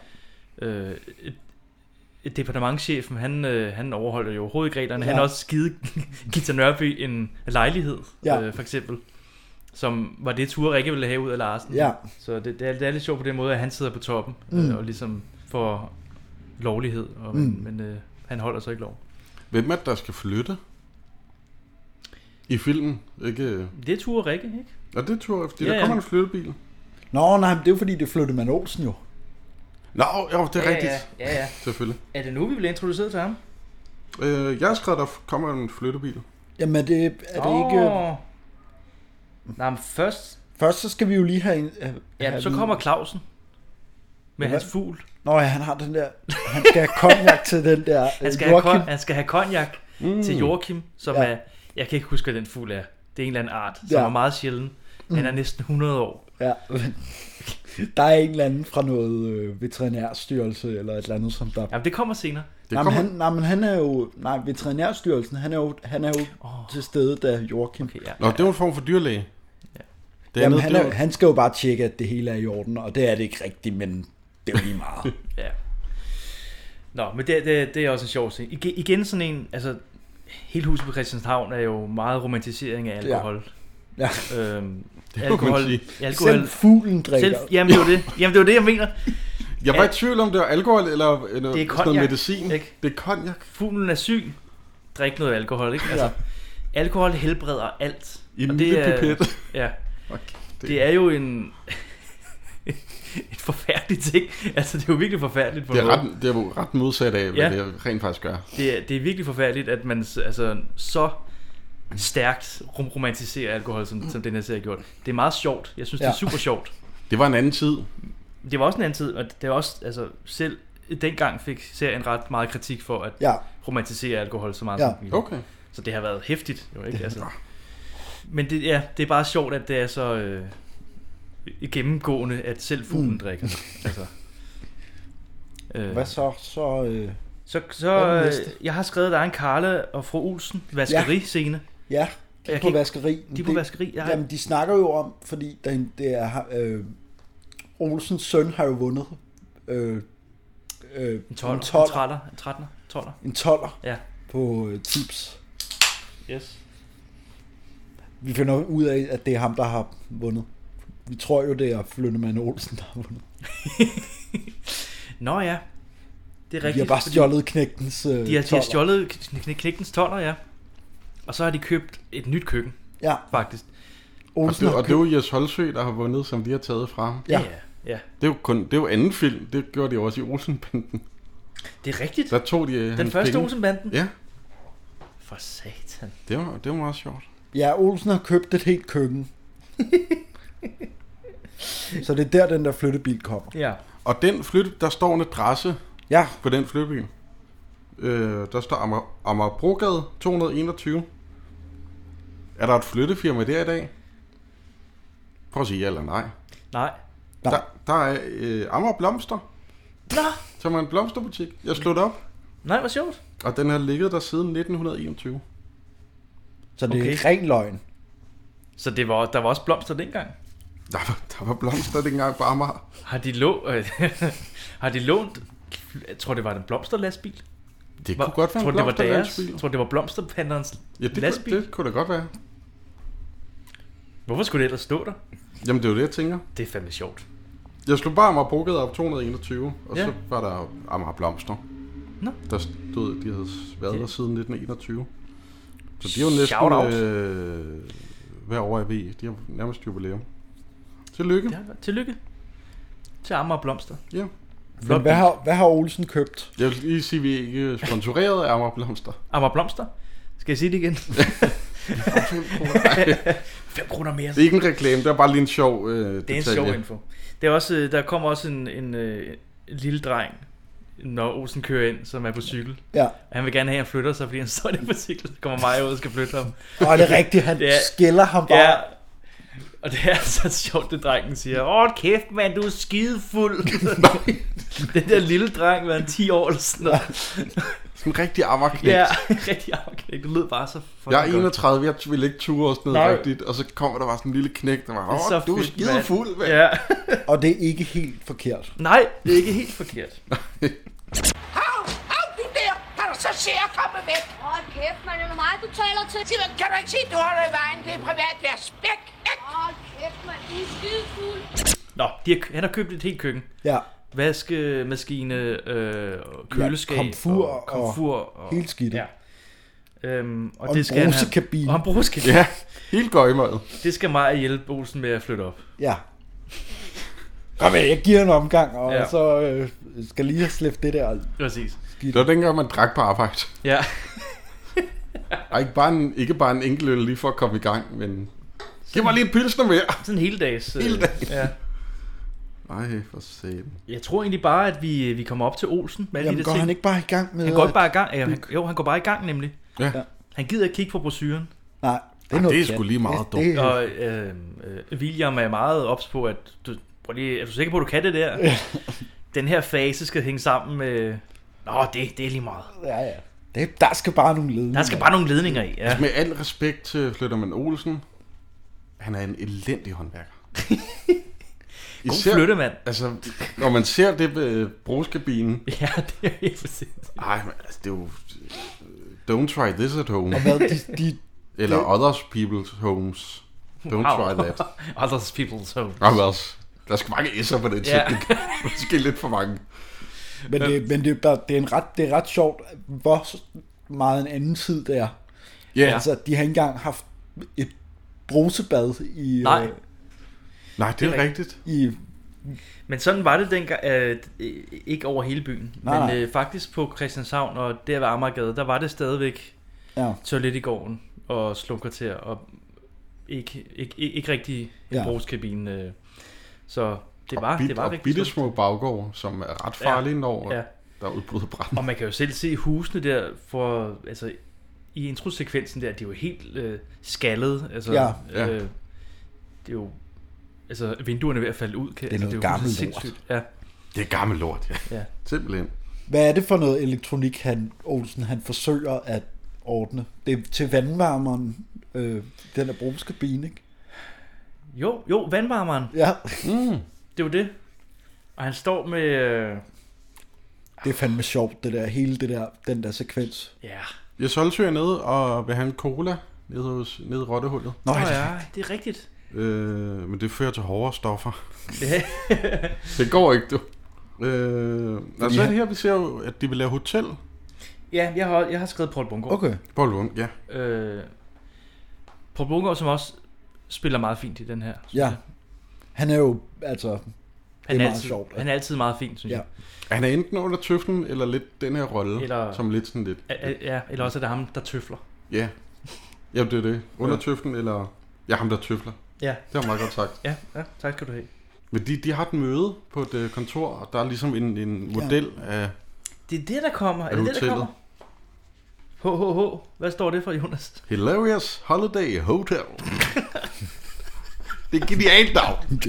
Speaker 2: Øh, et- et departementchefen, han, øh, han overholder jo overhovedet ikke reglerne. Ja. Han
Speaker 3: Ja.
Speaker 2: har også givet Gita Nørby en lejlighed, ja.
Speaker 3: Ja.
Speaker 2: øh, for eksempel. Som var det, Ture Rikke ville have ud af Larsen.
Speaker 3: Ja.
Speaker 2: Så det, det, er, det er lidt sjovt på den måde, at han sidder på toppen mm.
Speaker 3: Mm.
Speaker 2: øh, og ligesom får lovlighed. Og, mm. Men øh, han holder så ikke lov.
Speaker 4: Hvem er det, der skal flytte? I filmen, ikke?
Speaker 2: Det er Ture Rikke, ikke?
Speaker 4: Ja, det tror jeg, fordi
Speaker 2: Ja,
Speaker 4: ja, der
Speaker 2: ja.
Speaker 4: kommer en flyttebil.
Speaker 3: Nå, nej, men det er jo fordi, det flyttede man Olsen jo.
Speaker 4: Nå, jo, det er
Speaker 2: Ja,
Speaker 4: rigtigt.
Speaker 2: ja, ja, ja.
Speaker 4: Selvfølgelig.
Speaker 2: Er det nu, vi bliver introduceret til ham?
Speaker 4: Øh, jeg har skrevet, der kommer en flyttebil.
Speaker 3: Jamen er det, er det ikke...
Speaker 2: Nej, men først...
Speaker 3: Først så skal vi jo lige have... en- have
Speaker 2: Ja,
Speaker 3: have
Speaker 2: så
Speaker 3: at vide-
Speaker 2: kommer Clausen. Med hans fugl.
Speaker 3: Nå ja, han har den der... Han skal have konjak til den der øh,
Speaker 2: Han skal, have,
Speaker 3: Joachim.
Speaker 2: kon- han skal have konjak mm.
Speaker 3: Mm.
Speaker 2: til Joachim, som
Speaker 3: Ja.
Speaker 2: ja. er... Jeg kan ikke huske, hvad den fugl er. Det er en eller anden art, som
Speaker 3: Ja.
Speaker 2: er meget sjælden. Den
Speaker 3: Mm.
Speaker 2: er næsten 100 år.
Speaker 3: Ja, men der er en eller anden fra noget øh, veterinærstyrelse eller et eller andet, som der...
Speaker 2: Jamen, det kommer senere. Det
Speaker 3: nej,
Speaker 2: kommer-
Speaker 3: Men han, nej, men han er jo... Nej, veterinærstyrelsen, han er jo, han er jo oh. til stede, da Joachim... Okay,
Speaker 4: Nå, det var en form for dyrlæge.
Speaker 3: Det
Speaker 4: andet,
Speaker 3: Jamen, han,
Speaker 4: det
Speaker 3: er,
Speaker 4: var-
Speaker 3: han skal jo bare tjekke, at det hele er i orden, og det er det ikke rigtigt, men det er jo lige meget.
Speaker 2: Ja. Nå, men det, det, det er også en sjov scene. Igen, igen sådan en, altså, hele huset på Christianshavn er jo meget romantisering af
Speaker 3: Ja.
Speaker 2: alkohol.
Speaker 3: Ja.
Speaker 2: Øhm,
Speaker 4: Det må
Speaker 2: alkohol,
Speaker 4: man sige.
Speaker 2: alkohol.
Speaker 3: Selv fuglen drikker.
Speaker 2: jamen, det er jo det. Jamen, det er jo det, jeg mener.
Speaker 4: Jeg var i
Speaker 2: Al-
Speaker 4: tvivl om, det var alkohol eller,
Speaker 2: det
Speaker 4: eller
Speaker 2: er
Speaker 4: sådan noget
Speaker 2: konjak,
Speaker 4: medicin.
Speaker 2: Ikke?
Speaker 4: Det er konjak.
Speaker 2: Fuglen er syg. Drik noget alkohol, ikke? Altså, alkohol helbreder alt.
Speaker 4: I en
Speaker 2: Og
Speaker 4: lille
Speaker 2: er-
Speaker 4: pipet.
Speaker 2: Ja.
Speaker 4: Okay, det-
Speaker 2: det... det er jo en... et forfærdeligt ting. Altså, det er jo virkelig forfærdeligt på
Speaker 4: Det er,
Speaker 2: en måde.
Speaker 4: ret, det er jo ret modsat af, hvad
Speaker 2: Ja.
Speaker 4: ja. det rent faktisk gør.
Speaker 2: Det er, det er virkelig forfærdeligt, at man s- altså, så stærkt rom- romantiserer alkohol, som, som den her serie har gjort. Det er meget sjovt. Jeg synes, ja. det er
Speaker 4: Ja.
Speaker 2: super sjovt.
Speaker 4: Det var en anden tid.
Speaker 2: Det var også en anden tid, og det er også, altså, selv dengang fik serien ret meget kritik for at
Speaker 3: Ja.
Speaker 2: romantisere alkohol så meget.
Speaker 3: Ja.
Speaker 2: som den gjorde.
Speaker 4: Okay.
Speaker 2: Så det har været hæftigt, jo ikke? Altså. Men det, ja, det er bare sjovt, at det er så øh, gennemgående, at selv fuglen
Speaker 3: Mm.
Speaker 2: mm. drikker. Altså. Øh,
Speaker 3: Hvad så? Så, øh,
Speaker 2: så,
Speaker 3: Hvad
Speaker 2: så
Speaker 3: er den
Speaker 2: øh,
Speaker 3: næste?
Speaker 2: jeg har skrevet, der er en Karla og fru Olsen vaskeriscene.
Speaker 3: Ja,
Speaker 2: Og
Speaker 3: de
Speaker 2: jeg
Speaker 3: er
Speaker 2: kan
Speaker 3: på
Speaker 2: ikke-
Speaker 3: vaskeri.
Speaker 2: de er på vaskeri, jeg
Speaker 3: Jeg
Speaker 2: har-
Speaker 3: jamen, de snakker jo om, fordi den, det er, øh, Olsens søn har jo vundet øh, øh,
Speaker 2: En 12, en
Speaker 3: toller-
Speaker 2: 13, en 13, 12.
Speaker 3: en toller
Speaker 2: Ja.
Speaker 3: på øh, tips.
Speaker 2: Yes.
Speaker 3: Vi finder ud af, at det er ham, der har vundet. Vi tror jo, det er Flynnemann Olsen, der har vundet.
Speaker 2: Nå ja, det er
Speaker 3: De
Speaker 2: rigtigt.
Speaker 3: har bare
Speaker 2: fordi
Speaker 3: stjålet knægtens øh,
Speaker 2: De har, de har
Speaker 3: toller.
Speaker 2: stjålet kn- kn- knægtens toller, ja. Og så har de købt et nyt køkken.
Speaker 3: Ja.
Speaker 2: Faktisk.
Speaker 4: Og det, og det er jo Jes Holsø, der har vundet, som de har taget fra ham.
Speaker 2: Ja. Ja, ja.
Speaker 4: Det er jo, kun, det er jo anden film. Det gjorde de jo også i Olsenbanden.
Speaker 2: Det er rigtigt.
Speaker 4: Der tog de øh,
Speaker 2: Den
Speaker 4: hans
Speaker 2: første
Speaker 4: penge.
Speaker 2: Olsenbanden.
Speaker 4: Ja,
Speaker 2: For satan.
Speaker 4: det var, det var meget sjovt.
Speaker 3: Ja, Olsen har købt et helt køkken. så det er der, den der flyttebil kommer.
Speaker 2: Ja.
Speaker 4: Og den flytte, der står en adresse
Speaker 3: ja.
Speaker 4: på den flyttebil. Øh, der står Amager, Amagerbrogade 221. Er der et flyttefirma der i dag? Prøv at sige ja eller nej.
Speaker 2: Nej.
Speaker 4: Der, der er øh, Amager Blomster,
Speaker 2: Nå,
Speaker 4: som er en blomsterbutik. Jeg slog det op,
Speaker 2: nej, hvor sjovt.
Speaker 4: og den har ligget der siden 1921.
Speaker 3: Så det
Speaker 2: Okay.
Speaker 3: er ren løgn.
Speaker 2: Så det var, der var også blomster dengang?
Speaker 4: Der var, der var blomster dengang på Amager.
Speaker 2: Har de, lå, øh, har de lånt... Jeg tror, det var en blomsterlastbil.
Speaker 4: Det kunne godt være en
Speaker 2: tror, det var deres,
Speaker 4: blomsterlastbil.
Speaker 2: Jeg tror, det var blomsterpanderens
Speaker 4: Ja, det,
Speaker 2: lastbil.
Speaker 4: kunne, det kunne det godt være.
Speaker 2: Hvorfor skulle det ellers stå der?
Speaker 4: Jamen, det er jo det, jeg tænker.
Speaker 2: Det er fandme sjovt.
Speaker 4: Jeg slog bare Amagerbrogade op 221, og
Speaker 2: Ja.
Speaker 4: ja. så var der Amager Blomster.
Speaker 2: Nå.
Speaker 4: Der stod, de havde været der siden 1921. Så de har jo
Speaker 2: Shout out.
Speaker 4: næsten øh, hver år, jeg ved, de har nærmest jubilæum. Tillykke.
Speaker 2: Det har været- Tillykke. Til Amager Blomster.
Speaker 4: Ja.
Speaker 3: Men hvad har, hvad har Olsen købt?
Speaker 4: Jeg vil lige sige, at vi er ikke sponsoreret af Amager Blomster.
Speaker 2: Amager Blomster? Skal jeg sige det igen?
Speaker 4: 5 kroner.
Speaker 2: 5 kroner mere.
Speaker 4: Det er ikke en reklame, det er bare lige en sjov øh,
Speaker 2: Det er en sjov info. Det er også, øh, der kommer også en, en, øh, en lille dreng, når Olsen kører ind, som er på cykel.
Speaker 3: Ja.
Speaker 2: Han vil gerne have, at han flytter sig, fordi han står der på cykel. Så kommer Maja ud og skal flytte ham.
Speaker 3: Åh, det er rigtigt, han skælder ham bare.
Speaker 2: Ja. Og det er altså så sjovt, det drengen siger. Åh, kæft mand, du er skidefuld. Den der lille dreng, var han 10 år eller sådan noget.
Speaker 4: Sådan en rigtig ammerknægt.
Speaker 2: Ja, rigtig afknægt. Det lød bare så fucking
Speaker 4: Jeg er
Speaker 2: godt.
Speaker 4: 31, jeg ville ikke ture og sådan noget
Speaker 2: Nej.
Speaker 4: rigtigt, og så kommer der bare sådan en lille knæk, der var,
Speaker 2: Det er så
Speaker 4: åh, du er
Speaker 2: fedt, mand."
Speaker 4: skidefuld, mand.
Speaker 2: Ja.
Speaker 3: Og det er ikke helt forkert.
Speaker 2: Nej, det er ikke helt forkert.
Speaker 13: Au, du der! Kan du så se at komme væk? Åh, kæft, man er meget, du taler til. Sig, kan du ikke se, du holder i vejen? Det er privat værs. Væk, væk! Åh, kæft, man, du er skidefuld.
Speaker 2: Nå, de har, kø- han har købt et helt køkken.
Speaker 3: Ja.
Speaker 2: Vaskemaskine, øh, og køleskab,
Speaker 3: Ja, komfur
Speaker 2: og,
Speaker 3: og-
Speaker 2: komfur og,
Speaker 3: Helt skidt. Ja.
Speaker 2: Øhm, og,
Speaker 3: Og en
Speaker 2: det skal han have-
Speaker 3: brusekabine.
Speaker 2: Og en brusekabine.
Speaker 4: Ja, helt gøjmøjet.
Speaker 2: Det skal mig hjælpe Olsen med at flytte op.
Speaker 3: ja. Kom her, jeg giver en omgang, og
Speaker 2: Ja.
Speaker 3: ja. så øh, skal lige have slæbt det der.
Speaker 2: Præcis.
Speaker 4: Det var dengang, man drak på arbejde.
Speaker 2: Ja.
Speaker 4: Og ikke bare en, ikke bare en enkelt øl lige for at komme i gang, men... Giv mig lige en pilsner mere.
Speaker 2: Sådan en hel dags. Øh,
Speaker 4: Hele dagen.
Speaker 2: Ja.
Speaker 4: Nej, for satan.
Speaker 2: Jeg tror egentlig bare, at vi, vi kommer op til Olsen. Med alle
Speaker 3: Jamen,
Speaker 2: de der
Speaker 3: går
Speaker 2: ting.
Speaker 3: han ikke bare i gang med
Speaker 2: Han går ikke
Speaker 3: at-
Speaker 2: bare i gang. Ja, han, jo, han går bare i gang nemlig.
Speaker 4: Ja.
Speaker 2: Han gider ikke kigge på brosyren.
Speaker 3: Nej,
Speaker 4: er Ej, noget Ah, det er pjat. sgu lige meget Det- dumt. det-
Speaker 2: Og øh, øh, William er meget ops på, at du, prøv lige, er du sikker på, at du kan det der?
Speaker 3: Ja.
Speaker 2: Den her fase skal hænge sammen med... Nå, det, det er lige meget.
Speaker 3: Ja, ja. Det, der skal bare nogle ledninger.
Speaker 2: Der skal bare nogle ledninger i,
Speaker 4: Ja. Altså med al respekt til Flyttermand Olsen, han er en elendig håndværker.
Speaker 2: God flyttemand.
Speaker 4: Altså, når man ser det ved brugskabinen.
Speaker 2: Ja, det er helt præcis.
Speaker 4: Ej, men altså, det er jo... Don't try this at home.
Speaker 3: Og hvad, de- de-
Speaker 4: Eller
Speaker 3: det-
Speaker 4: others people's homes. Don't
Speaker 2: Wow.
Speaker 4: try that.
Speaker 2: Others people's homes.
Speaker 4: Others. Der skal mange s'er på
Speaker 2: Ja.
Speaker 4: den sætning. Måske lidt for mange.
Speaker 3: Men, det, men det, er bare- det, er en ret, det er ret sjovt, hvor meget en anden tid det er.
Speaker 4: Ja.
Speaker 3: Altså, de har ikke engang haft et brusebad i... øh,
Speaker 2: Nej.
Speaker 4: Nej, det,
Speaker 2: er
Speaker 4: rigtigt.
Speaker 3: I,
Speaker 2: Men sådan var det dengang, øh, øh, ikke over hele byen,
Speaker 3: Nej,
Speaker 2: men
Speaker 3: nej.
Speaker 2: Øh, faktisk på Christianshavn og der ved Amagergade, der var det stadigvæk
Speaker 3: Ja.
Speaker 2: toilet i gården og slumkvarter og ikke, ikke, ikke, ikke rigtig en
Speaker 4: Ja.
Speaker 2: ja. brugskabine. Øh. Så det var,
Speaker 4: Bit,
Speaker 2: det var
Speaker 4: og
Speaker 2: rigtig
Speaker 4: bitte
Speaker 2: slemt.
Speaker 4: små baggård, som er ret farlige, ja. når ja. der udbryder brand.
Speaker 2: Og man kan jo selv se husene der for, altså, i introsekvensen der, det er jo helt øh, skaldet. Altså,
Speaker 3: Ja.
Speaker 4: Ja.
Speaker 2: Øh, det er jo... Altså, vinduerne er ved at falde ud. Kan,
Speaker 3: Det er noget
Speaker 2: altså, jo
Speaker 3: gammelt
Speaker 2: fuldstændig
Speaker 3: lort.
Speaker 2: sindssygt. Ja.
Speaker 4: Det er gammel lort,
Speaker 2: ja. ja.
Speaker 4: Simpelthen.
Speaker 3: Hvad er det for noget elektronik, han, Olsen han forsøger at ordne? Det er til vandvarmeren, øh, den der brugskabine, ikke?
Speaker 2: Jo, jo, vandvarmeren.
Speaker 3: Ja.
Speaker 2: Mm. Det var det. Og han står med... Øh,
Speaker 3: Det er fandme sjovt, det der, hele det der, den der sekvens.
Speaker 2: ja.
Speaker 4: Jeg solgte nede og vil have en cola nede, hos, nede i Rottehullet.
Speaker 2: Nå, ja, det er rigtigt.
Speaker 4: Øh, men det fører til hårdere stoffer.
Speaker 2: Ja.
Speaker 4: det går ikke, du. Øh, og så er
Speaker 2: han-
Speaker 4: det her, vi ser jo, at de vil lave hotel.
Speaker 2: Ja, jeg har, jeg har skrevet Paul Bungård.
Speaker 4: Okay. Paul Lund, ja.
Speaker 2: Øh, Paul Bungård, som også spiller meget fint i den her. synes
Speaker 3: Ja.
Speaker 2: jeg.
Speaker 3: Han er jo, altså, det
Speaker 2: Han
Speaker 3: er
Speaker 2: er,
Speaker 3: meget
Speaker 2: altid,
Speaker 3: sjovt.
Speaker 2: han er altid meget fint, synes
Speaker 3: Ja.
Speaker 2: jeg.
Speaker 4: Han er enten under tøflen, eller lidt den her rolle,
Speaker 2: Eller-
Speaker 4: som lidt sådan lidt...
Speaker 2: Ja, Ja, eller også er det ham, der tøfler.
Speaker 4: Ja. Jamen, det er det. Under
Speaker 2: Ja.
Speaker 4: tøflen, eller... Ja, ham der tøfler.
Speaker 2: Ja.
Speaker 4: Det var meget godt sagt.
Speaker 2: Ja, ja tak skal du have.
Speaker 4: Men de, de har et møde på et øh, kontor, og der er ligesom en, en model af...
Speaker 2: Det er det, der kommer. Er,
Speaker 4: Er
Speaker 2: det
Speaker 4: du
Speaker 2: det, der kommer? HHH. Hvad står det for, Jonas?
Speaker 4: Hilarious Holiday Hotel. det er genialt dag.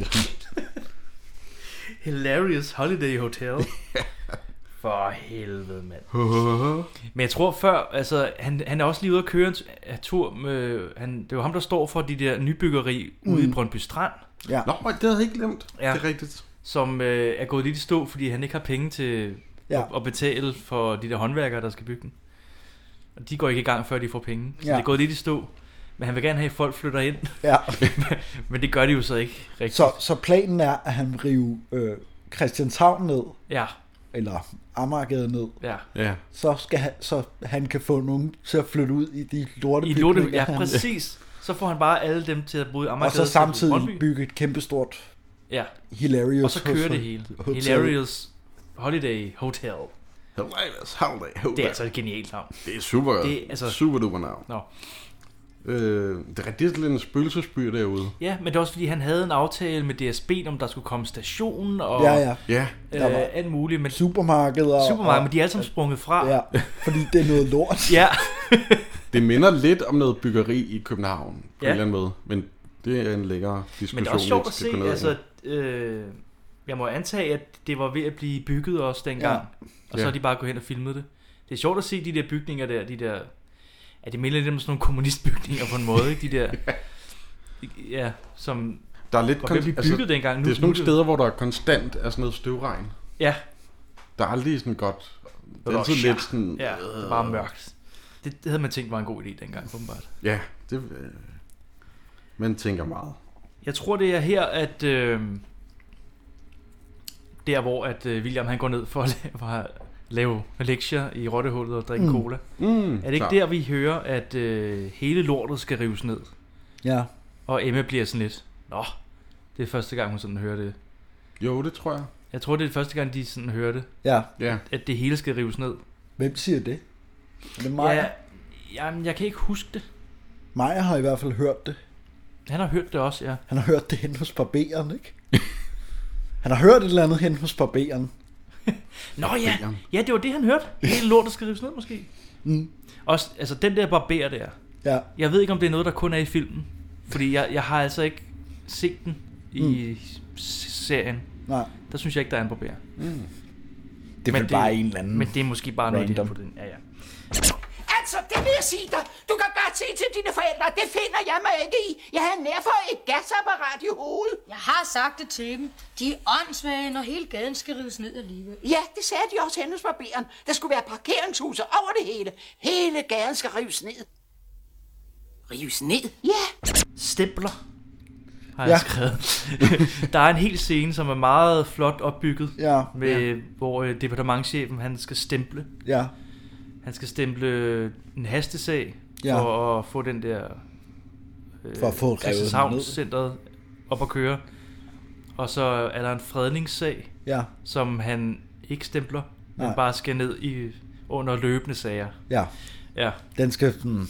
Speaker 2: Hilarious Holiday Hotel. For helvede, mand. Men jeg tror før, altså, han, han er også lige ude at køre en t- en tur med, han, det var ham, der står for de der nybyggeri ude i
Speaker 4: Mm.
Speaker 2: Brøndby Strand.
Speaker 3: Ja.
Speaker 4: Nå, det havde jeg ikke glemt. Ja. Det er rigtigt.
Speaker 2: Som øh, er gået lidt i stå, fordi han ikke har penge til
Speaker 3: Ja.
Speaker 2: ja. at, at betale for de der håndværkere, der skal bygge den. Og de går ikke i gang, før de får penge. Så
Speaker 3: Ja.
Speaker 2: ja. det er gået lidt i stå. Men han vil gerne have, at folk flytter ind.
Speaker 3: Ja.
Speaker 2: Men det gør de jo så ikke rigtigt.
Speaker 3: Så, så planen er, at han vil rive øh, Christianshavn ned.
Speaker 2: Ja.
Speaker 3: Eller Amagergade ned.
Speaker 2: Ja.
Speaker 4: Ja.
Speaker 3: Så, skal han, så han kan få nogen til at flytte ud i de lorte
Speaker 2: I lorte, ja, præcis. Så får han bare alle dem til at bo i Amagergade.
Speaker 3: Og så
Speaker 2: til Brøndby.
Speaker 3: samtidig bygge et kæmpestort
Speaker 2: Ja.
Speaker 3: hilarious
Speaker 2: Og så kører
Speaker 3: hotel-
Speaker 2: det hele.
Speaker 3: hotel.
Speaker 2: Hilarious Holiday Hotel.
Speaker 4: Hilarious Holiday Hotel.
Speaker 2: Det er altså et genialt navn.
Speaker 4: Det er super,
Speaker 2: Det er altså-
Speaker 4: super duper navn.
Speaker 2: Nå.
Speaker 4: Øh, det er rigtig lidt en spøgelsesby derude.
Speaker 2: Ja, men det er også fordi, han havde en aftale med DSB, om der skulle komme station og
Speaker 3: Ja, ja.
Speaker 4: Ja.
Speaker 3: Der var
Speaker 2: Øh, alt muligt. Men
Speaker 3: supermarkeder. og-
Speaker 2: supermarked, men de er alle sammen sprunget fra.
Speaker 3: Ja, fordi det er noget lort.
Speaker 2: Ja.
Speaker 4: Det minder lidt om noget byggeri i København, på
Speaker 2: Ja.
Speaker 4: en eller anden måde. Men det er en længere diskussion.
Speaker 2: men det er også
Speaker 4: vi
Speaker 2: sjovt
Speaker 4: ikke
Speaker 2: at
Speaker 4: skal
Speaker 2: se,
Speaker 4: gå ned ad.
Speaker 2: altså, øh, jeg må antage, at det var ved at blive bygget også dengang, ja. og så
Speaker 4: Ja.
Speaker 2: er de bare gået hen og filmet det. Det er sjovt at se de der bygninger der, de der, at det minder lidt om sådan nogle kommunistbygninger på en måde, ikke? De der, ja, som
Speaker 4: Der er lidt
Speaker 2: var ved at blive bygget altså, dengang. Nu
Speaker 4: det er sådan nogle
Speaker 2: nu
Speaker 4: steder, hvor der konstant er sådan noget støvregn.
Speaker 2: Ja.
Speaker 4: Der er aldrig sådan godt... Det er
Speaker 2: var
Speaker 4: altid
Speaker 2: også-
Speaker 4: lidt sådan...
Speaker 2: Ja, det er bare mørkt. Det, det havde man tænkt var en god idé dengang, åbenbart.
Speaker 4: Ja, det... Øh, man tænker meget.
Speaker 2: Jeg tror, det er her, at... Øh, der, hvor at øh, William han går ned for at lave, for at lave lektier i rottehullet og drikke
Speaker 3: Mm.
Speaker 2: cola.
Speaker 3: Mm,
Speaker 2: er det ikke
Speaker 3: klar.
Speaker 2: der, vi hører, at øh, hele lortet skal rives ned?
Speaker 3: Ja.
Speaker 2: Og Emma bliver sådan lidt... Nå, det er første gang, hun sådan hører det.
Speaker 4: Jo, det tror jeg.
Speaker 2: Jeg tror, det er første gang, de sådan hører det.
Speaker 3: Ja.
Speaker 4: ja.
Speaker 2: At det hele skal rives ned.
Speaker 3: Hvem siger det? Er det Maja?
Speaker 2: Ja, jamen, jeg kan ikke huske det.
Speaker 3: Maja har i hvert fald hørt det.
Speaker 2: Han har hørt det også, ja.
Speaker 3: Han har hørt det henne hos barberen, ikke? Han har hørt et eller andet hen hos barberen.
Speaker 2: Nå ja, ja, det var det, han hørte. Hele lortet skal rives ned, måske.
Speaker 3: Mm.
Speaker 2: Også, altså, den der barber der.
Speaker 3: Ja.
Speaker 2: Jeg ved ikke, om det er noget, der kun er i filmen. Fordi jeg, jeg har altså ikke set den i mm. serien.
Speaker 3: Nej.
Speaker 2: Der synes jeg ikke, der er en barber. Mm.
Speaker 3: Det er vel bare en eller anden
Speaker 2: Men det er måske bare noget, de har
Speaker 3: random.
Speaker 2: puttet ind. Ja, ja.
Speaker 13: Altså, det vil jeg sige dig. Du kan godt se til dine forældre. Det finder jeg mig ikke i. Jeg havde nær for et gasapparat i hovedet. Jeg har sagt det til dem. De er åndssvage, når hele gaden skal rives ned alligevel.
Speaker 8: Ja, det sagde de også henne hos barberen. Der skulle være parkeringshuser over det hele. Hele gaden skal rives ned.
Speaker 13: Rives ned?
Speaker 8: Ja.
Speaker 2: Stempler. Har
Speaker 8: Ja.
Speaker 2: ja. jeg skrevet. der er en hel scene, som er meget flot opbygget.
Speaker 3: Ja.
Speaker 2: Med, Hvor øh, departementchefen, han skal stemple.
Speaker 3: Ja.
Speaker 2: Han skal stemple en hastesag.
Speaker 3: Ja.
Speaker 2: For at få den der... Øh,
Speaker 3: For at få revet den ned.
Speaker 2: centret op at køre. Og så er der en fredningssag.
Speaker 3: Ja.
Speaker 2: Som han ikke stempler. Men
Speaker 3: Nej.
Speaker 2: bare skal ned i under løbende sager.
Speaker 3: Ja.
Speaker 2: Ja.
Speaker 3: Den skal sådan...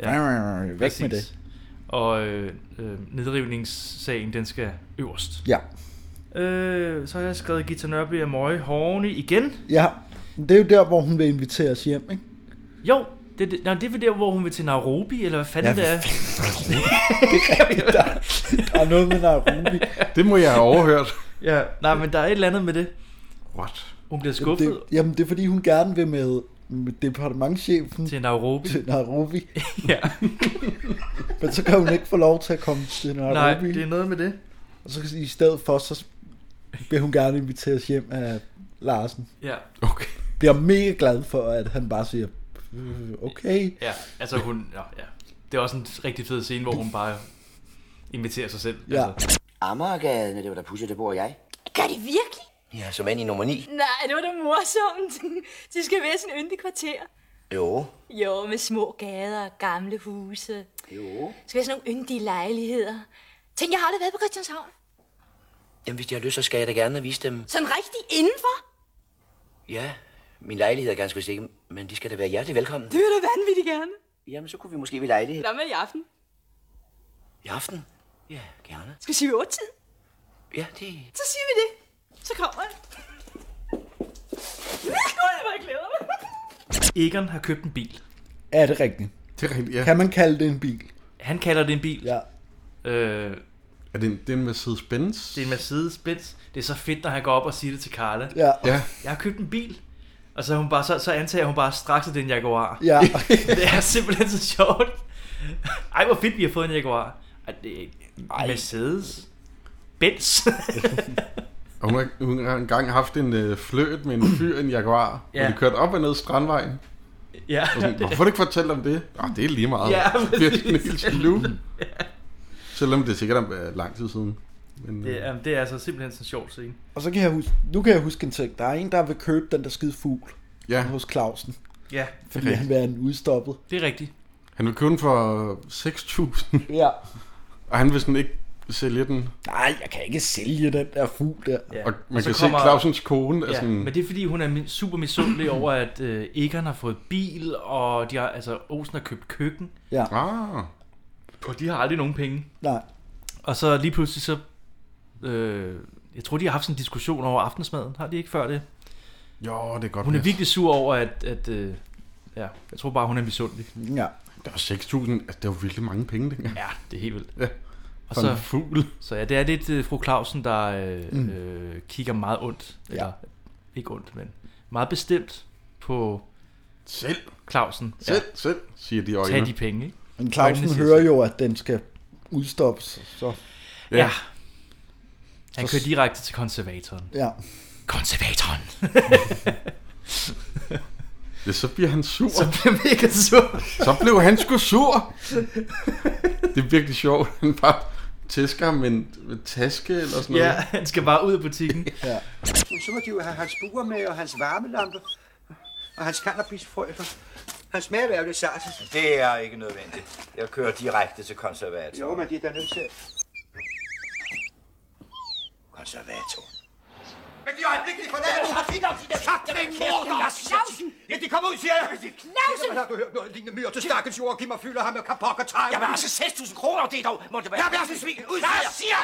Speaker 3: Ja. Væk
Speaker 2: Præcis.
Speaker 3: med det.
Speaker 2: Og øh, øh, nedrivningssagen, den skal øverst.
Speaker 3: Ja.
Speaker 2: Øh, så har jeg skrevet Gita Nørby er møge hårene igen.
Speaker 3: Ja. Men Det er jo der, hvor hun vil invitere os hjem, ikke?
Speaker 2: Jo, det, det, nej, det er vel der, hvor hun vil til Nairobi, eller hvad fanden
Speaker 3: Ja,
Speaker 2: ja, det er.
Speaker 3: hvad Der er noget med Nairobi.
Speaker 4: Det må jeg have overhørt.
Speaker 2: ja, nej, men der er et eller andet med det.
Speaker 4: What?
Speaker 2: Hun bliver skuffet.
Speaker 3: Jamen det, jamen, det er fordi, hun gerne vil med, med departementchefen
Speaker 2: til Nairobi.
Speaker 3: Til Nairobi.
Speaker 2: ja.
Speaker 3: Men så kan hun ikke få lov til at komme til Nairobi.
Speaker 2: Nej, det er noget med det.
Speaker 3: Og så kan i stedet for, så vil hun gerne inviteres hjem af Larsen.
Speaker 2: Ja.
Speaker 4: Okay.
Speaker 3: Bliver mega glad for, at han bare siger, "Øh, okay.
Speaker 2: Ja, altså hun, ja, ja. Det er også en rigtig fed scene, hvor hun bare imiterer sig selv.
Speaker 3: Ja.
Speaker 2: Altså.
Speaker 11: Amagergaden, det var da pusher, det bor jeg.
Speaker 10: Gør det virkelig?
Speaker 11: Ja, som vand i nummer 9.
Speaker 10: Nej, det var da morsomt. De skal være sådan en yndig kvarter.
Speaker 11: Jo.
Speaker 10: Jo, med små gader og gamle huse.
Speaker 11: Jo.
Speaker 10: Det skal være sådan nogle yndige lejligheder. Tænk, jeg har aldrig været på Christianshavn.
Speaker 11: Jamen, hvis de har lyst, så skal jeg da gerne vise dem.
Speaker 10: Sådan rigtig indenfor.
Speaker 11: Ja, min lejlighed er ganske vist ikke, men de skal da være hjertelig velkommen.
Speaker 10: Det vil du vanvittigt gerne.
Speaker 11: Jamen, så kunne vi måske ved lejlighed.
Speaker 10: Hvad med i aften?
Speaker 11: I aften? Ja, gerne.
Speaker 10: Skal vi sige otte tid?
Speaker 11: Ja, det...
Speaker 10: Så siger vi det. Så kommer jeg. Gud, hvor jeg glæder mig.
Speaker 2: Egon har købt en bil.
Speaker 3: Er det rigtigt?
Speaker 4: Det er rigtigt, ja.
Speaker 3: Kan man kalde det en bil?
Speaker 2: Han kalder det en bil.
Speaker 3: Ja.
Speaker 2: Øh,
Speaker 4: er det en, det er en Mercedes-Benz?
Speaker 2: Det er en Mercedes-Benz. Det er så fedt, når han går op og siger det til Carla.
Speaker 3: Ja.
Speaker 4: Ja.
Speaker 2: Jeg har købt en bil. Og så, er hun bare, så, så antager hun bare straks, at det er en Jaguar.
Speaker 3: Ja.
Speaker 2: det er simpelthen så sjovt. Ej, hvor fedt, vi har fået en Jaguar. Ej, det er Mercedes. Benz.
Speaker 4: Og hun, har, hun har engang haft en øh, fløt med en fyr i en jaguar, ja.
Speaker 2: Ja.
Speaker 4: og de kørte op og ned Strandvejen.
Speaker 2: Ja.
Speaker 4: Og sådan, Hvorfor har du ikke fortalt om det? Ah, det er lige meget.
Speaker 2: Ja,
Speaker 4: det er sådan
Speaker 2: præcis.
Speaker 4: helt slu. Selvom det sikkert er øh, lang tid siden. Men, øh,
Speaker 2: det, er, det er altså simpelthen sådan en sjov scene.
Speaker 3: Og så kan jeg huske, nu kan jeg huske en ting. Der er en, der vil købe den der skide fugl
Speaker 4: øh, ja.
Speaker 3: hos Clausen.
Speaker 2: Ja.
Speaker 3: Fordi
Speaker 4: Det er
Speaker 3: han vil have den udstoppet.
Speaker 2: Det er rigtigt.
Speaker 4: Han vil købe den for 6.000.
Speaker 3: Ja.
Speaker 4: Og han vil sådan ikke sælge den.
Speaker 3: Nej, jeg kan ikke sælge den der fugl der.
Speaker 2: Ja.
Speaker 4: Og man
Speaker 2: så
Speaker 4: kan se Clausens kone er
Speaker 2: ja,
Speaker 4: sådan-
Speaker 2: Men det er fordi, hun er mi- super misundelig over, at øh, Egon har fået bil, og de har, altså, Olsen har købt køkken.
Speaker 3: Ja.
Speaker 4: Ah.
Speaker 2: Og de har aldrig nogen penge.
Speaker 3: Nej.
Speaker 2: Og så lige pludselig så... Øh, jeg tror, de har haft sådan en diskussion over aftensmaden. Har de ikke før det?
Speaker 4: Jo, det er godt.
Speaker 2: Hun er
Speaker 4: passe.
Speaker 2: virkelig sur over, at... at øh, ja, jeg tror bare, hun er misundelig.
Speaker 3: Ja.
Speaker 4: Der var 6.000. Altså, det var virkelig mange penge dengang.
Speaker 2: Ja, det er helt vildt.
Speaker 4: Ja.
Speaker 2: Og
Speaker 4: For
Speaker 2: så,
Speaker 4: en fugl.
Speaker 2: Så ja, det er lidt uh, fru Clausen, der øh,
Speaker 4: Mm.
Speaker 2: mm. øh, kigger meget ondt. Eller, ja. Ikke ondt, men meget bestemt på...
Speaker 4: Selv.
Speaker 2: Clausen.
Speaker 4: Selv, selv, siger de øjne.
Speaker 2: Tag de penge, ikke?
Speaker 3: Men
Speaker 2: Øjnene
Speaker 3: Clausen
Speaker 2: siger
Speaker 3: hører jo, at den skal udstoppes. Så.
Speaker 2: Ja. ja. Han
Speaker 3: Så-
Speaker 2: kører direkte til konservatoren.
Speaker 3: Ja.
Speaker 2: Konservatoren.
Speaker 4: Ja, så bliver han sur.
Speaker 2: Så bliver han mega sur.
Speaker 4: så blev han sgu sur. Det er virkelig sjovt. Han bare tæsker ham med en med en taske eller sådan noget.
Speaker 2: ja, han skal bare ud af butikken.
Speaker 3: ja.
Speaker 7: Så må de jo have hans buer med, og hans varmelampe, og hans cannabisfrøber. Han smager jo lidt sart.
Speaker 14: Det er ikke nødvendigt. Jeg kører direkte til konservator.
Speaker 7: Jo, men de er da nødt til.
Speaker 14: Konservator. Men i øjeblikket, de forlader nu har fint om de der... Fucking morder! Knavsen! Ja, de kommer ud, siger jeg. Knavsen! Har du hørt noget lignende myr til stakkels jord? Giv mig fylder ham med kapok og tegn. Jamen altså 6.000 kroner, det er dog... Må det være... Jeg bliver så svin! Ud, siger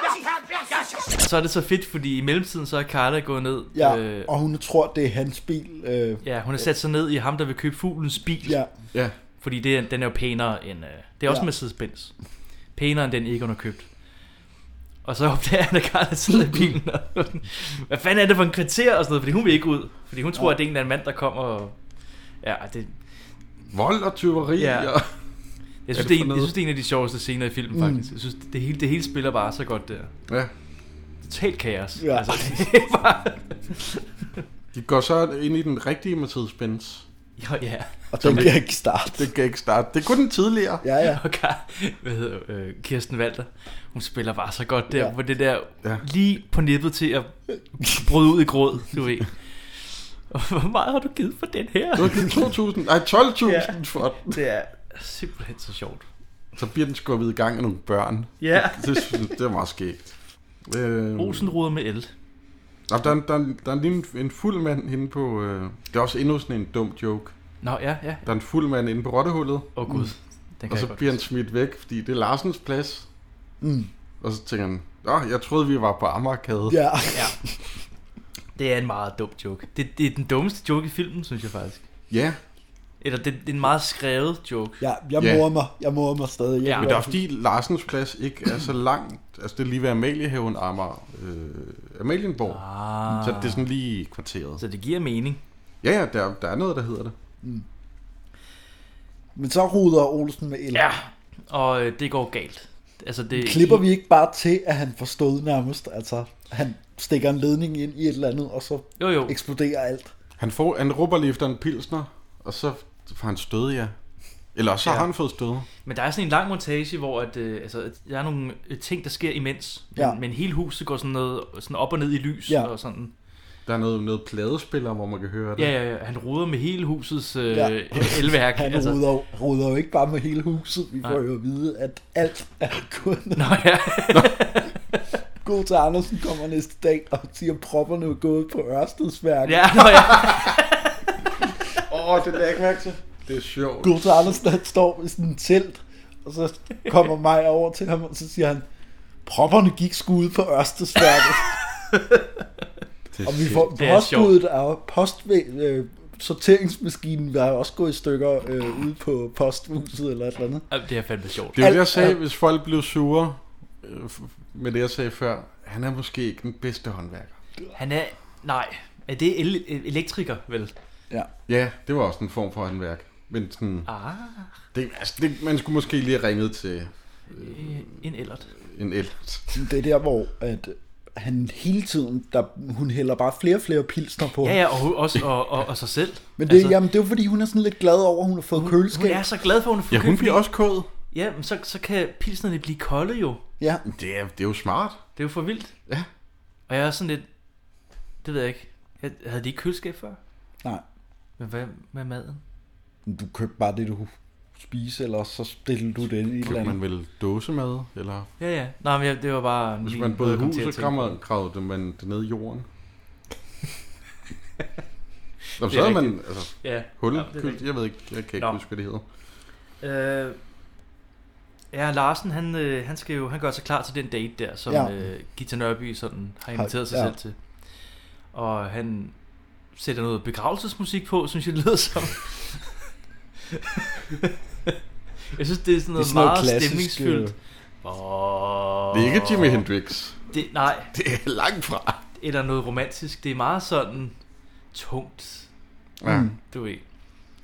Speaker 14: jeg!
Speaker 2: Så er det så fedt, fordi i mellemtiden så er Carla gået ned.
Speaker 3: Ja, øh, og hun tror, det er hans bil. Øh,
Speaker 2: ja hun har sat sig ned i ham, der vil købe fuglens bil.
Speaker 3: Ja.
Speaker 4: ja.
Speaker 2: Fordi det, er- den er jo pænere end... Øh, det er også
Speaker 3: Ja.
Speaker 2: ja. Mercedes-Benz. Pænere end den Egon har købt. Og så opdager han, at Carla sidder i bilen. Og, hvad fanden er det for en kvarter og sådan noget? Fordi hun vil ikke ud. Fordi hun tror,
Speaker 4: Nej.
Speaker 2: at det er en eller anden mand, der kommer og... Ja, og det...
Speaker 4: Vold og tyveri
Speaker 2: Ja.
Speaker 4: og...
Speaker 2: Jeg
Speaker 4: Hvad er
Speaker 2: synes,
Speaker 4: det
Speaker 2: det er
Speaker 4: for
Speaker 2: en, jeg
Speaker 4: noget?
Speaker 2: synes, det er en af de sjoveste scener i filmen,
Speaker 4: Mm.
Speaker 2: faktisk. Jeg synes, det hele, det hele spiller bare så godt der.
Speaker 4: Ja.
Speaker 2: Totalt kaos.
Speaker 3: Ja.
Speaker 2: Altså, det er bare...
Speaker 4: De går så ind i den rigtige Mercedes-Benz.
Speaker 2: Jo, ja.
Speaker 3: Og den kan ikke starte.
Speaker 4: Den kan ikke starte. Det kunne den tidligere.
Speaker 3: Ja, ja.
Speaker 2: Og Kar- hvad hedder, øh, Kirsten Walter, hun spiller bare så godt der,
Speaker 4: Ja.
Speaker 2: ja. hvor det der
Speaker 4: Ja.
Speaker 2: ja. lige på nippet til at bryde ud i gråd, du ved. Og hvor meget har du givet for den her?
Speaker 4: Du har givet 2.000, nej 12.000 ja. for den.
Speaker 2: Det er simpelthen så sjovt.
Speaker 4: Så bliver den skubbet i gang af nogle børn.
Speaker 2: Ja.
Speaker 4: Det, synes- det er meget skægt. Øh,
Speaker 2: Rosenruder med el.
Speaker 4: Nå, der, er en- der, er en- der er lige en, en fuld mand inde på... Øh, det er også endnu sådan en dum joke.
Speaker 2: Nå, ja, ja.
Speaker 4: Der er en fuld mand inde på rottehullet.
Speaker 2: Åh oh, gud, den kan
Speaker 4: og
Speaker 2: jeg
Speaker 4: så
Speaker 2: godt
Speaker 4: bliver han smidt væk, fordi det er Larsens plads.
Speaker 3: Mm.
Speaker 4: Og så tænker han, Åh, jeg troede, vi var på Amagerkade.
Speaker 3: Ja.
Speaker 2: ja. Det er en meget dum joke. Det, det er den dummeste joke i filmen, synes jeg faktisk.
Speaker 4: Ja.
Speaker 2: Eller det, det er en meget skrevet joke.
Speaker 3: Ja, jeg
Speaker 4: Ja.
Speaker 3: morer mig. Jeg morer mig stadig. Jeg
Speaker 4: Ja, men det er også fordi Larsens plads ikke er så langt. Altså det er lige ved Amaliehaven Amager. Øh, Amalienborg.
Speaker 2: Ah.
Speaker 4: Så det er sådan lige i kvarteret.
Speaker 2: Så det giver mening.
Speaker 4: Ja, ja, der, der er noget, der hedder det.
Speaker 3: Men så ruder Olsen med el.
Speaker 2: Ja, og øh, det går galt. Altså, det,
Speaker 3: Klipper vi ikke bare til, at han forstod nærmest? Altså, han stikker en ledning ind i et eller andet, og så
Speaker 2: jo, jo.
Speaker 3: eksploderer alt.
Speaker 4: Han, får, han råber lige efter en pilsner, og så får han stød, ja. Eller også så ja.
Speaker 2: Ja.
Speaker 4: har han fået stød.
Speaker 2: Men der er sådan en lang montage, hvor at, øh, altså, at der er nogle øh, ting, der sker imens. Men,
Speaker 4: Ja.
Speaker 2: men hele huset går sådan, noget, sådan op og ned i lys
Speaker 4: Ja.
Speaker 2: ja. og sådan.
Speaker 4: Der er noget, noget pladespiller, hvor man kan høre det.
Speaker 2: Ja, ja, ja, han ruder med hele husets øh,
Speaker 3: Ja.
Speaker 2: ja. elværk.
Speaker 3: Han altså... ruder, jo- ruder jo ikke bare med hele huset. Vi
Speaker 2: Nej.
Speaker 3: får jo at vide, at alt er kun...
Speaker 2: Nå ja.
Speaker 3: God til Andersen kommer næste dag og siger, at propperne er gået på Ørstedsværket.
Speaker 2: Ja, nå ja.
Speaker 4: Åh, oh, det lader jeg ikke mærke til. Det er sjovt.
Speaker 3: Gud til Andersen, han står i sådan en telt, og så kommer mig over til ham, og så siger han, propperne gik skud på Ørstedsværket.
Speaker 4: Det er
Speaker 3: og vi får
Speaker 4: sjovt. Det er
Speaker 3: postbuddet af post, øh, sorteringsmaskinen, der er også gået i stykker øh, ude på posthuset eller et eller andet.
Speaker 2: Jamen, det er fandme sjovt.
Speaker 4: Det er jo det, jeg
Speaker 3: Alt
Speaker 4: sagde,
Speaker 3: er-
Speaker 4: hvis folk blev sure øh, f- med det, jeg sagde før. Han er måske ikke den bedste håndværker.
Speaker 2: Han er... Nej, er det el- elektriker, vel?
Speaker 3: Ja.
Speaker 4: Ja, det var også en form for håndværk. Men sådan,
Speaker 2: Ah.
Speaker 4: det, altså, det, man skulle måske lige have ringet til
Speaker 2: En ellert.
Speaker 4: en el.
Speaker 3: Det er der, hvor at han hele tiden, der, hun hælder bare flere og flere pilsner på.
Speaker 2: Ja, ja, og, hu- også, og, og, og sig selv.
Speaker 3: Men det, altså, jamen, det er jo fordi, hun er sådan lidt glad over, at hun har fået køleskab.
Speaker 2: Hun er så glad for, at hun har fået
Speaker 4: Ja, hun
Speaker 2: købt,
Speaker 4: bliver
Speaker 2: fordi-
Speaker 4: også kod.
Speaker 2: Ja, men så, så kan pilsnerne blive kolde jo.
Speaker 3: Ja.
Speaker 4: Det er, det er jo smart.
Speaker 2: Det er jo for vildt.
Speaker 4: Ja.
Speaker 2: Og jeg er sådan lidt... Det ved jeg ikke. Jeg, havde de ikke køleskab før?
Speaker 3: Nej.
Speaker 2: Men hvad med maden?
Speaker 3: Du købte bare det, du kunne spise, eller så stillede du det ind i et eller
Speaker 4: Købte
Speaker 3: andet.
Speaker 4: man vel dåsemad, eller...
Speaker 2: Ja, ja. Nej, men jeg, det var bare...
Speaker 4: Hvis
Speaker 2: lige
Speaker 4: man
Speaker 2: noget,
Speaker 4: både
Speaker 2: jeg kom til at
Speaker 4: hus og
Speaker 2: tænke på.
Speaker 4: krammer, kravede man det ned i jorden. Nå,
Speaker 2: Det
Speaker 4: så
Speaker 2: er
Speaker 4: havde man,
Speaker 2: rigtigt.
Speaker 4: altså,
Speaker 2: Ja.
Speaker 4: hul,
Speaker 2: Ja, det er
Speaker 4: køl,
Speaker 2: rigtigt.
Speaker 4: jeg ved ikke, jeg kan ikke
Speaker 2: Nå.
Speaker 4: huske, hvad det hedder.
Speaker 2: Øh, ja, Larsen, han, øh, han, skal jo, han gør sig klar til den date der, som
Speaker 3: Ja.
Speaker 2: ja. øh, Gita Nørby sådan, har
Speaker 3: Har-
Speaker 2: inviteret sig
Speaker 3: ja.
Speaker 2: ja. selv til. Og han sætter noget begravelsesmusik på, synes jeg, det lyder som. jeg synes, det er sådan noget, det er sådan noget meget klassisk, øh, stemningsfyldt.
Speaker 4: Det er ikke Jimi Hendrix.
Speaker 2: Det, nej.
Speaker 4: Det er langt fra.
Speaker 2: Eller noget romantisk. Det er meget sådan tungt.
Speaker 4: Ja.
Speaker 2: Mm. Du ved.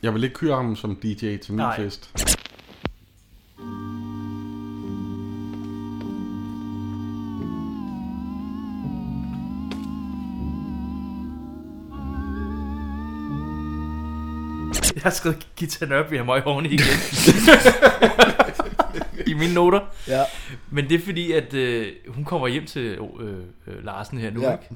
Speaker 4: Jeg vil ikke køre ham som DJ til min
Speaker 2: Nej.
Speaker 4: fest.
Speaker 2: Jeg har skrevet Gita Nørby og Møg Horny igen. I mine noter.
Speaker 3: Ja.
Speaker 2: Men det er fordi, at øh, hun kommer hjem til øh, øh, Larsen her nu,
Speaker 3: Ja.
Speaker 2: ja. ikke?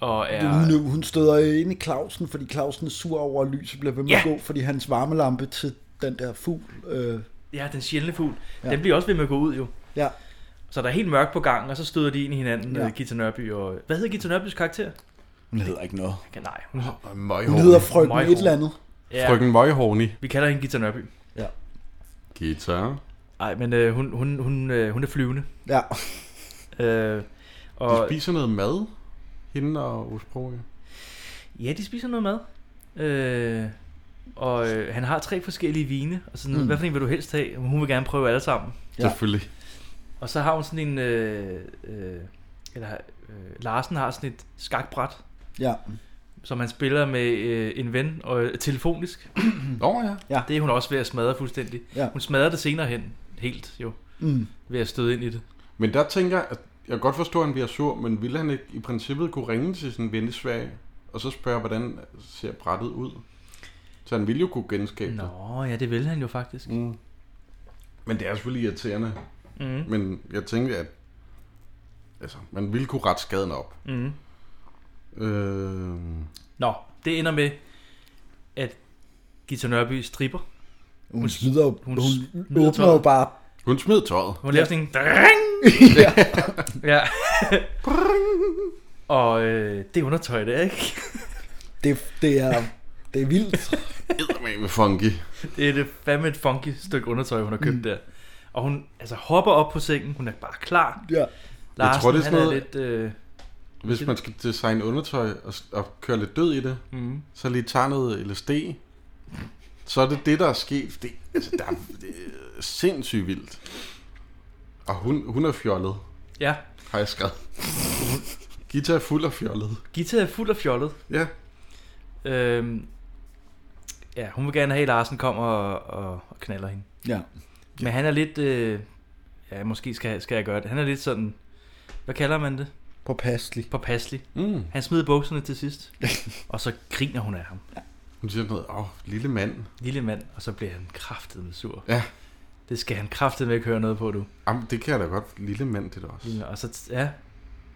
Speaker 2: Og er...
Speaker 3: Hun, hun støder ind i Clausen, fordi Clausen er sur over, at lyset bliver ved med at
Speaker 2: Ja.
Speaker 3: gå, fordi hans varmelampe til den der fugl. Øh,
Speaker 2: Ja, den sjældne fugl.
Speaker 3: Ja.
Speaker 2: Ja. Den bliver også ved med at gå ud, jo.
Speaker 3: Ja.
Speaker 2: Så der er helt mørkt på gangen, og så støder de ind i hinanden,
Speaker 3: Ja.
Speaker 2: ja. Gita Nørby og... Hvad hedder Gita Nørbys karakter?
Speaker 3: Hun hedder ikke noget.
Speaker 2: Nej.
Speaker 3: Hun
Speaker 4: hedder
Speaker 3: Hun hedder frøken et eller andet.
Speaker 4: Ja. Frøken Møghorny.
Speaker 2: Vi kalder hende Gita Nørby.
Speaker 3: Ja.
Speaker 4: Guitar.
Speaker 2: Nej, men øh, hun, hun, hun, øh, hun er flyvende.
Speaker 3: Ja.
Speaker 2: Øh, og,
Speaker 4: De spiser noget mad, hende og Osbro.
Speaker 2: Ja, de spiser noget mad. Øh, og øh, han har tre forskellige vine. Og sådan, mm.
Speaker 4: Mm.
Speaker 2: Hvad for en vil du helst have? Hun vil gerne prøve alle sammen.
Speaker 4: Ja. Selvfølgelig.
Speaker 2: Og så har hun sådan en... Øh, øh, eller, øh, Larsen har sådan et skakbræt.
Speaker 3: Ja.
Speaker 2: Som han spiller med øh, en ven og øh, telefonisk.
Speaker 4: Nå
Speaker 3: ja.
Speaker 2: Det er hun også ved at smadre fuldstændig.
Speaker 3: Ja.
Speaker 2: Hun smadrer det senere hen. Helt jo.
Speaker 3: Mm.
Speaker 2: Ved at støde ind i det.
Speaker 4: Men der tænker jeg, at jeg kan godt forstå, at han bliver sur, men ville han ikke i princippet kunne ringe til sin ven i Sverige, og så spørge, hvordan ser brættet ud? Så han ville jo kunne genskabe det.
Speaker 2: Nå ja, det vil han jo faktisk.
Speaker 4: Mm. Men det er selvfølgelig irriterende.
Speaker 2: Mm.
Speaker 4: Men jeg tænkte, at altså, man ville kunne rette skaden op.
Speaker 2: Mm.
Speaker 4: Øh,
Speaker 2: Nå, det ender med, at Gita Nørby stripper.
Speaker 3: Hun, hun smider jo, hun, hun åbner jo
Speaker 2: tøjet.
Speaker 3: bare...
Speaker 4: Hun smed tøjet.
Speaker 2: Hun laver sådan en...
Speaker 3: Ja.
Speaker 2: ja. Og øh, det er undertøj, det er, ikke?
Speaker 3: Det, det, er, det er vildt.
Speaker 4: med funky.
Speaker 2: Det er det fandme et funky stykke undertøj, hun har købt mm. der. Og hun altså, hopper op på sengen, hun er bare klar.
Speaker 3: Ja.
Speaker 2: Larsen,
Speaker 4: jeg tror, det er sådan
Speaker 2: han
Speaker 4: noget,
Speaker 2: er lidt... Øh,
Speaker 4: hvis man skal designe undertøj og, s- og køre lidt død i det,
Speaker 2: Mhm.
Speaker 4: så lige tager noget LSD, så er det det, der er sket. Det, altså, der er, det er sindssygt vildt. Og hun, hun er fjollet.
Speaker 2: Ja.
Speaker 4: Har jeg skrevet. Gita er fuld af fjollet.
Speaker 2: Gita er fuld af fjollet.
Speaker 4: Ja.
Speaker 2: Øhm, ja, hun vil gerne have, at Larsen kommer og, og, og knaller hende.
Speaker 3: Ja.
Speaker 2: Men han er lidt... Øh, ja, måske skal, skal jeg gøre det. Han er lidt sådan... Hvad kalder man det?
Speaker 3: Påpasselig.
Speaker 2: Påpasselig.
Speaker 4: Mm.
Speaker 2: Han smider bukserne til sidst. og så griner hun af ham.
Speaker 4: Hun siger noget, åh, lille mand.
Speaker 2: Lille mand, og så bliver han kraftet med sur.
Speaker 4: Ja.
Speaker 2: Det skal han kraftet med ikke høre noget på, du.
Speaker 4: Jamen, det kan jeg da godt. Lille mand, det er da også.
Speaker 2: Lille- Og så, ja,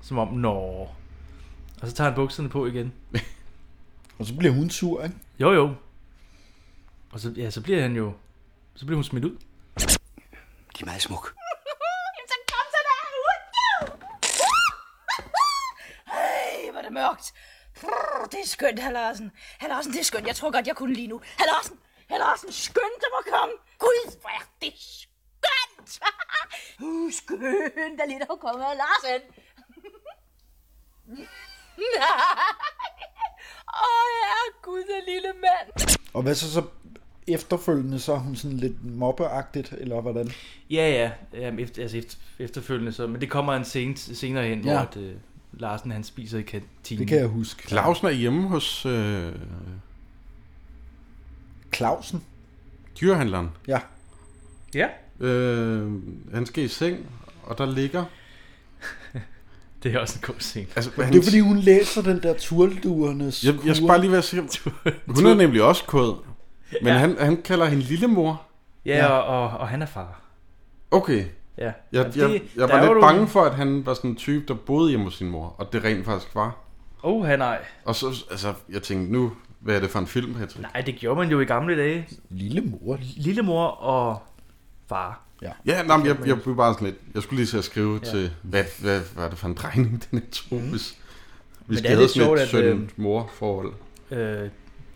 Speaker 2: som om, nå. Og så tager han bukserne på igen.
Speaker 3: Og så bliver hun sur, ikke?
Speaker 2: Jo, jo. Og så, ja, så bliver han jo... Så bliver hun smidt ud.
Speaker 11: De er meget smuk.
Speaker 13: Jamen, så kom så der ud. Ej, hvor er det mørkt. Prr, det er skønt, herr Larsen. Herr Larsen, det er skønt. Jeg tror godt, jeg kunne lige nu. Herr Larsen, herr Larsen, skønt at må komme. Gud, hvor er det skønt. uh, skønt, at lidt at komme, herr Larsen. Åh, oh, herre Gud, den lille mand.
Speaker 3: Og hvad så så efterfølgende, så er hun sådan lidt mobbeagtigt, eller hvordan?
Speaker 2: Ja, ja. Jamen, efter, altså efter, efterfølgende så. Men det kommer en scene, senere hen, ja.
Speaker 3: Ja.
Speaker 2: hvor at, øh, Larsen han spiser i kantinen.
Speaker 3: Det kan jeg huske.
Speaker 4: Clausen er hjemme hos øh,
Speaker 3: Clausen?
Speaker 4: dyrehandleren.
Speaker 3: Ja.
Speaker 2: Ja.
Speaker 4: Øh, han skal i seng, og der ligger...
Speaker 2: det er også en god scene.
Speaker 4: Altså,
Speaker 3: Men
Speaker 4: han-
Speaker 3: det er fordi, hun læser den der turlduernes
Speaker 4: Jeg, jeg skal bare lige være sikker. Hun er nemlig også kod. Men
Speaker 2: Ja.
Speaker 4: ja. han, han kalder hende lillemor.
Speaker 2: Ja, ja. Og, og, og han er far.
Speaker 4: Okay.
Speaker 2: Ja.
Speaker 4: Jeg,
Speaker 2: Altså, det-
Speaker 4: jeg,
Speaker 2: der
Speaker 4: jeg
Speaker 2: er
Speaker 4: var
Speaker 2: jo
Speaker 4: lidt
Speaker 2: du-
Speaker 4: bange for, at han var sådan en type, der boede hjemme hos sin mor, og det rent faktisk var.
Speaker 2: Åh, oh, nej.
Speaker 4: Og så, altså, jeg tænkte, nu, hvad er det for en film, Patrick?
Speaker 2: Nej, det gjorde man jo i gamle dage.
Speaker 3: Lille mor.
Speaker 2: Lille mor og far.
Speaker 3: Ja,
Speaker 4: Ja, nej, men jeg, jeg blev bare sådan lidt, jeg skulle lige til at skrive
Speaker 2: Ja. Mhm.
Speaker 4: ja. til, hvad, hvad, hvad er det for en drejning, den her tog, mm. hvis,
Speaker 2: Men
Speaker 4: hvis
Speaker 2: det
Speaker 4: det
Speaker 2: er
Speaker 4: havde
Speaker 2: lidt
Speaker 4: sådan
Speaker 2: sjovt,
Speaker 4: et
Speaker 2: at, øh,
Speaker 4: søn-mor-forhold.
Speaker 2: Øh,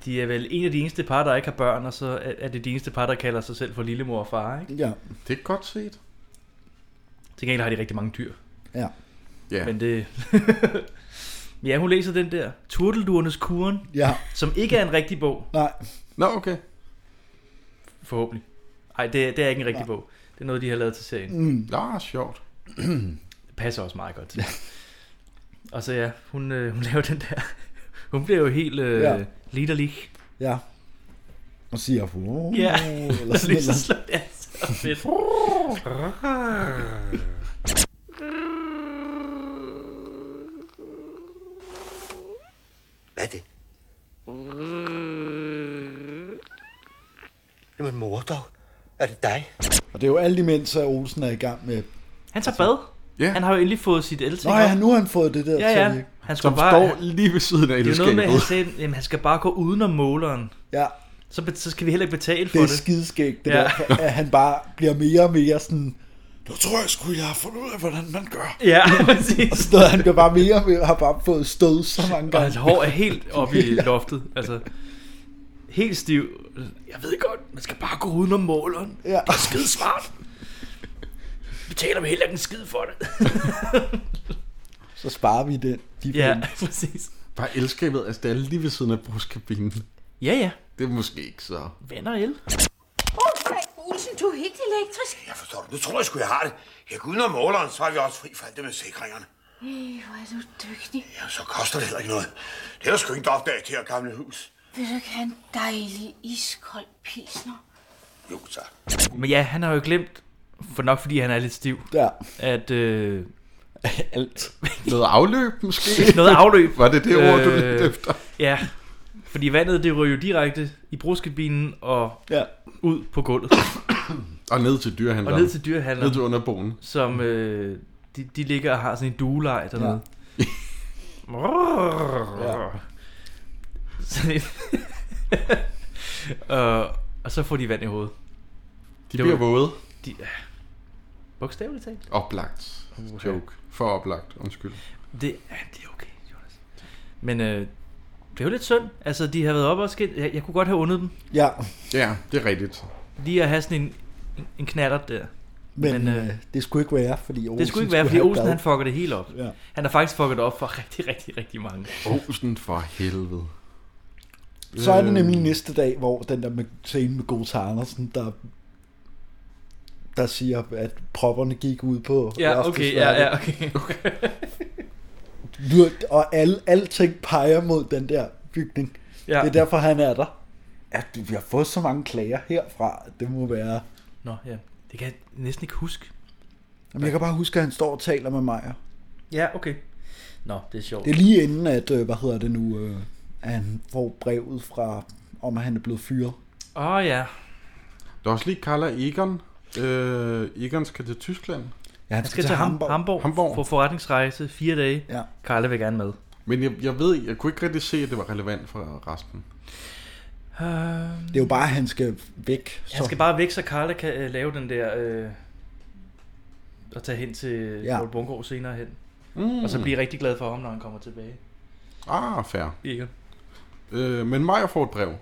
Speaker 2: de er vel en af de eneste par, der ikke har børn, og så er er det de eneste par, der kalder sig selv for lillemor og far, ikke?
Speaker 3: Ja.
Speaker 4: Det er godt set.
Speaker 2: Til gengæld har de rigtig mange dyr.
Speaker 3: Ja.
Speaker 4: Ja.
Speaker 2: Men det... ja, hun læser den der. Turtelduernes kuren.
Speaker 3: Ja.
Speaker 2: Som ikke er en rigtig bog.
Speaker 3: Nej.
Speaker 4: Nå, okay.
Speaker 2: Forhåbentlig. Nej, det, det er ikke en rigtig bog. Det er noget, de har lavet til serien.
Speaker 3: Mm.
Speaker 4: Nå, sjovt.
Speaker 2: Det passer også meget godt til. og så ja, hun, øh, hun laver den der... Hun bliver jo helt øh, ja.
Speaker 3: Ja.
Speaker 2: liderlig.
Speaker 3: Ja. Og siger, wow,
Speaker 2: Ja,
Speaker 3: eller sådan
Speaker 2: lige så
Speaker 3: noget.
Speaker 2: slår det så fedt.
Speaker 7: Hvad er det? Jamen mor dog. Er det dig?
Speaker 3: Og det er jo alt imens, at Olsen er i gang med...
Speaker 2: Han tager bad.
Speaker 4: Ja.
Speaker 2: Han har jo endelig fået sit el
Speaker 3: Nå ja, nu har han fået det der.
Speaker 2: Ja, ja.
Speaker 3: tøj.
Speaker 2: Han skulle bare,
Speaker 4: lige ved siden af
Speaker 2: Det er jo noget med, at han
Speaker 4: elskabet.
Speaker 2: sagde, jamen, han skal bare gå udenom måleren.
Speaker 3: Ja.
Speaker 2: Så, be- så skal vi heller ikke betale for
Speaker 3: Det er
Speaker 2: det.
Speaker 3: skideskægt, det
Speaker 2: Ja.
Speaker 3: ja. der, at han bare bliver mere og mere sådan...
Speaker 15: nu tror jeg sgu, jeg har fundet ud af, hvordan man gør.
Speaker 2: Ja, præcis.
Speaker 3: og sådan noget, han bliver bare mere og mere, har bare fået stød så mange gange.
Speaker 2: Og hans hår er helt oppe i loftet. Altså, helt stiv. Jeg ved godt, man skal bare gå udenom måleren. Ja. Det er skide smart. Betaler vi heller ikke en skid for det.
Speaker 3: Så sparer vi den. De
Speaker 2: Ja,
Speaker 3: penge.
Speaker 2: præcis.
Speaker 4: Bare elskabet, altså det er lige ved siden af brugskabinen.
Speaker 2: Ja, ja.
Speaker 4: Det er måske ikke så...
Speaker 2: Venner el.
Speaker 13: Olsen, du er helt elektrisk.
Speaker 14: Jeg forstår det. Nu tror jeg sgu, jeg har det. Jeg går udenom måleren, så er vi også fri for alt det med sikringerne.
Speaker 13: Ej, hvor er du dygtig.
Speaker 14: Ja, så koster det heller ikke noget. Det er der sgu ikke opdaget til her gamle hus.
Speaker 13: Vil du ikke have en dejlig iskold pilsner?
Speaker 14: Jo, tak.
Speaker 2: Men ja, han har jo glemt, for nok fordi han er lidt stiv,
Speaker 3: ja.
Speaker 2: at... Øh,
Speaker 3: Alt.
Speaker 4: Noget afløb måske?
Speaker 2: Noget afløb. Øh.
Speaker 4: Var det det ord, du ledte efter?
Speaker 2: Ja, fordi vandet det ryger jo direkte i bruskabinen og
Speaker 3: ja.
Speaker 2: ud på gulvet.
Speaker 4: Og ned til dyrehandleren.
Speaker 2: Og ned til dyrehandleren.
Speaker 4: Ned til underboen.
Speaker 2: Som øh, de, de ligger og har sådan en duelej dernede. Ja. sådan en... og, og så får de vand i hovedet.
Speaker 4: De
Speaker 2: Det
Speaker 4: bliver
Speaker 2: var-
Speaker 4: våde.
Speaker 2: De, ja. Bogstaveligt talt.
Speaker 4: Oplagt. Joke. For oplagt, undskyld.
Speaker 2: Det, ja, det er okay, Jonas. Men øh, det er jo lidt synd. Altså, de har været op og skidt. Jeg, jeg kunne godt have undet dem.
Speaker 3: Ja.
Speaker 4: Ja, det er rigtigt.
Speaker 2: Lige at have sådan en, en, en knatter der.
Speaker 3: Men, Men øh, det skulle ikke være, fordi Olsen
Speaker 2: det Oh, skulle ikke være, fordi
Speaker 3: have et
Speaker 2: Olsen
Speaker 3: bad.
Speaker 2: han fucker det hele op.
Speaker 3: Ja.
Speaker 2: Han har faktisk fucket det op for rigtig, rigtig, rigtig mange.
Speaker 4: Olsen for helvede.
Speaker 3: Så
Speaker 2: Øh.
Speaker 3: er det nemlig næste dag, hvor den der med, scene med Gota Andersen, der der siger, at propperne gik ud på
Speaker 2: Ja, okay, ja, ja,
Speaker 3: Ørstedsværket.
Speaker 2: okay.
Speaker 3: Nu, og al, alting peger mod den der bygning.
Speaker 2: Ja.
Speaker 3: Ja. Det er derfor, han er der. Ja, du, vi har fået så mange klager herfra. Det må være...
Speaker 2: Nå, ja. Det kan jeg næsten ikke huske.
Speaker 3: Jamen, jeg kan bare huske, at han står og taler med Maja.
Speaker 2: Ja, okay. Nå, det er sjovt.
Speaker 3: Det er lige inden, at, øh, hvad hedder det nu, øh, at han får brevet fra, om at han er blevet fyret.
Speaker 2: Åh, oh, ja.
Speaker 4: Der er også lige Carla Egon. Øh, Egon skal til Tyskland.
Speaker 3: Ja,
Speaker 2: Han skal til Hamburg, Hamburg, Hamburg. for forretningsrejse fire dage.
Speaker 3: Altså, Ja.
Speaker 2: Karla vil gerne med.
Speaker 4: Men jeg, jeg ved, jeg kunne ikke rigtig se, at det var relevant for resten.
Speaker 2: Uh,
Speaker 3: Det er jo bare, at han skal væk.
Speaker 2: han skal bare væk, så Karla kan øh, lave den der... Øh, og tage hen til ja.
Speaker 3: Ja.
Speaker 2: Poul Bungård senere hen.
Speaker 4: Mm.
Speaker 2: Og så blive rigtig glad for ham, når han kommer tilbage.
Speaker 4: Ah, fair.
Speaker 2: Egon.
Speaker 4: Øh, men Maja får et brev.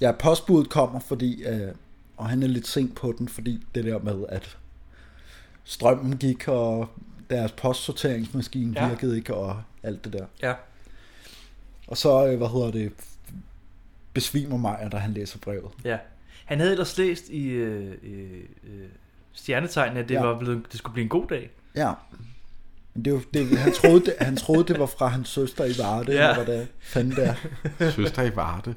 Speaker 3: Ja, postbuddet kommer, fordi, øh, og han er lidt sent på den, fordi det der med, at strømmen gik, og deres postsorteringsmaskine
Speaker 2: Ja.
Speaker 3: ja. virkede ikke, og alt det der.
Speaker 2: Ja.
Speaker 3: Og så, øh, hvad hedder det, besvimer Maja, da han læser brevet.
Speaker 2: Ja. Han havde ellers læst i øh, øh, øh, stjernetegn, at det, ja.
Speaker 3: Ja.
Speaker 2: var blevet, det skulle blive en god dag.
Speaker 3: Ja. Men det, er jo- det, han, troede, det, han troede, det var fra hans søster i Varde,
Speaker 2: Ja.
Speaker 3: ja. eller hvad det fanden der.
Speaker 4: Søster i Varde.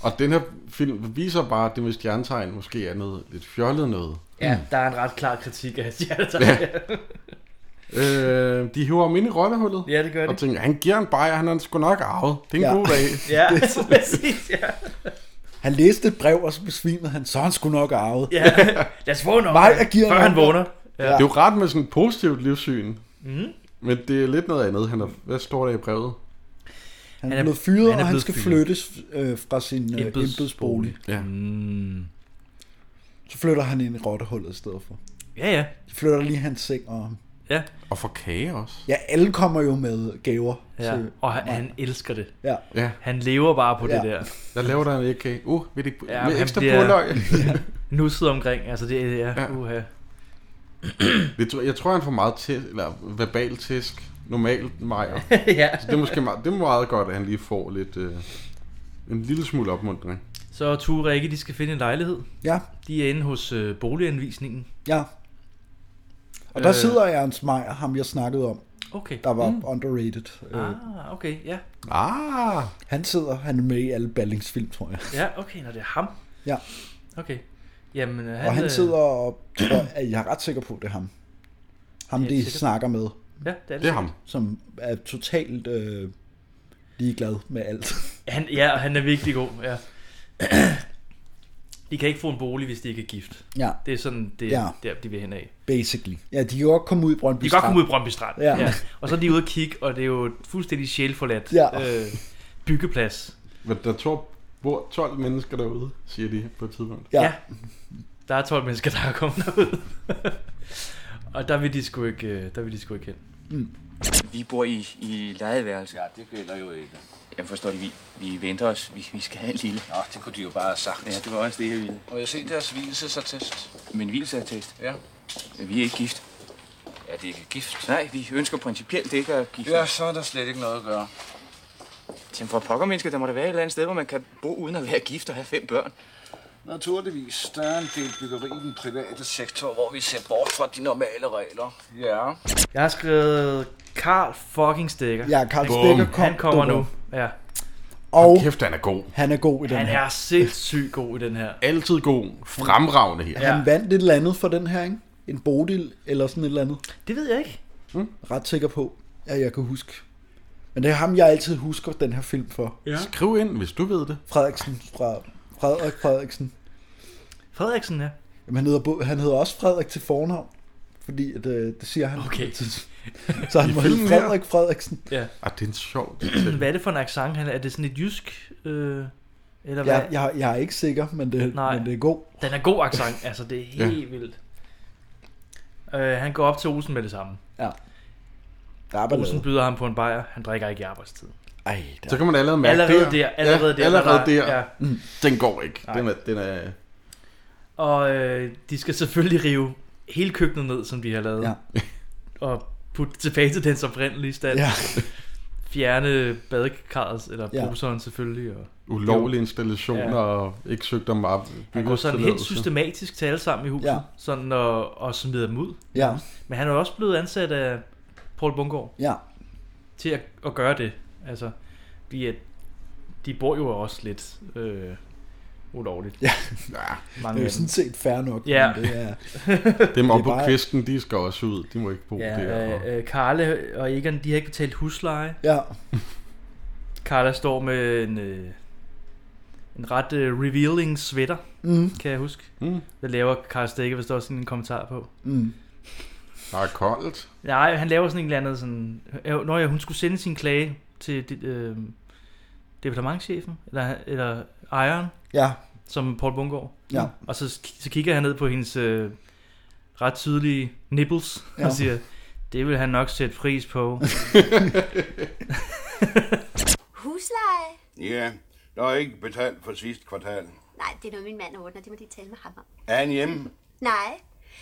Speaker 4: Og den her film viser bare, at det med stjernetegn måske er noget lidt fjollet noget.
Speaker 2: Ja, der er en ret klar kritik af stjernetegn.
Speaker 4: Ja.
Speaker 2: Ja.
Speaker 4: Øh, de hiver ham ind i rollehullet.
Speaker 2: Ja, det gør de.
Speaker 4: Og tænker, han giver en bajer, han er sgu nok arvet. Det er en
Speaker 3: Ja.
Speaker 4: god dag.
Speaker 2: ja, præcis, ja.
Speaker 3: Han læste et brev, og så besvimede han, så er han skulle nok arvet.
Speaker 2: Ja, lad os få en
Speaker 3: Nej,
Speaker 2: omgang,
Speaker 3: jeg giver
Speaker 2: før
Speaker 3: en
Speaker 2: han
Speaker 3: omgang.
Speaker 2: vågner.
Speaker 4: Ja. Det er jo ret med sådan et positivt livssyn.
Speaker 2: Mhm.
Speaker 4: Men det er lidt noget andet. Han er, hvad står der i brevet?
Speaker 2: Han
Speaker 3: Han, han
Speaker 2: er-
Speaker 3: er blevet fyret,
Speaker 2: han er
Speaker 3: og han
Speaker 2: blevet
Speaker 3: skal
Speaker 2: fyret.
Speaker 3: flyttes øh, fra sin øh,
Speaker 2: Embeds-
Speaker 3: embedsbolig.
Speaker 4: Ja.
Speaker 2: Mm.
Speaker 3: Så flytter han ind i rottehullet i stedet for.
Speaker 2: Ja, ja.
Speaker 3: De flytter lige hans seng, og
Speaker 2: Ja.
Speaker 4: Og for kage også.
Speaker 3: ja, alle kommer jo med gaver.
Speaker 2: ja.
Speaker 3: til-
Speaker 2: Og han, han elsker det.
Speaker 3: Ja.
Speaker 4: Ja.
Speaker 2: Han lever bare på det
Speaker 3: Ja.
Speaker 2: der.
Speaker 4: Der laver der en ikke. Uh, vil det,
Speaker 2: Ja,
Speaker 4: ja, med
Speaker 2: han
Speaker 4: ekstra
Speaker 2: bliver-
Speaker 4: påløg.
Speaker 2: Nusset omkring, altså det er... Ja. Uha.
Speaker 4: Det tror- Jeg tror, han får meget til, eller verbal tæsk. Normalt Majer.
Speaker 2: Ja.
Speaker 4: Så det er måske meget, det er meget godt, at han lige får lidt... Øh, en lille smule opmuntring.
Speaker 2: Så er Ture og Rikke, de skal finde en lejlighed.
Speaker 3: Ja.
Speaker 2: De er inde hos øh, boliganvisningen.
Speaker 3: Ja. Og
Speaker 2: Øh.
Speaker 3: der øh... sidder Ernst Meyer, ham jeg snakkede om.
Speaker 2: Okay.
Speaker 3: Der var
Speaker 2: Mm.
Speaker 3: mm. underrated. Øh,
Speaker 2: Ah, okay, ja.
Speaker 4: Ah.
Speaker 3: Han sidder, han er med i alle Ballings film, tror jeg.
Speaker 2: Ja, okay, når det er ham.
Speaker 3: Ja.
Speaker 2: Okay. Jamen, øh,
Speaker 3: Han, og
Speaker 2: øh,
Speaker 3: han sidder og tror, at jeg er ret sikker på, at det er ham. Ham,
Speaker 2: Det er
Speaker 3: de
Speaker 2: sikkert.
Speaker 3: snakker med.
Speaker 2: Ja, det er det Det er sikkert. ham.
Speaker 3: Som er totalt øh, ligeglad med alt.
Speaker 2: Han, ja, han er virkelig god, ja. De kan ikke få en bolig, hvis de ikke er gift.
Speaker 3: Ja.
Speaker 2: Det er sådan, det
Speaker 3: Ja.
Speaker 2: er ja. der, de vil hen af.
Speaker 3: Basically. Ja, de kan godt komme ud i Brøndby
Speaker 2: De kan godt komme ud i
Speaker 3: Strand.
Speaker 2: Brøndby Strand.
Speaker 3: Ja.
Speaker 2: Ja. Og så er de ude at kigge, og det er jo et fuldstændig sjælforladt
Speaker 3: Ja.
Speaker 2: øh, byggeplads.
Speaker 4: Men der tror, bor 12 mennesker derude, siger de på et tidspunkt.
Speaker 2: Ja. Der Der er 12 mennesker, der er kommet derud. og der vil de sgu ikke, øh, der vil de sgu ikke hen.
Speaker 12: Vi bor i, i lejeværelse. Ja, det gælder jo ikke. Jeg forstår det, vi, vi venter os. Vi, vi skal have en lille. Nå, det kunne de jo bare have sagt. Ja, det var også det, jeg ville.
Speaker 16: Må jeg se deres hvilesesattest?
Speaker 12: Men hvilsattest?
Speaker 16: Ja.
Speaker 12: Vi er ikke gift.
Speaker 16: Er det ikke gift?
Speaker 12: Nej, vi ønsker principielt ikke at gifte
Speaker 16: Ja, så er der slet ikke noget at gøre.
Speaker 12: Jamen for pokker mennesker, der må der være et eller andet sted, hvor man kan bo uden at være gift og have fem børn.
Speaker 16: Naturligvis, der er en del byggeri i den private sektor, hvor vi ser bort fra de normale regler. Ja.
Speaker 2: Jeg har skrevet Karl fucking Stikker.
Speaker 3: Ja, Carl
Speaker 2: Bum.
Speaker 3: Stikker kom-
Speaker 2: Han kommer
Speaker 3: dukker.
Speaker 2: nu. Ja.
Speaker 3: Og
Speaker 4: Kæft, han er god.
Speaker 3: han er god i den
Speaker 2: Han
Speaker 3: her.
Speaker 2: er sindssygt god i den her.
Speaker 4: Altid god. Fremragende her.
Speaker 3: Han vandt et eller andet for den her, ikke? En Bodil eller sådan et eller andet.
Speaker 2: Det ved jeg ikke.
Speaker 3: Mm. Ret sikker på, at jeg kan huske. Men det er ham, jeg altid husker den her film for.
Speaker 4: Ja. Skriv ind, hvis du ved det.
Speaker 3: Frederiksen fra Frederik Frederiksen.
Speaker 2: Frederiksen, ja.
Speaker 3: Jamen, han hedder, Bo- han hedder også Frederik til fornavn. Fordi at, øh, det siger han. Okay. Så han
Speaker 4: I
Speaker 3: må hedde
Speaker 4: filmen her?
Speaker 3: Frederik Frederiksen.
Speaker 2: Ja.
Speaker 4: Ah, det er en sjov
Speaker 2: Hvad er det for en accent? Han er? er det sådan et jysk? Øh, eller hvad?
Speaker 3: Jeg, jeg, jeg er ikke sikker, men det,
Speaker 2: Nej.
Speaker 3: men det er god.
Speaker 2: Den er god accent, altså det er helt vildt. Øh, han går op til Olsen med det samme.
Speaker 3: Ja. Der er ballade.
Speaker 2: Olsen byder ham på en bajer, han drikker ikke i arbejdstiden.
Speaker 3: Ej,
Speaker 4: Så kan man allerede mærke
Speaker 2: allerede der. Allerede der.
Speaker 4: ja, allerede
Speaker 2: der,
Speaker 4: der.
Speaker 2: Ja.
Speaker 4: Mm. Den går ikke. Den er, den er,
Speaker 2: Og øh, de skal selvfølgelig rive hele køkkenet ned, som de har lavet.
Speaker 3: Ja.
Speaker 2: Og putte det tilbage til dens oprindelige stand.
Speaker 3: Ja.
Speaker 2: Fjerne badekarret, eller
Speaker 4: Ja.
Speaker 2: ja. bruseren selvfølgelig. Og...
Speaker 4: ulovlige installationer og ikke søgt om op.
Speaker 2: Han går sådan helt systematisk til alle sammen i huset,
Speaker 4: Ja.
Speaker 2: ja. sådan og, og smider dem ud.
Speaker 3: Ja.
Speaker 2: Men han er jo også blevet ansat af Paul Bungård
Speaker 3: Ja.
Speaker 2: til at, at gøre det. Altså, de, er, de bor jo også lidt øh, ulovligt.
Speaker 3: Ja.
Speaker 2: Mange
Speaker 3: det er jo
Speaker 2: af dem.
Speaker 3: sådan set fair nok.
Speaker 2: Ja.
Speaker 3: Men det er,
Speaker 4: Dem
Speaker 3: det
Speaker 4: om
Speaker 3: er
Speaker 4: på
Speaker 3: bare-
Speaker 4: kvisten, de skal også ud. De må ikke bo ja, der.
Speaker 2: Ja,
Speaker 4: Og...
Speaker 2: øh, øh, Karle og Egon, de har ikke betalt husleje.
Speaker 3: Ja.
Speaker 2: Karla står med en, øh, en ret øh, revealing sweater,
Speaker 3: mm.
Speaker 2: kan jeg huske.
Speaker 4: Mm.
Speaker 2: Det laver Karl Stikke, hvis der er sådan en kommentar på.
Speaker 3: Mm.
Speaker 4: Der er koldt.
Speaker 2: Nej, han laver sådan en eller anden sådan... Øh, Nå ja, hun skulle sende sin klage til det, øh, departementchefen, eller, eller ejeren,
Speaker 3: Ja.
Speaker 2: som Paul Bungård.
Speaker 3: Ja.
Speaker 2: Og så, så kigger han ned på hendes øh, ret tydelige nipples, ja.
Speaker 3: Ja.
Speaker 2: og siger, det vil han nok sætte pris på.
Speaker 9: Husleje?
Speaker 17: Ja, der er ikke betalt for sidste kvartal.
Speaker 9: Nej, det er noget, min mand ordner. Det må de tale med ham om.
Speaker 17: Er han hjemme?
Speaker 9: Nej.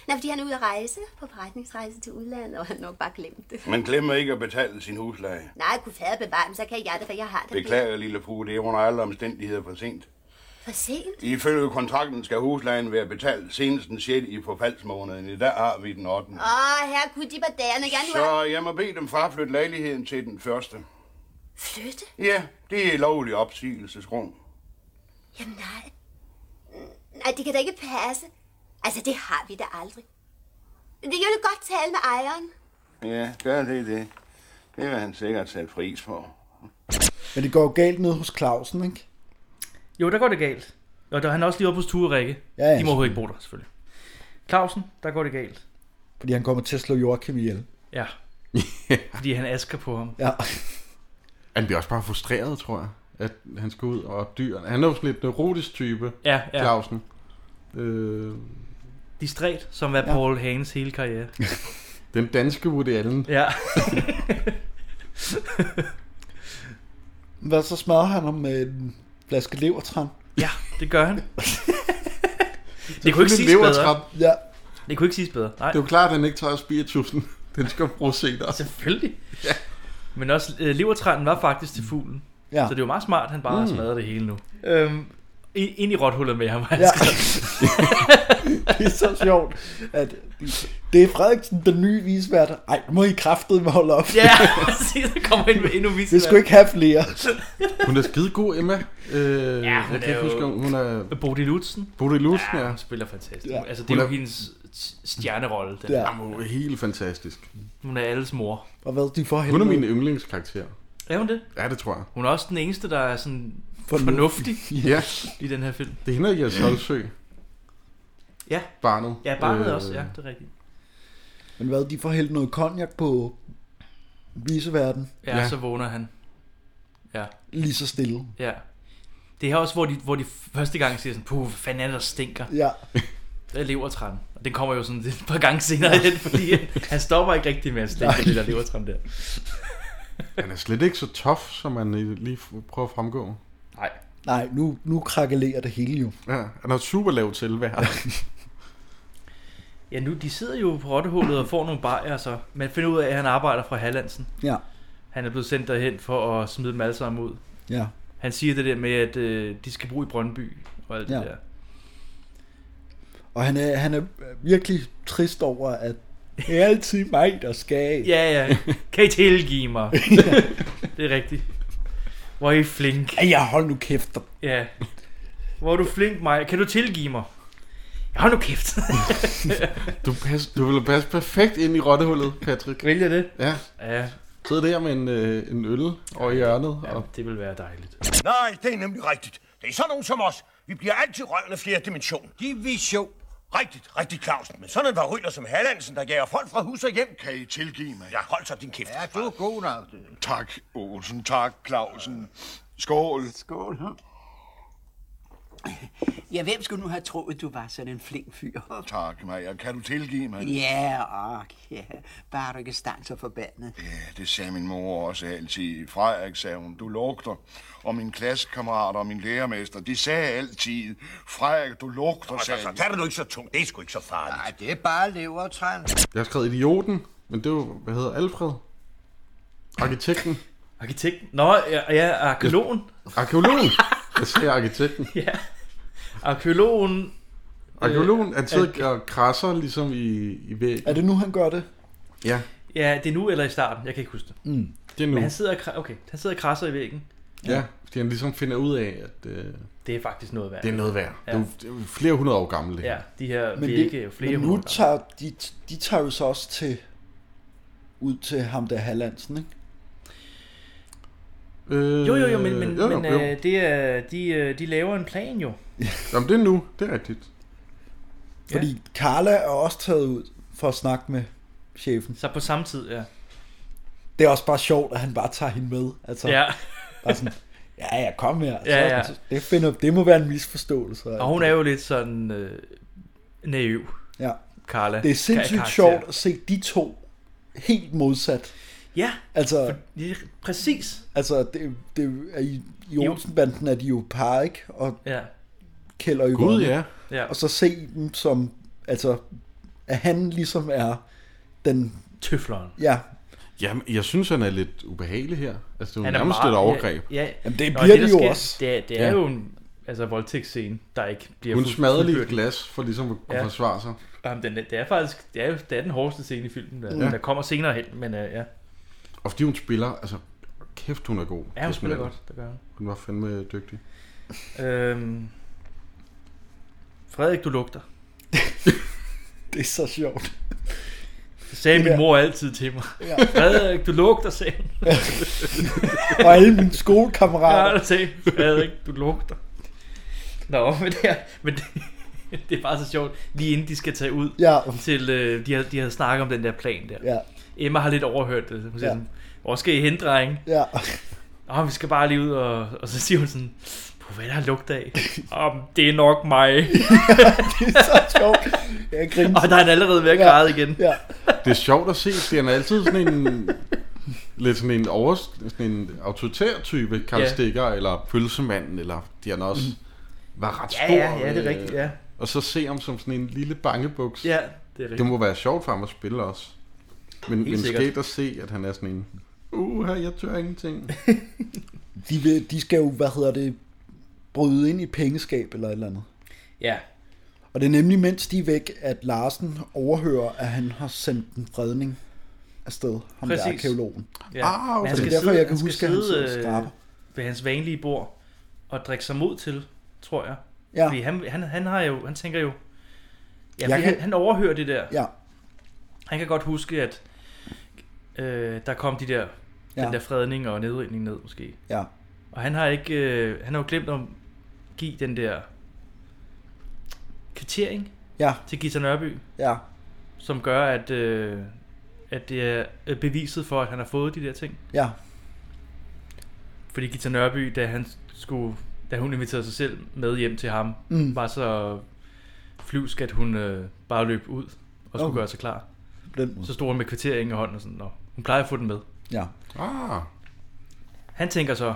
Speaker 9: Nej, fordi han er ude at rejse på forretningsrejse til udlandet, og han nok bare glemt det.
Speaker 17: Man glemmer ikke at betale sin husleje.
Speaker 9: Nej, kunne færre bevare dem, så kan jeg det, for jeg har det.
Speaker 17: Beklager, lille fru, det er under alle omstændigheder for sent.
Speaker 9: For sent?
Speaker 17: Ifølge kontrakten skal huslejen være betalt senest den 6. i forfaldsmåneden. I dag har vi den 8.
Speaker 9: Åh, herre gud, de var dagerne. Jeg nu
Speaker 17: Så
Speaker 9: har...
Speaker 17: jeg må bede dem fraflytte lejligheden til den første.
Speaker 9: Flytte?
Speaker 17: Ja, det er lovlig opsigelsesgrund.
Speaker 9: Jamen nej. Mm, Nej, det kan da ikke passe. Altså, det har vi da aldrig. Det jeg vil godt tale med ejeren.
Speaker 17: Ja, gør det det. Det vil han sikkert sætte pris på.
Speaker 3: Men det går jo galt ned hos Clausen, ikke?
Speaker 2: Jo, der går det galt. Og der, han er også lige oppe hos Ture Rikke.
Speaker 3: Ja, ja,
Speaker 2: De må jo ikke bo der, selvfølgelig. Clausen, der går det galt.
Speaker 3: Fordi han kommer til at slå Joachim ihjel.
Speaker 2: Ja. Fordi han asker på ham.
Speaker 3: Ja.
Speaker 4: Han bliver også bare frustreret, tror jeg, at han skal ud og dyrene. Han er jo sådan lidt neurotisk type,
Speaker 2: Ja, ja.
Speaker 4: Clausen. Øh,
Speaker 2: Distræt, som var
Speaker 4: Ja.
Speaker 2: Paul Hagens hele karriere.
Speaker 4: den danske Woody Allen.
Speaker 2: Ja.
Speaker 3: Hvad så smadrer han ham med en flaske levertran?
Speaker 2: Ja, det gør han. det kunne ikke siges bedre.
Speaker 3: Ja.
Speaker 2: Det kunne ikke siges bedre. Nej.
Speaker 4: Det er jo klart, at han ikke tager spiritusen. Den skal bruges senere.
Speaker 2: Altså- Selvfølgelig. Ja. Men også øh, levertrænden var faktisk til fuglen.
Speaker 3: Ja.
Speaker 2: Så det er jo meget smart, at han bare har
Speaker 4: Mm.
Speaker 2: smadret det hele nu. Øhm, i- ind i rothullet med ham.
Speaker 3: Ja.
Speaker 2: Altså,
Speaker 3: det er så sjovt, at det er Frederiksen, den nye visvært. Ej, nu må I kraftedeme holde op.
Speaker 2: Ja, præcis. Der kommer ind med endnu visvært.
Speaker 3: Det skulle ikke have flere.
Speaker 4: Hun er skide god, Emma. Øh,
Speaker 2: Ja, hun
Speaker 4: jeg kan
Speaker 2: er
Speaker 4: ikke huske,
Speaker 2: jo-
Speaker 4: om hun er...
Speaker 2: Bodil Lutzen.
Speaker 4: Bodil Lutzen, ja.
Speaker 2: Hun spiller fantastisk.
Speaker 4: Ja.
Speaker 2: Ja. Altså, det er jo
Speaker 4: Hun er-
Speaker 2: hendes s- stjernerolle. Den.
Speaker 4: Ja. Jamen, hun er helt fantastisk.
Speaker 2: Hun er alles mor.
Speaker 3: Og hvad de får
Speaker 4: Hun er min yndlingskarakter.
Speaker 2: Er hun det?
Speaker 4: Ja, det tror jeg.
Speaker 2: Hun er også den eneste, der er sådan
Speaker 4: Fornuftig.
Speaker 2: fornuftig,
Speaker 4: Ja.
Speaker 2: i den her film.
Speaker 4: Det er hende, jeg Solsø.
Speaker 2: Ja.
Speaker 4: Barnet.
Speaker 2: Ja, barnet øh... også. Ja, det er rigtigt.
Speaker 3: Men hvad, de får hældt noget cognac på viseverden.
Speaker 2: Ja, ja. så vågner han. Ja.
Speaker 3: Lige så stille.
Speaker 2: Ja. Det er her også, hvor de, hvor de første gang siger sådan, puh, hvad fanden er det, der stinker?
Speaker 3: Ja.
Speaker 2: Det er levertræn. Og den kommer jo sådan et par gange senere hen, fordi han stopper ikke rigtig med at slikke på det der levertræn der.
Speaker 4: Han er slet ikke så tof, som man lige f- prøver at fremgå.
Speaker 2: Nej.
Speaker 3: Nej, nu, nu krakelerer det hele jo.
Speaker 4: Ja, han har et super lavt selvværd.
Speaker 2: Ja, nu de sidder jo på rottehullet og får nogle bajer, så man finder ud af, at han arbejder fra Hallandsen.
Speaker 3: Ja.
Speaker 2: Han er blevet sendt derhen for at smide dem alle sammen ud.
Speaker 3: Ja.
Speaker 2: Han siger det der med, at øh, de skal bo i Brøndby og alt ja.
Speaker 3: Ja.
Speaker 2: det der.
Speaker 3: Og han er, han er virkelig trist over, at det er altid mig, der skal.
Speaker 2: Ja, ja. Kan I tilgive mig? det er rigtigt. Hvor er I flink?
Speaker 3: Ja, ja, hold nu kæft.
Speaker 2: Ja. Hvor er du flink, Maja? Kan du tilgive mig? Ja, hold nu kæft.
Speaker 4: Du, pas, du ville passe perfekt ind i rottehullet, Patrick.
Speaker 2: Vælger det?
Speaker 4: Ja.
Speaker 2: ja.
Speaker 4: Sidde der med en, øh, en øl over i hjørnet. Ja, og...
Speaker 2: det vil være dejligt.
Speaker 18: Nej, det er nemlig rigtigt. Det er sådan nogen som os. Vi bliver altid røven af flere dimension. Division. Rigtigt, rigtigt, Clausen. Men sådan en varyler som Hallandsen, der jager folk fra hus og hjem. Kan I tilgive mig? Ja, hold så din kæft. Ja, du er god nok.
Speaker 15: Tak, Olsen. Tak, Clausen. Skål. Skål.
Speaker 19: Ja, hvem skulle nu have troet, du var sådan en flink fyr?
Speaker 17: Tak, Maja. Kan du tilgive mig?
Speaker 19: Ja, og ja. Bare du ikke stanser forbandet.
Speaker 17: Ja, det sagde min mor også altid. Frederik, sagde hun, du lugter. Og min klassekammerater og min lærermester, de sagde altid, Frederik, du lugter, sagde
Speaker 18: Så tager du ikke så tungt. Det er sgu ikke så farligt.
Speaker 17: Nej, det er bare levertræn.
Speaker 4: Jeg har skrevet idioten, men det var, hvad hedder Alfred? Arkitekten.
Speaker 2: Arkitekten? Nå, ja, ja arkeologen.
Speaker 4: Arkeologen? Jeg siger arkitekten.
Speaker 2: Ja. Arkeologen...
Speaker 4: Arkeologen,
Speaker 2: Øh,
Speaker 4: han sidder
Speaker 2: er-
Speaker 4: og krasser ligesom i, i væggen.
Speaker 3: Er det nu, han gør det?
Speaker 4: Ja.
Speaker 2: Ja, det er nu eller i starten. Jeg kan ikke huske det.
Speaker 3: Mm.
Speaker 4: Det er nu.
Speaker 2: Men han sidder, og kra- okay, han sidder og krasser i væggen.
Speaker 4: Ja, fordi han ligesom finder ud af, at øh,
Speaker 2: Det er faktisk noget værd.
Speaker 4: det er noget værd.
Speaker 2: Ja.
Speaker 4: Ja. Det, er, jo- det er jo flere hundrede år gammelt. det her.
Speaker 2: Ja, de her
Speaker 3: Men,
Speaker 2: vægge er jo flere
Speaker 3: men nu
Speaker 2: hundrede
Speaker 3: tager de, de tager jo så også til, ud til ham der Hallandsen, ikke?
Speaker 4: Øh,
Speaker 2: Jo, jo, jo, men, men,
Speaker 4: jo, jo,
Speaker 2: men
Speaker 4: jo.
Speaker 2: Øh, det er, de, øh, de laver en plan jo.
Speaker 4: Jamen, det er nu. Det er rigtigt.
Speaker 3: Fordi Carla er også taget ud for at snakke med chefen.
Speaker 2: Så på samme tid, ja.
Speaker 3: Det er også bare sjovt, at han bare tager hende med. Altså,
Speaker 2: Ja.
Speaker 3: Bare sådan, ja, ja, kom her.
Speaker 2: Ja, ja.
Speaker 3: Så, det, finder, det må være en misforståelse.
Speaker 2: Og hun er jo lidt sådan øh, naiv.
Speaker 3: Ja.
Speaker 2: Carla.
Speaker 3: Det er sindssygt
Speaker 2: karakter.
Speaker 3: sjovt at se de to helt modsat.
Speaker 2: Ja,
Speaker 3: altså,
Speaker 2: for, præcis.
Speaker 3: Altså, det, det er i, i Olsenbanden er de jo par, ikke? Og
Speaker 2: Ja.
Speaker 3: Kjeld og
Speaker 4: Gud,
Speaker 3: Yvonne.
Speaker 4: ja.
Speaker 2: Ja.
Speaker 3: Og så se dem som, altså, at han ligesom er den...
Speaker 2: Tøfleren.
Speaker 3: Ja,
Speaker 4: Jamen, jeg synes, han er lidt ubehagelig her. Altså, det er jo
Speaker 2: Han er
Speaker 4: nærmest
Speaker 2: meget-
Speaker 4: et overgreb.
Speaker 2: Ja, ja.
Speaker 3: Jamen, det
Speaker 2: Nå,
Speaker 3: bliver
Speaker 2: der
Speaker 3: det jo
Speaker 2: sker,
Speaker 3: også.
Speaker 2: Det er, det er ja. jo en altså, voldtægtsscene, der ikke bliver
Speaker 4: Hun
Speaker 2: fuld-
Speaker 4: smadrer lige et
Speaker 2: fuldbyrdet.
Speaker 4: glas for ligesom at ja. forsvare sig.
Speaker 2: Jamen, den, det er faktisk det er, jo- det er den hårdeste scene i filmen, der,
Speaker 4: Ja.
Speaker 2: ja. der kommer senere hen, men øh, ja.
Speaker 4: Og fordi hun spiller, altså kæft hun er god.
Speaker 2: Ja, hun
Speaker 4: Kirsten
Speaker 2: spiller
Speaker 4: Wallner.
Speaker 2: godt, det gør hun.
Speaker 4: Hun var fandme dygtig.
Speaker 2: Øhm, Frederik, du lugter.
Speaker 3: det er så sjovt.
Speaker 2: Det sagde
Speaker 3: Det
Speaker 2: min
Speaker 3: der-
Speaker 2: mor altid til mig.
Speaker 3: Ja.
Speaker 2: Ja. Frederik, du lugter, sagde hun.
Speaker 3: og alle mine skolekammerater.
Speaker 2: Ja, der sagde hun, Frederik, du lugter. Nå, men det er, men det, det er bare så sjovt, lige inden de skal tage ud
Speaker 3: ja.
Speaker 2: til, øh, de, har, de havde snakket om den der plan der.
Speaker 3: Ja.
Speaker 2: Emma har lidt overhørt det. Hun siger
Speaker 3: Ja.
Speaker 2: ja. sådan, hvor skal I hen, dreng?
Speaker 3: Ja.
Speaker 2: Åh, vi skal bare lige ud, og, og så siger hun sådan, på hvad er der lugter af? Åh, men det er nok mig.
Speaker 3: det er så sjovt. Jeg griner.
Speaker 2: Og der er han allerede ved at græde igen.
Speaker 3: Ja.
Speaker 4: Det er sjovt at se, fordi han er altid sådan en... lidt sådan en, over, sådan en autoritær type,
Speaker 2: Ja.
Speaker 4: Karl
Speaker 2: Mhm.
Speaker 4: yeah. Stikker, eller pølsemanden, eller de han også var ret
Speaker 2: Ja,
Speaker 4: stor.
Speaker 2: ja, ja, det er
Speaker 4: øh,
Speaker 2: rigtigt, ja.
Speaker 4: Og så se ham som sådan en lille bangebuks.
Speaker 2: Ja, det er rigtigt.
Speaker 4: Det må være sjovt for ham at spille også. Men,
Speaker 2: Helt
Speaker 4: men
Speaker 2: sikkert.
Speaker 4: skægt at se, at han er sådan en... Uh, jeg tør ingenting.
Speaker 3: De, vil, de skal jo, hvad hedder det, bryde ind i et pengeskab eller et eller andet.
Speaker 2: Ja.
Speaker 3: Og det er nemlig, mens de er væk, at Larsen overhører, at han har sendt en fredning afsted. Ham Præcis. der
Speaker 2: Præcis.
Speaker 3: arkeologen.
Speaker 2: Ja. Men
Speaker 3: Så Ah, det er derfor, jeg kan
Speaker 2: han
Speaker 3: huske,
Speaker 2: skal
Speaker 3: at han
Speaker 2: sidde,
Speaker 3: sidder og skraber.
Speaker 2: øh, ved hans vanlige bord og drikke sig mod til, tror jeg.
Speaker 3: Ja.
Speaker 2: Fordi han, han, han, har jo, han tænker jo... Ja,
Speaker 3: Jeg
Speaker 2: fordi
Speaker 3: kan-
Speaker 2: han, han overhører det der.
Speaker 3: Ja.
Speaker 2: Han kan godt huske, at øh, der kom de der, ja.
Speaker 3: Ja.
Speaker 2: den der fredning og nedrivning ned, måske.
Speaker 3: Ja.
Speaker 2: Og han har ikke, øh, han har jo glemt at give den der kvittering
Speaker 3: Ja.
Speaker 2: til Gita Nørby.
Speaker 3: Ja.
Speaker 2: Som gør, at, øh, at det er øh, beviset for, at han har fået de der ting.
Speaker 3: Ja.
Speaker 2: Fordi Gita Nørby, da, han skulle, da hun inviterede sig selv med hjem til ham,
Speaker 3: Mm.
Speaker 2: var så flyvskat, hun øh, bare løb ud og skulle
Speaker 3: Okay.
Speaker 2: gøre sig klar.
Speaker 3: På den måde.
Speaker 2: Så stod hun med kvitteringen i hånden og sådan, Nå, hun plejer at få den med.
Speaker 3: Ja.
Speaker 2: Ah. Han tænker så,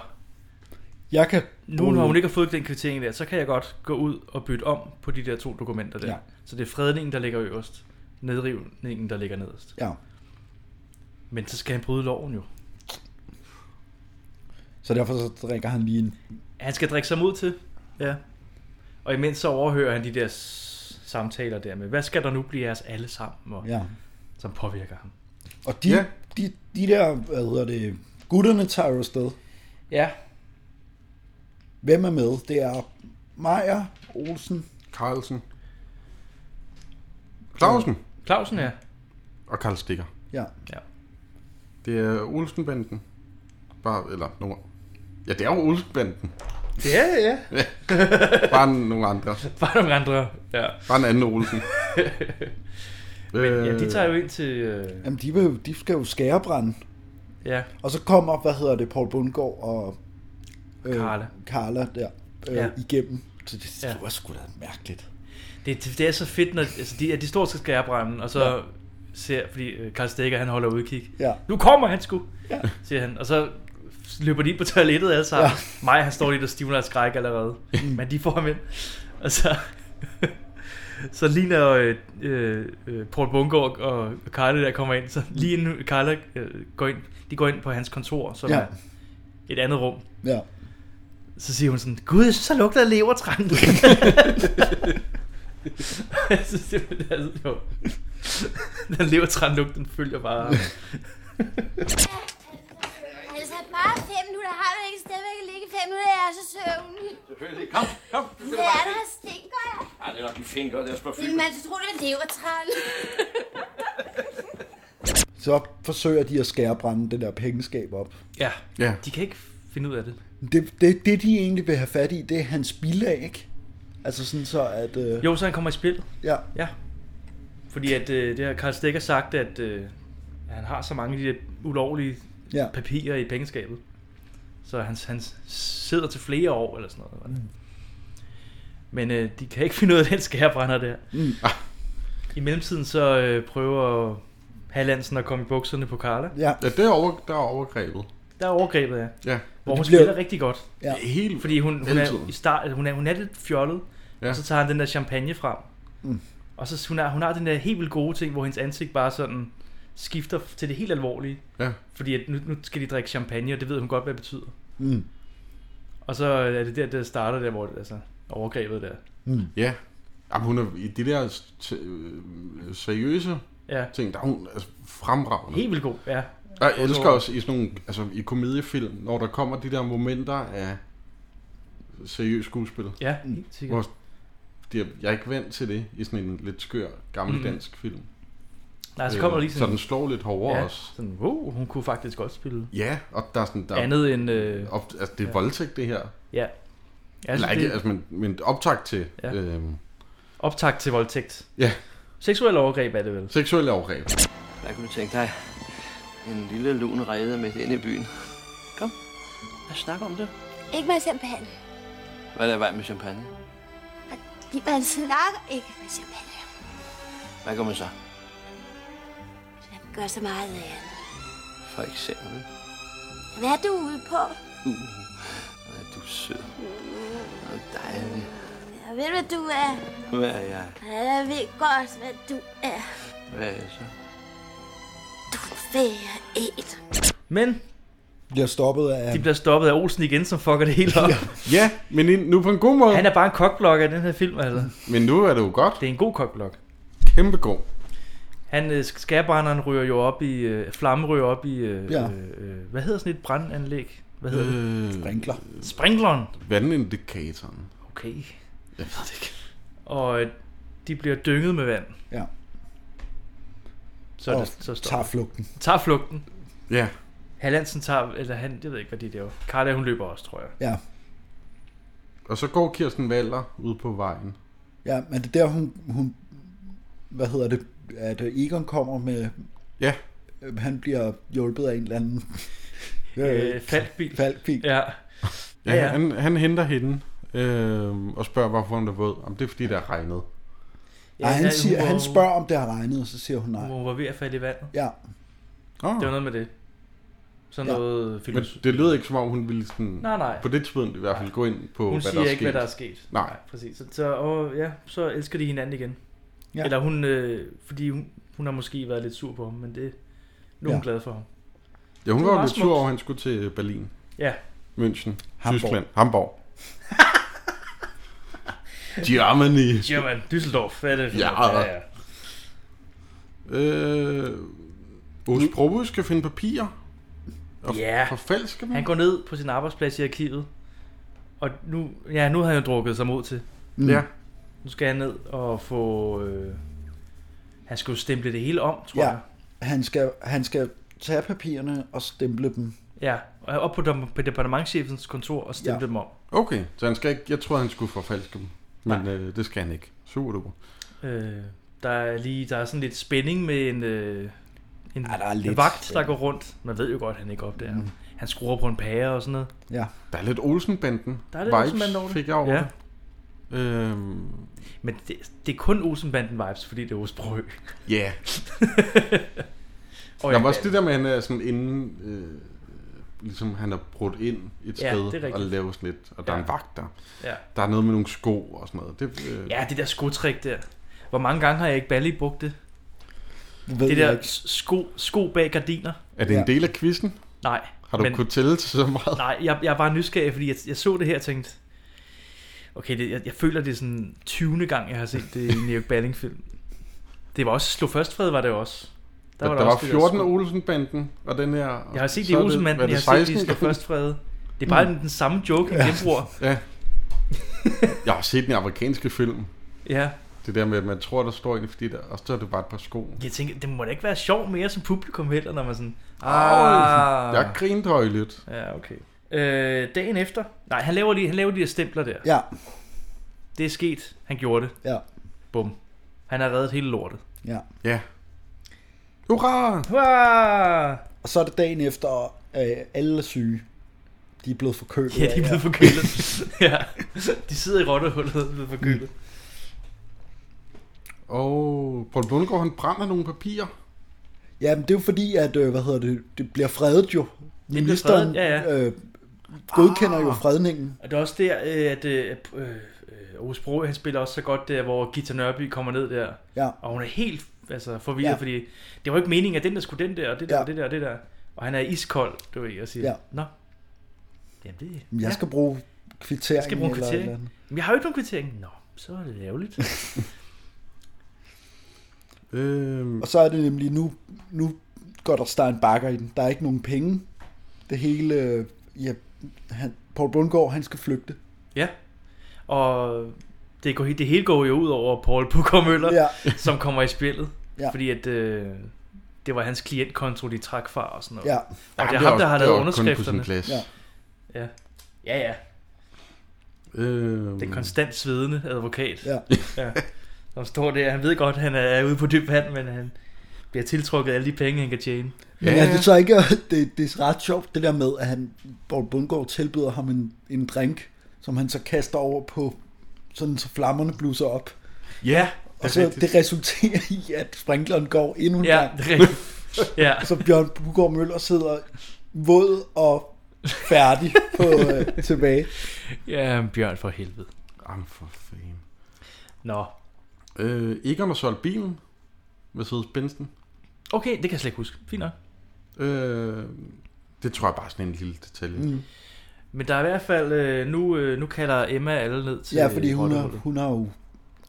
Speaker 3: Jeg kan...
Speaker 2: nu når hun ikke har fået den kvittering der, så kan jeg godt gå ud og bytte om på de der to dokumenter der.
Speaker 3: Ja.
Speaker 2: Ja. Så det er fredningen, der ligger øverst. Nedrivningen, der ligger nederst.
Speaker 3: Ja.
Speaker 2: Men så skal han bryde loven jo.
Speaker 3: Så derfor så drikker han lige en...
Speaker 2: Han skal drikke sig mod til. Ja. Og imens så overhører han de der s- samtaler der med, hvad skal der nu blive af os alle sammen? Og,
Speaker 3: Ja.
Speaker 2: Som påvirker ham.
Speaker 3: Og de, ja. de, de der, hvad hedder det, gutterne tager jo afsted.
Speaker 2: Ja.
Speaker 3: Hvem er med? Det er Maja, Olsen,
Speaker 2: Mm.
Speaker 4: Carlsen. Clausen.
Speaker 2: Clausen, ja.
Speaker 4: Og Karl Stikker.
Speaker 3: Ja.
Speaker 2: ja.
Speaker 4: Det er Olsenbanden. Bare, eller nogle... Ja, det er jo Olsenbanden.
Speaker 2: Det er det, ja.
Speaker 4: Bare nogle andre.
Speaker 2: Bare nogle andre, ja.
Speaker 4: Bare en anden Olsen. Øh,
Speaker 2: Men ja, de tager jo ind til... Øh,
Speaker 3: Jamen, de, vil, jo- de skal jo skærebrænde.
Speaker 2: Ja.
Speaker 3: Og så kommer, hvad hedder det, Paul Bundgaard og... Øh,
Speaker 2: Carla.
Speaker 3: Carla der, øh,
Speaker 2: Ja.
Speaker 3: ja. igennem. Så det,
Speaker 2: Ja.
Speaker 3: det var sgu da mærkeligt.
Speaker 2: Det, det, det er så fedt, når altså, de, at de står til skærebrænden, og så ja. ser, fordi øh, Karl Stikker, han holder udkig.
Speaker 3: Ja.
Speaker 2: Nu kommer han sgu,
Speaker 3: ja.
Speaker 2: siger han. Og så løber de ind på toilettet alle sammen. Ja. Mig, han står lige og stivner af skræk allerede.
Speaker 3: Mm.
Speaker 2: Men de får ham ind. Og så, så lige når øh, øh, øh, Paul Bungård og Karla der kommer ind, så lige inden Karla øh, går ind, de går ind på hans kontor, som
Speaker 3: Ja.
Speaker 2: ja. er et andet rum.
Speaker 3: Ja.
Speaker 2: Så siger hun sådan, gud, jeg synes, der lugter af levertræn. jeg synes, det er altså sjovt. Den levertrænlugt, den følger bare.
Speaker 9: Altså, bare fem minutter har du ikke stadigvæk at ligge i fem minutter, jeg er så søvnig.
Speaker 16: Selvfølgelig. Kom, kom.
Speaker 9: Hvad er der, stinker jeg?
Speaker 16: Ej, det er nok en finger, det er sgu
Speaker 9: Vil man så tro, det var levertræl?
Speaker 3: Så forsøger de at skærebrænde det der pengeskab op.
Speaker 2: ja.
Speaker 4: ja,
Speaker 2: de kan ikke finde ud af det.
Speaker 3: Det, det, det de egentlig vil have fat i, det er hans bilag, ikke? Altså sådan så, at... Øh,
Speaker 2: Jo, så han kommer i spil.
Speaker 3: Ja.
Speaker 2: ja. Fordi at, øh, det har Karl Stikker sagt, at øh, han har så mange af de der ulovlige
Speaker 3: Ja.
Speaker 2: ja. papirer i pengeskabet. Så han, han sidder til flere år, eller sådan noget. var det.
Speaker 3: Mm.
Speaker 2: Men øh, de kan ikke finde ud af den skærebrænder der.
Speaker 3: Mm.
Speaker 2: I mellemtiden så øh, prøver Hallandsen at komme i bukserne på Karla.
Speaker 3: Ja.
Speaker 4: ja det er over, der er overgrebet.
Speaker 2: Der er overgrebet, ja.
Speaker 4: Ja.
Speaker 2: Hvor
Speaker 4: Men
Speaker 2: hun
Speaker 4: de bliver-
Speaker 2: spiller rigtig godt.
Speaker 4: Ja. Helt
Speaker 2: Fordi hun, hun,
Speaker 4: hele
Speaker 2: er,
Speaker 4: tiden.
Speaker 2: i start, altså, hun, er, hun er lidt fjollet,
Speaker 4: Ja.
Speaker 2: ja. og så tager han den der champagne frem.
Speaker 3: Mm.
Speaker 2: Og så hun har, hun har den der helt vildt gode ting, hvor hendes ansigt bare sådan skifter til det helt alvorlige.
Speaker 4: Ja.
Speaker 2: Fordi at nu, nu skal de drikke champagne, og det ved hun godt, hvad det betyder.
Speaker 3: Mm.
Speaker 2: Og så er det der, der starter der, hvor det, altså, overgrebet der.
Speaker 3: Mm.
Speaker 4: Ja. Jamen, hun er i de der t- øh, seriøse
Speaker 2: Ja.
Speaker 4: ting, der er hun altså, fremragende.
Speaker 2: Helt vildt god, ja.
Speaker 4: Og jeg elsker også i sådan nogle, altså i komediefilm, når der kommer de der momenter af seriøs skuespil.
Speaker 2: Ja, helt sikkert.
Speaker 4: Hvor det er, jeg er ikke vant til det i sådan en lidt skør, gammel
Speaker 2: Mm.
Speaker 4: dansk film.
Speaker 2: Nej, så kommer der lige sådan...
Speaker 4: Øh, Så den slår lidt hårdere
Speaker 2: ja,
Speaker 4: også.
Speaker 2: Sådan, wow, hun kunne faktisk godt spille.
Speaker 4: Ja, og der er sådan... Der,
Speaker 2: Andet end, øh,
Speaker 4: op, altså, det
Speaker 2: ja.
Speaker 4: er
Speaker 2: Altså,
Speaker 4: ja. voldtægt, det her.
Speaker 2: Ja.
Speaker 4: Ja, altså, Eller ikke, det... altså, men, men optag til...
Speaker 2: Ja.
Speaker 4: Ja. Øhm,
Speaker 2: Optag til voldtægt.
Speaker 4: Ja.
Speaker 2: Seksuel overgreb er det vel?
Speaker 4: Seksuel overgreb.
Speaker 11: Hvad kunne du tænke dig? En lille lun redde med ind i byen. Kom, lad os snakke om det.
Speaker 9: Ikke med champagne.
Speaker 11: Hvad er der i vejen med champagne?
Speaker 9: Fordi man snakker ikke med champagne.
Speaker 11: Hvad gør man så?
Speaker 9: Man gør så meget af det.
Speaker 11: For eksempel.
Speaker 9: Hvad er du ude på?
Speaker 11: Uh, hvor er du sød. Og dejlig.
Speaker 9: Jeg ved, hvad du er.
Speaker 11: Hvad er jeg?
Speaker 9: Ja, Jeg ved godt, hvad du er.
Speaker 11: Hvad er jeg så?
Speaker 9: Fære et.
Speaker 2: Men...
Speaker 3: Bliver stoppet af...
Speaker 2: De bliver stoppet af Olsen igen, som fucker det hele op.
Speaker 4: ja, men i- nu på en god måde.
Speaker 2: Han er bare en kokblok af den her film, altså.
Speaker 4: Men nu er det jo godt.
Speaker 2: Det er en god kokblok.
Speaker 4: Kæmpe god.
Speaker 2: Han, øh, skærbrænderen ryger jo op i... Øh, flamme ryger op i... Øh,
Speaker 4: Ja.
Speaker 2: ja. øh, hvad hedder sådan et brandanlæg? Hvad hedder øh. det?
Speaker 4: Øh,
Speaker 3: Sprinkler.
Speaker 2: Sprinkleren.
Speaker 4: Vandindikatoren.
Speaker 2: Okay.
Speaker 4: Jeg ved det ikke.
Speaker 2: Og øh, de bliver dynget med vand.
Speaker 3: Ja.
Speaker 2: Så, er
Speaker 3: Og
Speaker 2: det, så stopper.
Speaker 3: tager flugten.
Speaker 2: Tager flugten.
Speaker 4: Ja.
Speaker 2: Hallandsen tager... Eller han... Jeg ved ikke, hvad de laver. Karla, hun løber også, tror jeg.
Speaker 3: Ja.
Speaker 4: Og så går Kirsten Valder ud på vejen.
Speaker 3: Ja, men det er der, hun, hun hvad hedder det, at øh, Egon kommer med, øh,
Speaker 4: ja.
Speaker 3: han bliver hjulpet af en eller anden
Speaker 2: Øh, falkbil.
Speaker 3: falkbil.
Speaker 2: Ja.
Speaker 4: øhm, Ja, ja. Han, han henter hende øh, og spørger, hvorfor hun er våd. Om det er, fordi det er regnet.
Speaker 3: Ja, han,
Speaker 2: ja,
Speaker 3: siger,
Speaker 2: hun var-
Speaker 3: han spørger, om det har regnet, og så siger hun nej.
Speaker 2: Hun var ved at falde i vandet.
Speaker 3: Ja.
Speaker 2: Oh. Det var noget med det. Sådan
Speaker 3: Ja.
Speaker 2: ja. noget
Speaker 4: Men
Speaker 2: filosofi.
Speaker 4: det lød ikke som om, hun ville sådan,
Speaker 2: Nej, nej.
Speaker 4: på det tidspunkt i hvert fald gå ind på,
Speaker 2: Hun
Speaker 4: hvad der
Speaker 2: siger
Speaker 4: er
Speaker 2: ikke,
Speaker 4: sket.
Speaker 2: hvad der er sket.
Speaker 4: Nej.
Speaker 2: Præcis. Så, så, og, ja, så elsker de hinanden igen.
Speaker 3: Ja.
Speaker 2: Ja. Eller hun, øh, fordi hun, hun har måske været lidt sur på ham, men det, nu er hun
Speaker 4: Ja.
Speaker 2: ja. glad for ham.
Speaker 4: Ja, hun
Speaker 2: Det
Speaker 4: var jo
Speaker 2: meget
Speaker 4: lidt sur
Speaker 2: smukt.
Speaker 4: over, at han skulle til Berlin.
Speaker 2: Ja.
Speaker 4: München.
Speaker 2: Hamburg.
Speaker 4: Tyskland. Hamburg. Germany.
Speaker 2: German, Düsseldorf, hvad er det? for
Speaker 4: Ja.
Speaker 2: noget? ja, ja.
Speaker 4: Øh, Ås Probe skal finde papirer. Og
Speaker 2: Ja.
Speaker 4: Forfalsker dem.
Speaker 2: Han går ned på sin arbejdsplads i arkivet. Og nu, ja, nu har han jo drukket sig mod til.
Speaker 4: Mm. Ja.
Speaker 2: Nu skal han ned og få... Øh, han skal jo stemple det hele om, tror
Speaker 3: Ja,
Speaker 2: jeg.
Speaker 3: han skal, han skal tage papirerne og stemple dem.
Speaker 2: Ja, og er op på, dem, på departementchefens kontor og stemple
Speaker 3: Ja.
Speaker 2: ja. dem om.
Speaker 4: Okay, så han skal ikke, jeg tror han skulle forfalske dem. Men øh, det skal han ikke. Super duper.
Speaker 2: Øh, der er lige der er sådan lidt spænding med en, øh, en, ja, der
Speaker 3: er lidt
Speaker 2: en vagt, der
Speaker 3: spænding.
Speaker 2: går rundt. Man ved jo godt, han ikke opdager.
Speaker 4: Mm.
Speaker 2: Mm. Han skruer på en pære og sådan noget.
Speaker 3: Ja.
Speaker 4: Der er lidt Olsenbanden.
Speaker 2: Der er lidt
Speaker 4: vibes,
Speaker 2: Olsenbanden over det.
Speaker 4: fik jeg over
Speaker 2: Ja.
Speaker 4: det. Øhm,
Speaker 2: Men det, det er kun Olsenbanden vibes, fordi det er Osbrø.
Speaker 4: Ja.
Speaker 2: Og
Speaker 4: Og der
Speaker 2: jeg
Speaker 4: var også
Speaker 2: kan-
Speaker 4: det der med, at han er sådan inden... Øh, ligesom han er brudt ind et
Speaker 2: Ja,
Speaker 4: sted
Speaker 2: det er rigtigt.
Speaker 4: og laver sådan lidt, og der er
Speaker 2: Ja.
Speaker 4: en vagt der.
Speaker 2: Ja.
Speaker 4: Der er noget med nogle sko og sådan noget. Det, øh,
Speaker 2: Ja, det der skotrik der. Hvor mange gange har jeg ikke Bally brugt det?
Speaker 3: Det ved
Speaker 2: det
Speaker 3: jeg
Speaker 2: der
Speaker 3: ikke.
Speaker 2: sko, sko bag gardiner.
Speaker 4: Er det en del af quizzen?
Speaker 2: Nej.
Speaker 4: Har du
Speaker 2: men-
Speaker 4: kunnet tælle til så meget?
Speaker 2: Nej, jeg, jeg var nysgerrig, fordi jeg, jeg så det her og tænkte, okay, det, jeg, jeg føler, det er sådan 20. gang, jeg har set det i en Erik Balling-film. Det var også, Slå Først Fred var det også.
Speaker 4: Der var, der
Speaker 2: det
Speaker 4: var
Speaker 2: også det
Speaker 4: 14
Speaker 2: sko-
Speaker 4: Olsenbanden, og den her...
Speaker 2: Jeg har set det
Speaker 4: så
Speaker 2: i
Speaker 4: er hvad
Speaker 2: Olsenmanden,
Speaker 4: er
Speaker 2: jeg har set det i
Speaker 4: 16?
Speaker 2: Slå Først Fred. Det er bare
Speaker 4: Mm.
Speaker 2: den, den samme joke, han
Speaker 4: Ja.
Speaker 2: genbruger.
Speaker 4: Ja. Jeg har set den amerikanske film.
Speaker 2: Ja.
Speaker 4: Det der med, at man tror, der står en, fordi der, og så er det bare et par sko.
Speaker 2: Jeg tænker, det må da ikke være sjovt mere som publikum heller, når man sådan...
Speaker 4: Ah. Jeg grinte højlydt.
Speaker 2: Ja, okay. Øh, dagen efter... Nej, han laver, lige, han laver de der stempler der.
Speaker 3: Ja.
Speaker 2: Det er sket. Han gjorde det.
Speaker 3: Ja.
Speaker 2: Bum. Han har reddet hele lortet.
Speaker 3: Ja.
Speaker 4: Ja. Hurra!
Speaker 2: Hurra!
Speaker 3: Og så er det dagen efter, og øh, alle er syge. De er blevet forkølet.
Speaker 2: Ja, de er blevet forkølet. ja. De sidder i rottehullet og er blevet forkølet.
Speaker 4: Og Paul Bundgaard, han brænder nogle papirer.
Speaker 3: Ja, men det er jo fordi, at, øh, hvad hedder det, det bliver fredet jo. Ministeren
Speaker 2: fredet, ja, Ah.
Speaker 3: Øh, godkender jo fredningen.
Speaker 2: Og det er også der, øh, at øh, øh, øh, Aarhus Bro, han spiller også så godt der, hvor Gita Nørby kommer ned der.
Speaker 3: Ja.
Speaker 2: Og hun er helt altså, forvirret,
Speaker 3: Ja.
Speaker 2: ja. fordi det var jo ikke meningen, at den der skulle den der, og det der, ja.
Speaker 3: Ja.
Speaker 2: og det der, og det der. Og han er iskold, du ved, og siger,
Speaker 3: Ja.
Speaker 2: ja. Nå, jamen det...
Speaker 3: Men Jeg skal bruge kvittering.
Speaker 2: jeg skal bruge en
Speaker 3: eller et eller
Speaker 2: kvittering.
Speaker 3: andet.
Speaker 2: Men jeg har jo ikke nogen kvittering. Nå, så er det ærgerligt.
Speaker 4: Øhm,
Speaker 3: Og så er det nemlig, nu, nu går der Stein Bakker i den. Der er ikke nogen penge. Det hele, øh, ja, han, Paul Bundgaard, han skal flygte.
Speaker 2: ja. Og det, går, det hele går jo ud over Paul Bukker
Speaker 3: Ja.
Speaker 2: ja. som kommer i spillet.
Speaker 3: Ja.
Speaker 2: Ja. Fordi at... Øh, det var hans klientkonto, de trak fra og sådan noget.
Speaker 3: Ja.
Speaker 2: Og det
Speaker 4: Jamen, det
Speaker 2: er
Speaker 4: var-
Speaker 2: ham, der har
Speaker 4: det
Speaker 2: lavet
Speaker 4: var kun på sin
Speaker 2: underskrifterne.
Speaker 4: plads. Ja.
Speaker 2: Ja. Ja, ja.
Speaker 4: Øhm,
Speaker 2: Den konstant svedende advokat.
Speaker 3: Ja.
Speaker 2: ja. Som står der. Han ved godt, han er ude på dyb vand, men han bliver tiltrukket af alle de penge, han kan tjene.
Speaker 3: Men ja. er det så ikke, det, det er ret sjovt det der med, at han, Paul Bundgaard tilbyder ham en, en drink, som han så kaster over på, sådan så flammerne bluser op.
Speaker 2: Ja,
Speaker 3: Og så rigtigt. det resulterer i, at sprinkleren går endnu en
Speaker 2: Ja,
Speaker 3: gang.
Speaker 2: det er rigtigt. Ja.
Speaker 3: så Bjørn Bugård Møller sidder våd og færdig på øh, tilbage.
Speaker 2: Ja, Bjørn for helvede.
Speaker 4: Jamen for fanden.
Speaker 2: Nå.
Speaker 4: Øh, Egon har solgt bilen. Mercedes Benzen.
Speaker 2: Okay, det kan jeg slet ikke huske. Fint nok.
Speaker 4: Øh, det tror jeg bare er sådan en lille detalje.
Speaker 3: Mm.
Speaker 2: Men der er i hvert fald, øh, nu, øh, nu kalder Emma alle ned til
Speaker 3: Ja, fordi hun har,
Speaker 2: Rottehullet.
Speaker 3: hun har jo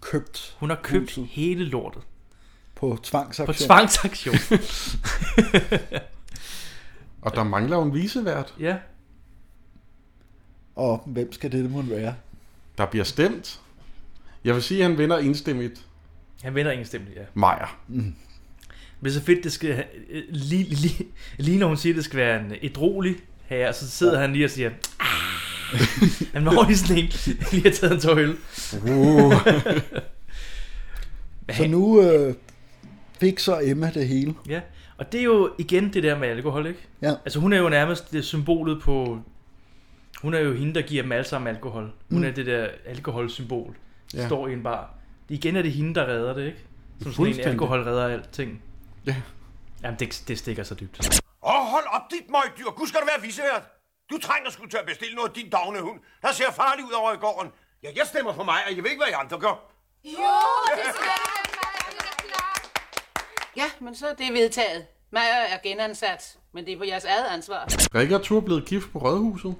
Speaker 3: købt
Speaker 2: hun har købt hele lortet.
Speaker 3: på
Speaker 2: På
Speaker 3: tvangsaktion.
Speaker 2: tvangsaktion.
Speaker 4: Og der mangler jo en visevært.
Speaker 2: ja.
Speaker 3: og hvem skal det måtte være?
Speaker 4: Der bliver stemt. Jeg vil sige, at han vinder enstemmigt.
Speaker 2: Han vender ingen stemme, ja.
Speaker 4: Meyer.
Speaker 3: Mm.
Speaker 2: Men så fedt, det skal, øh, lige, lige, lige når hun siger, det skal være en edrolig herre, så sidder ja. han lige og siger, "Ah." han var lige sådan en, lige har taget en tår øl.
Speaker 4: Uh.
Speaker 3: Så nu øh, fik så Emma det hele.
Speaker 2: ja, og det er jo igen det der med alkohol, ikke?
Speaker 3: Ja.
Speaker 2: Altså hun er jo nærmest det symbolet på, hun er jo hende, der giver dem alle sammen alkohol. Hun
Speaker 3: Mm.
Speaker 2: mm. er det der alkoholsymbol,
Speaker 3: Ja.
Speaker 2: ja. står i en bar. Igen er det hende, der redder det, ikke? Som sådan en
Speaker 4: Fuldstændig.
Speaker 2: alkohol redder alting. Ja. Jamen, det, det stikker så dybt.
Speaker 18: Åh, oh, hold op, dit møgdyr. Gud skal du være visevært. Du trænger skulle til at bestille noget af din dogne hund. Der ser farlig ud over i gården. Ja, jeg stemmer for mig, og jeg ved ikke, hvad I andre gør.
Speaker 13: Jo, det skal
Speaker 20: Ja, men så er det vedtaget. Maja er genansat, men det er på jeres eget ansvar.
Speaker 4: Rikke og Tur er blevet gift på Rødhuset.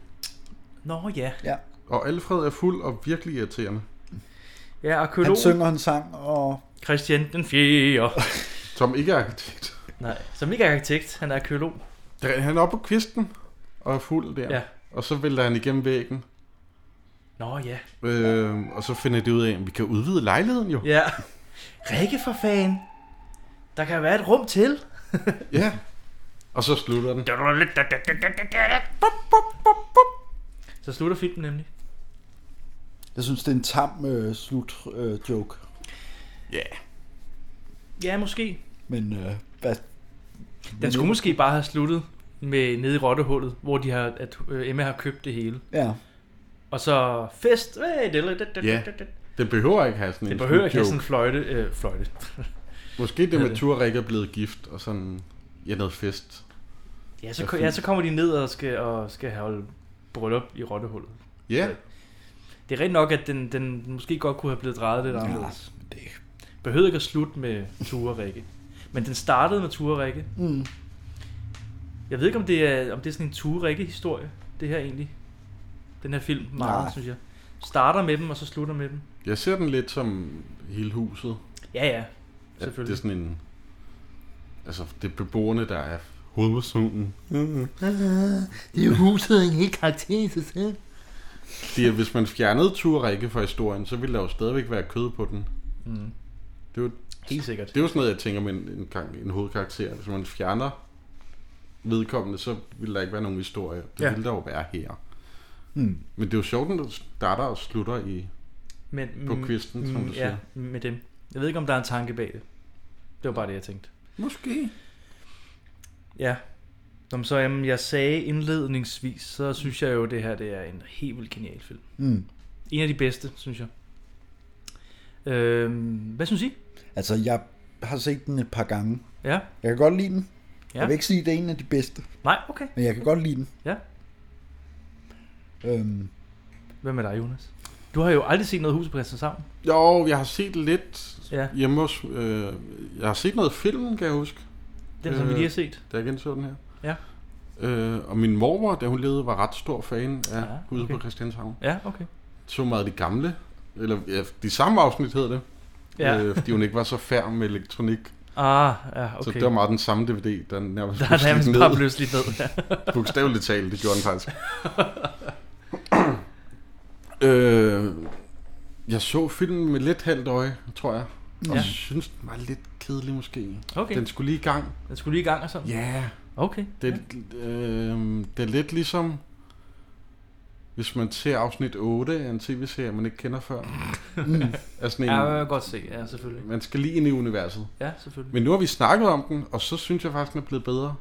Speaker 2: Nå ja.
Speaker 3: Ja.
Speaker 4: Og Alfred er fuld og virkelig irriterende.
Speaker 2: Ja, arkeolog.
Speaker 3: Han synger en sang, og
Speaker 2: Christian den 4.
Speaker 4: Som ikke er arkitekt.
Speaker 2: Nej, som ikke er arkitekt. Han er arkeolog.
Speaker 4: Der- Han er oppe på kvisten og er fuld der.
Speaker 2: Ja.
Speaker 4: Og så vælter han igennem væggen.
Speaker 2: Nå ja.
Speaker 4: Øh, og så finder de ud af, at vi kan udvide lejligheden jo.
Speaker 2: Ja. Rikke for fan. Der kan være et rum til.
Speaker 4: ja. Og så slutter den.
Speaker 2: Så slutter filmen nemlig.
Speaker 3: jeg synes, det er en tam øh, slut øh, joke.
Speaker 4: Ja.
Speaker 2: Ja, måske.
Speaker 3: Men øh, hvad?
Speaker 2: Den skulle måske bare have sluttet med nede i rottehullet, hvor de har, at øh, Emma har købt det hele.
Speaker 3: Ja.
Speaker 2: Og så fest. Hey, det, det, det,
Speaker 4: Ja.
Speaker 2: det, det.
Speaker 4: Den behøver ikke have sådan
Speaker 2: Det
Speaker 4: en
Speaker 2: behøver ikke have sådan en
Speaker 4: slutjoke.
Speaker 2: fløjte. Øh, fløjte.
Speaker 4: Måske det
Speaker 2: Hvad
Speaker 4: med
Speaker 2: er
Speaker 4: at
Speaker 2: det?
Speaker 4: Tur ikke er blevet gift og sådan... Ja, noget fest.
Speaker 2: Ja, så, ko- ja, så kommer de ned og skal, og skal holde bryllup i rottehullet.
Speaker 4: Ja.
Speaker 2: Så Det er rent nok, at den, den måske godt kunne have blevet drejet lidt
Speaker 4: Ja,
Speaker 2: anderledes. Ja, det behøvede ikke at slutte med Ture og Rikke. Men den startede med Ture og Rikke.
Speaker 3: Mm.
Speaker 2: Jeg ved ikke, om det er, om det er sådan en Ture og Rikke-historie, det her egentlig. Den her film,
Speaker 4: Nej.
Speaker 2: meget, synes jeg. Starter med dem, og så slutter med dem.
Speaker 4: Jeg ser den lidt som hele huset.
Speaker 2: Ja, ja.
Speaker 4: At
Speaker 2: Selvfølgelig.
Speaker 4: Det er sådan en... Altså, det er beboerne, der er hovedpersonen.
Speaker 2: Mm-hmm.
Speaker 21: Ah, Det er jo huset en helt karakter i sig selv.
Speaker 4: Det er, hvis man fjernede Tur og Rikke fra historien, så ville der jo stadigvæk være kød på den.
Speaker 2: Mm.
Speaker 4: Det er jo,
Speaker 2: Helt sikkert.
Speaker 4: Det er jo sådan noget, jeg tænker med en, en, kar- en hovedkarakter. Hvis man fjerner vedkommende, så vil der ikke være nogen historie. Det
Speaker 2: Ja.
Speaker 4: ja. ville der jo være her.
Speaker 3: Mm.
Speaker 4: Men det er jo sjovt, den starter og slutter i
Speaker 2: Men,
Speaker 4: på
Speaker 2: mm,
Speaker 4: kvisten, som
Speaker 2: mm,
Speaker 4: du siger.
Speaker 2: Ja, med dem. Jeg ved ikke, om der er en tanke bag det. Det var bare det, jeg tænkte.
Speaker 4: Måske.
Speaker 2: Ja. Som så, jamen, jeg sagde indledningsvis, så synes jeg jo, det her det er en helt vildt genial film.
Speaker 3: Mm.
Speaker 2: En af de bedste, synes jeg. Øhm, hvad synes I?
Speaker 3: Altså, jeg har set den et par gange.
Speaker 2: Ja. Jeg
Speaker 3: kan godt lide den.
Speaker 2: Ja.
Speaker 3: Jeg vil ikke sige, at det er en af de bedste.
Speaker 2: Nej, okay.
Speaker 3: Men jeg kan godt lide den.
Speaker 2: Ja.
Speaker 3: Øhm,
Speaker 2: Hvem er dig, Jonas? Du har jo aldrig set noget hus på Christianshavn.
Speaker 4: Jo, jeg har set lidt
Speaker 2: ja.
Speaker 4: hjemme hos... Øh, jeg har set noget film, kan jeg huske.
Speaker 2: Den, som vi lige har set.
Speaker 4: Da jeg genså den her.
Speaker 2: Ja.
Speaker 4: Øh, og min mormor, da hun levede, var ret stor fan af ja,
Speaker 2: okay.
Speaker 4: Huset på Christianshavn.
Speaker 2: Ja, okay.
Speaker 4: Så meget af de gamle, eller ja, de samme afsnit hed det.
Speaker 2: Ja.
Speaker 4: Øh, fordi hun ikke var så færd med elektronik.
Speaker 2: Ah, ja,
Speaker 4: Så
Speaker 2: okay.
Speaker 4: det var meget den samme DVD, der nærmest
Speaker 2: Der er nærmest
Speaker 4: ned.
Speaker 2: bare pludselig ned, ja.
Speaker 4: Bogstaveligt talt, det gjorde den faktisk. øh, jeg så filmen med lidt halvt øje, tror jeg. Og
Speaker 2: Ja.
Speaker 4: ja. synes, den var lidt kedelig måske.
Speaker 2: Okay.
Speaker 4: Den skulle lige i gang.
Speaker 2: Den skulle lige i gang og sådan?
Speaker 4: Ja.
Speaker 2: Okay.
Speaker 4: Det, øh, det er lidt ligesom, hvis man ser afsnit 8 af en tv-serie, man ikke kender før.
Speaker 2: Mm.
Speaker 4: Er sådan
Speaker 2: Ja, øh. jeg kan godt se. Ja, selvfølgelig.
Speaker 4: Man skal lige ind i universet.
Speaker 2: Ja, selvfølgelig.
Speaker 4: Men nu har vi snakket om den, og så synes jeg faktisk, den er blevet bedre.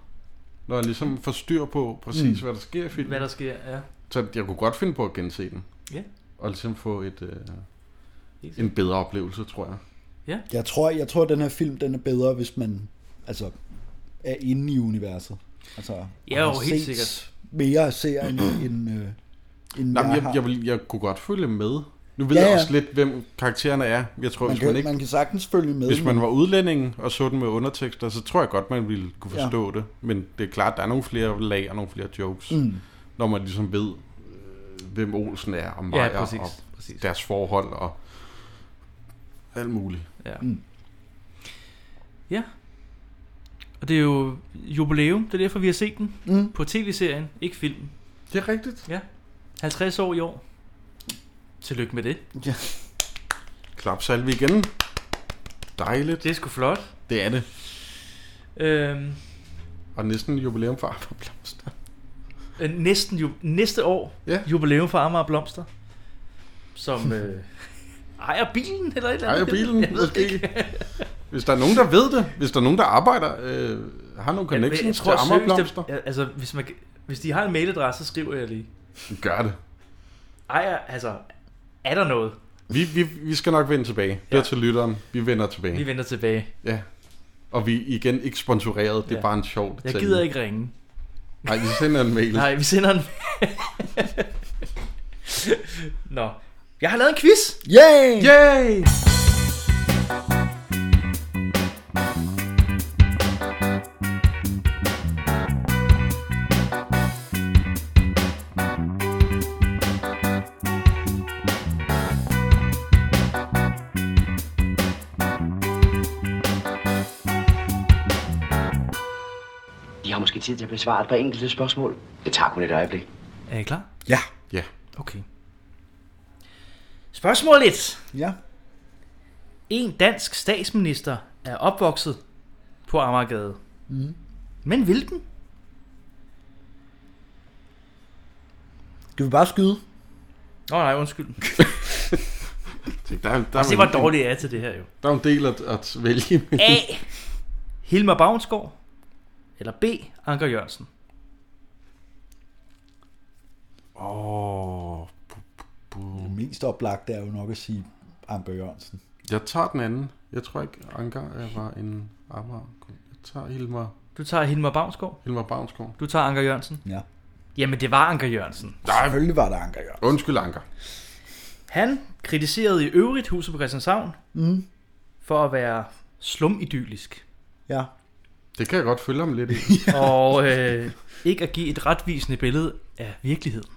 Speaker 4: Når jeg ligesom får styr på præcis,
Speaker 2: Mm.
Speaker 4: mm. hvad der sker i filmen.
Speaker 2: Hvad der sker, ja.
Speaker 4: Så jeg kunne godt finde på at gense den.
Speaker 2: Ja.
Speaker 4: Og ligesom få et, øh, en bedre oplevelse, tror jeg.
Speaker 2: Ja.
Speaker 3: Jeg tror, jeg tror, at den her film den er bedre, hvis man altså, er inde i universet. Altså, og
Speaker 2: Ja, jo,
Speaker 3: har
Speaker 2: helt
Speaker 3: set
Speaker 2: sikkert.
Speaker 3: mere af serien end, øh, end
Speaker 4: Nå, men
Speaker 3: jeg,
Speaker 4: jeg,
Speaker 3: har.
Speaker 4: jeg, vil, jeg kunne godt følge med. Nu ved
Speaker 3: Ja,
Speaker 4: ja, ja. jeg
Speaker 3: ja.
Speaker 4: også lidt, hvem karaktererne er. Jeg tror,
Speaker 3: man,
Speaker 4: hvis
Speaker 3: kan,
Speaker 4: man ikke
Speaker 3: man kan sagtens følge med.
Speaker 4: Hvis man
Speaker 3: men-
Speaker 4: var udlænding og så den med undertekster, så tror jeg godt, man ville kunne forstå ja. det. Men det er klart, der er nogle flere lag og nogle flere jokes,
Speaker 3: Mm.
Speaker 4: mm. når man ligesom ved, øh, hvem Olsen er, og Maja, ja,
Speaker 2: præcis,
Speaker 4: præcis, og præcis. deres forhold, og alt muligt.
Speaker 2: Ja.
Speaker 3: Mm.
Speaker 2: Ja. Og det er jo jubilæum, det er derfor, vi har set den.
Speaker 3: Mm.
Speaker 2: På tv-serien, ikke filmen.
Speaker 4: Det er rigtigt.
Speaker 2: Ja. 50 år i år. Tillykke med det.
Speaker 3: Ja.
Speaker 4: Klap salve igen. Dejligt.
Speaker 2: Det er sgu flot.
Speaker 4: Det er det.
Speaker 2: Øhm,
Speaker 4: Og næsten jubilæum for Arthur Blomster.
Speaker 2: øh, næsten ju- næste år,
Speaker 4: ja.
Speaker 2: jubilæum for Amager Blomster. Som øh, ejer bilen, eller et eller andet.
Speaker 4: Ejer bilen,
Speaker 2: Jeg ved det ikke.
Speaker 4: Hvis der er nogen, der ved det, hvis der er nogen, der arbejder, øh, har nogle
Speaker 2: Men jeg
Speaker 4: connections
Speaker 2: tror
Speaker 4: til Amager
Speaker 2: seriøst,
Speaker 4: Blomster,
Speaker 2: det- ja, Altså, hvis, man, hvis de har en mailadresse, så skriver jeg lige.
Speaker 4: gør det.
Speaker 2: Ejer, altså, er der noget?
Speaker 4: Vi, vi, vi skal nok vende tilbage. Det er til lytteren. Vi vender tilbage.
Speaker 2: Vi vender tilbage.
Speaker 4: Ja. Og vi er igen ikke sponsoreret. Det er
Speaker 2: Ja.
Speaker 4: bare en sjov
Speaker 2: Jeg
Speaker 4: detalje.
Speaker 2: gider ikke ringe.
Speaker 4: Nej, vi sender en mail.
Speaker 2: Nej, vi sender en Nå. Jeg har lavet en quiz.
Speaker 3: Yay!
Speaker 4: Yay!
Speaker 11: De har måske tid til at besvare et par enkelte spørgsmål. Det tager kun et øjeblik.
Speaker 2: Er I klar?
Speaker 3: Ja.
Speaker 4: Ja.
Speaker 2: Okay. Spørgsmål 1.
Speaker 3: Ja.
Speaker 2: En dansk statsminister er opvokset på Amagergade.
Speaker 3: Mm.
Speaker 2: Men hvilken?
Speaker 3: Skal vi bare skyde?
Speaker 2: Åh oh, nej, undskyld.
Speaker 4: Der, der, der
Speaker 2: Altså, det var dårligt af til det her jo.
Speaker 4: Der er jo en del at, at vælge imellem.
Speaker 2: A. Hilmar Bavnsgaard. Eller B. Anker Jørgensen.
Speaker 4: Åh,
Speaker 3: Det mest oplagte er jo nok at sige Anker Jørgensen.
Speaker 4: Jeg tager den anden. Jeg tror ikke, Anker er- var en Amager. Jeg tager Hilmar.
Speaker 2: Du tager Hilmar Bavnsgaard.
Speaker 4: Hilmar Bavnsgaard.
Speaker 2: Du tager Anker Jørgensen.
Speaker 3: Ja.
Speaker 2: Jamen, det var Anker Jørgensen.
Speaker 3: Selvfølgelig var det Anker Jørgensen.
Speaker 4: Undskyld, Anker.
Speaker 2: Han kritiserede i øvrigt huset på Christianshavn
Speaker 3: Mm.
Speaker 2: for at være slumidyllisk.
Speaker 3: Ja.
Speaker 4: Det kan jeg godt følge ham lidt i.
Speaker 2: og øh, ikke at give et retvisende billede af virkeligheden.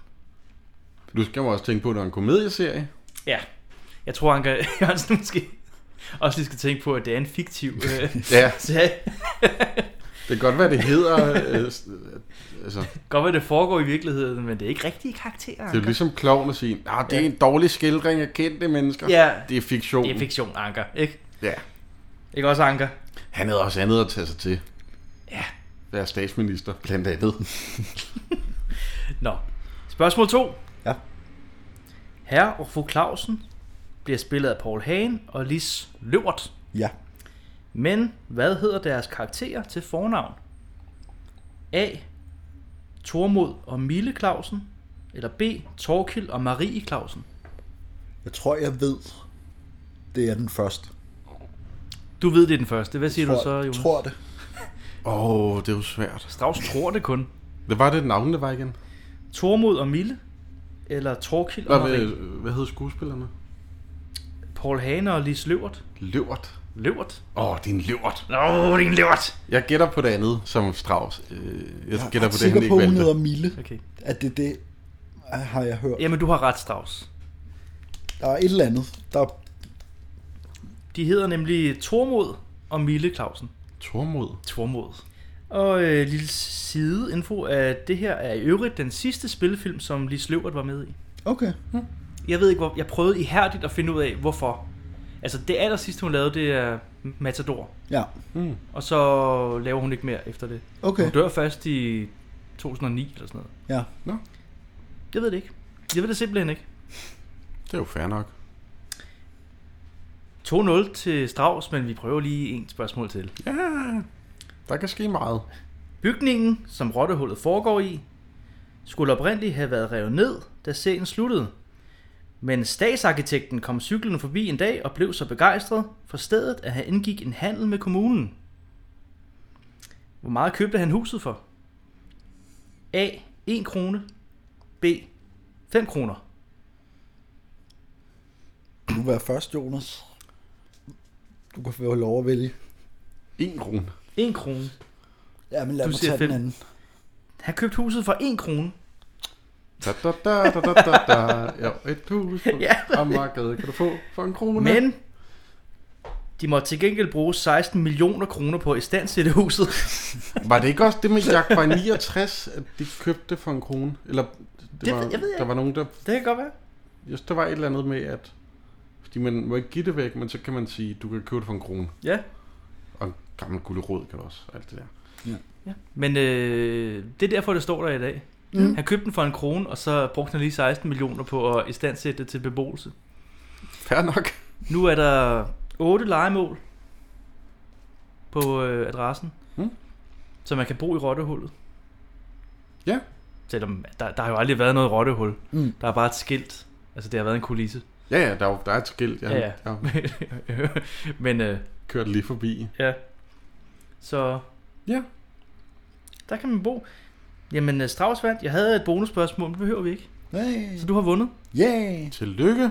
Speaker 4: Du skal jo også tænke på, at det er en komedieserie.
Speaker 2: Ja. Jeg tror, Anker Jørgensen måske også lige skal tænke på, at det er en fiktiv... Øh,
Speaker 4: Ja.
Speaker 2: serie.
Speaker 4: Det kan godt være, det hedder... øh, s- øh, altså,
Speaker 2: Godt ved, det foregår i virkeligheden, men det er ikke rigtige karakterer.
Speaker 4: det er jo
Speaker 2: Anker.
Speaker 4: ligesom klovn at sige, nah, det er
Speaker 2: Ja.
Speaker 4: en dårlig skildring af kendte mennesker.
Speaker 2: Ja.
Speaker 4: Det er fiktion.
Speaker 2: Det er fiktion, Anker. Ikke?
Speaker 4: Ja.
Speaker 2: Ikke også Anker?
Speaker 4: Han havde også andet at tage sig til. Ja. Være statsminister, blandt andet.
Speaker 2: Nå. Spørgsmål 2.
Speaker 3: Ja.
Speaker 2: Herre og fru Clausen bliver spillet af Paul Hagen og Lis Løvert.
Speaker 3: Ja.
Speaker 2: Men hvad hedder deres karakterer til fornavn? A. Tormod og Mille Clausen. Eller B. Torkil og Marie Clausen.
Speaker 3: Jeg tror, jeg ved, det er den første.
Speaker 2: Du ved, det er den første. Hvad siger
Speaker 3: tror,
Speaker 2: du så, Jonas?
Speaker 3: tror det.
Speaker 4: Åh, oh, det er jo svært.
Speaker 2: Strauss tror det kun.
Speaker 4: Det var det navn, det var igen.
Speaker 2: Tormod og Mille. Eller Torkil og
Speaker 4: Hvad,
Speaker 2: Marie.
Speaker 4: hvad, hvad hed skuespillerne?
Speaker 2: Paul Hagen og Lis Løvert.
Speaker 4: Løvert.
Speaker 2: Løvert?
Speaker 4: Åh, oh, det er en løvert.
Speaker 2: Nå, det er en løvert.
Speaker 4: Jeg gætter på det andet, som Strauss. Øh, jeg
Speaker 3: Jeg
Speaker 4: gætter
Speaker 3: er
Speaker 4: på det,
Speaker 3: sikker
Speaker 4: han
Speaker 3: på,
Speaker 4: ikke
Speaker 3: hun hedder
Speaker 4: valgte.
Speaker 3: Mille.
Speaker 2: Okay.
Speaker 3: At det er det, har jeg hørt.
Speaker 2: Jamen, du har ret, Strauss.
Speaker 3: Der er et eller andet. Der er
Speaker 2: De hedder nemlig Tormod og Mille Clausen.
Speaker 4: Tormod?
Speaker 2: Tormod. Og øh, lille sideinfo, at det her er i øvrigt den sidste spillefilm, som Lis Løvert var med i.
Speaker 3: Okay.
Speaker 2: Jeg ved ikke, hvor... Jeg prøvede ihærdigt at finde ud af, hvorfor. Altså, det aller sidste, hun lavede, det er Matador.
Speaker 3: Ja.
Speaker 4: Mm.
Speaker 2: Og så laver hun ikke mere efter det.
Speaker 3: Okay.
Speaker 2: Hun dør først i 2009 eller sådan noget.
Speaker 3: Ja.
Speaker 4: Nå.
Speaker 2: Jeg ved det ikke. Jeg ved det simpelthen ikke.
Speaker 4: Det er jo fair nok.
Speaker 2: 2-0 til Strauss, men vi prøver lige en spørgsmål til.
Speaker 4: Ja, der kan ske meget.
Speaker 2: Bygningen, som rottehullet foregår i, skulle oprindeligt have været revet ned, da serien sluttede. Men statsarkitekten kom cyklen forbi en dag og blev så begejstret for stedet, at han indgik en handel med kommunen. Hvor meget købte han huset for? A. 1 krone. B. 5 kroner.
Speaker 3: Du være først, Jonas. Du kan få lov at vælge.
Speaker 4: En krone.
Speaker 2: 1 krone.
Speaker 3: Ja, men lad
Speaker 2: Du
Speaker 3: mig
Speaker 2: siger
Speaker 3: tage
Speaker 2: fem.
Speaker 3: den anden.
Speaker 2: Han købte huset for 1 krone.
Speaker 4: Da, da, da, da, da, da, da. Ja, et hus på
Speaker 2: Ja.
Speaker 4: ja. Amagergade kan du få for en krone.
Speaker 2: Men de måtte til gengæld bruge 16 millioner kroner på at istandsætte huset.
Speaker 4: Var det ikke også det med Jack fra 69, at de købte det for en krone? Eller det,
Speaker 2: Det
Speaker 4: var,
Speaker 2: ved- jeg ved
Speaker 4: der
Speaker 2: ikke.
Speaker 4: var nogen, der...
Speaker 2: Det kan godt være.
Speaker 4: Just, der var et eller andet med, at... Fordi man må ikke give det væk, men så kan man sige, du kan købe det for en krone.
Speaker 2: Ja.
Speaker 4: Og en gammel gulerod kan du også, og alt det der.
Speaker 2: Men øh, det er derfor, det står der i dag. Mm. Han købte den for en krone, og så brugte han lige 16 millioner på at istandsætte det til beboelse.
Speaker 4: Fair nok.
Speaker 2: Nu er der 8 legemål på øh, adressen,
Speaker 4: mm.
Speaker 2: som man kan bo i rottehullet.
Speaker 4: Ja.
Speaker 2: Selvom der, der har jo aldrig været noget rottehul.
Speaker 3: Mm.
Speaker 2: Der er bare et skilt. Altså, det har været en kulisse.
Speaker 4: Ja, ja, der er, jo- der er et skilt. Jeg,
Speaker 2: Ja, ja.
Speaker 4: Jeg,
Speaker 2: Men... Øh,
Speaker 4: Kørte lige forbi.
Speaker 2: Ja. Så...
Speaker 4: Ja.
Speaker 2: Der kan man bo. Jamen, øh, Strauss vandt. Jeg havde et bonusspørgsmål, men det behøver vi ikke.
Speaker 3: Nej.
Speaker 2: Så du har vundet.
Speaker 3: Yeah.
Speaker 4: Tillykke.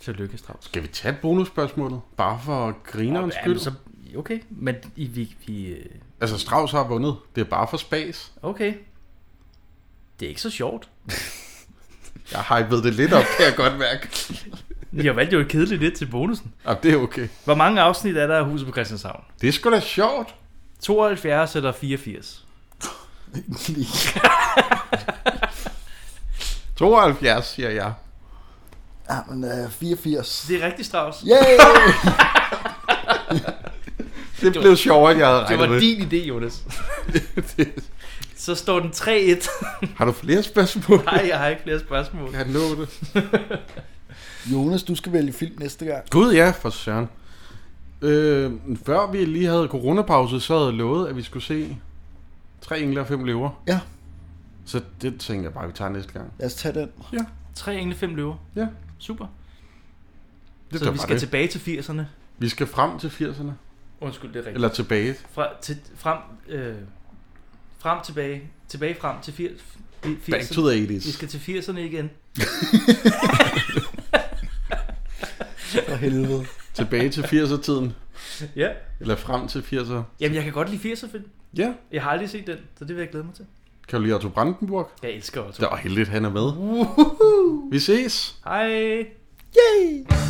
Speaker 2: Tillykke, Strauss.
Speaker 4: Skal vi tage bonusspørgsmålet? Bare for grinerens
Speaker 2: Nå,
Speaker 4: skyld?
Speaker 2: jamen, så- okay, men I, vi, vi... øh,
Speaker 4: Altså, Strauss har vundet. Det er bare for spas.
Speaker 2: Okay. Det er ikke så sjovt.
Speaker 4: Jeg har hypet det lidt op, kan jeg godt mærke.
Speaker 2: Jeg valgte jo et kedeligt lidt til bonusen.
Speaker 4: Ja, det er okay.
Speaker 2: Hvor mange afsnit er der af Huset på Christianshavn?
Speaker 4: Det er sgu da sjovt.
Speaker 2: 72 eller 84.
Speaker 4: 72, siger jeg.
Speaker 3: Ja, men øh, 84.
Speaker 2: Det er rigtig Strauss.
Speaker 4: Det blev sjovere, end jeg havde
Speaker 2: Det
Speaker 4: regnet
Speaker 2: var
Speaker 4: med.
Speaker 2: din idé, Jonas. Så står den 3-1.
Speaker 4: Har du flere spørgsmål?
Speaker 2: Nej, jeg har ikke flere spørgsmål.
Speaker 4: Kan jeg nå det?
Speaker 3: Jonas, du skal vælge film næste gang.
Speaker 4: Gud ja, for søren. Øh, før vi lige havde coronapause, så havde jeg lovet, at vi skulle se tre engler og fem løver.
Speaker 3: Ja.
Speaker 4: Så det tænker jeg bare, at vi tager næste gang.
Speaker 3: Lad os tage den.
Speaker 4: Ja.
Speaker 2: 3 engle, 5 løver.
Speaker 4: Ja.
Speaker 2: Super.
Speaker 4: Det
Speaker 2: så
Speaker 4: var
Speaker 2: vi
Speaker 4: bare
Speaker 2: skal
Speaker 4: det.
Speaker 2: tilbage til 80'erne.
Speaker 4: Vi skal frem til 80'erne.
Speaker 2: Undskyld, det er rigtigt.
Speaker 4: Eller tilbage.
Speaker 2: Fra, til, frem, øh, frem, tilbage, tilbage frem til 80'erne.
Speaker 4: Back to the 80s.
Speaker 2: Vi skal til 80'erne igen.
Speaker 3: For helvede.
Speaker 4: Tilbage til 80'er-tiden.
Speaker 2: Ja.
Speaker 4: Eller frem til 80'er.
Speaker 2: Jamen, jeg kan godt lide 80'er film.
Speaker 4: Ja.
Speaker 2: Jeg har aldrig set den, så det vil jeg glæde mig til.
Speaker 4: Kan du lide Otto Brandenburg?
Speaker 2: Jeg elsker Otto.
Speaker 4: Det var heldigt, han er med.
Speaker 2: Uhuhu.
Speaker 4: Vi ses.
Speaker 2: Hej.
Speaker 4: Yay!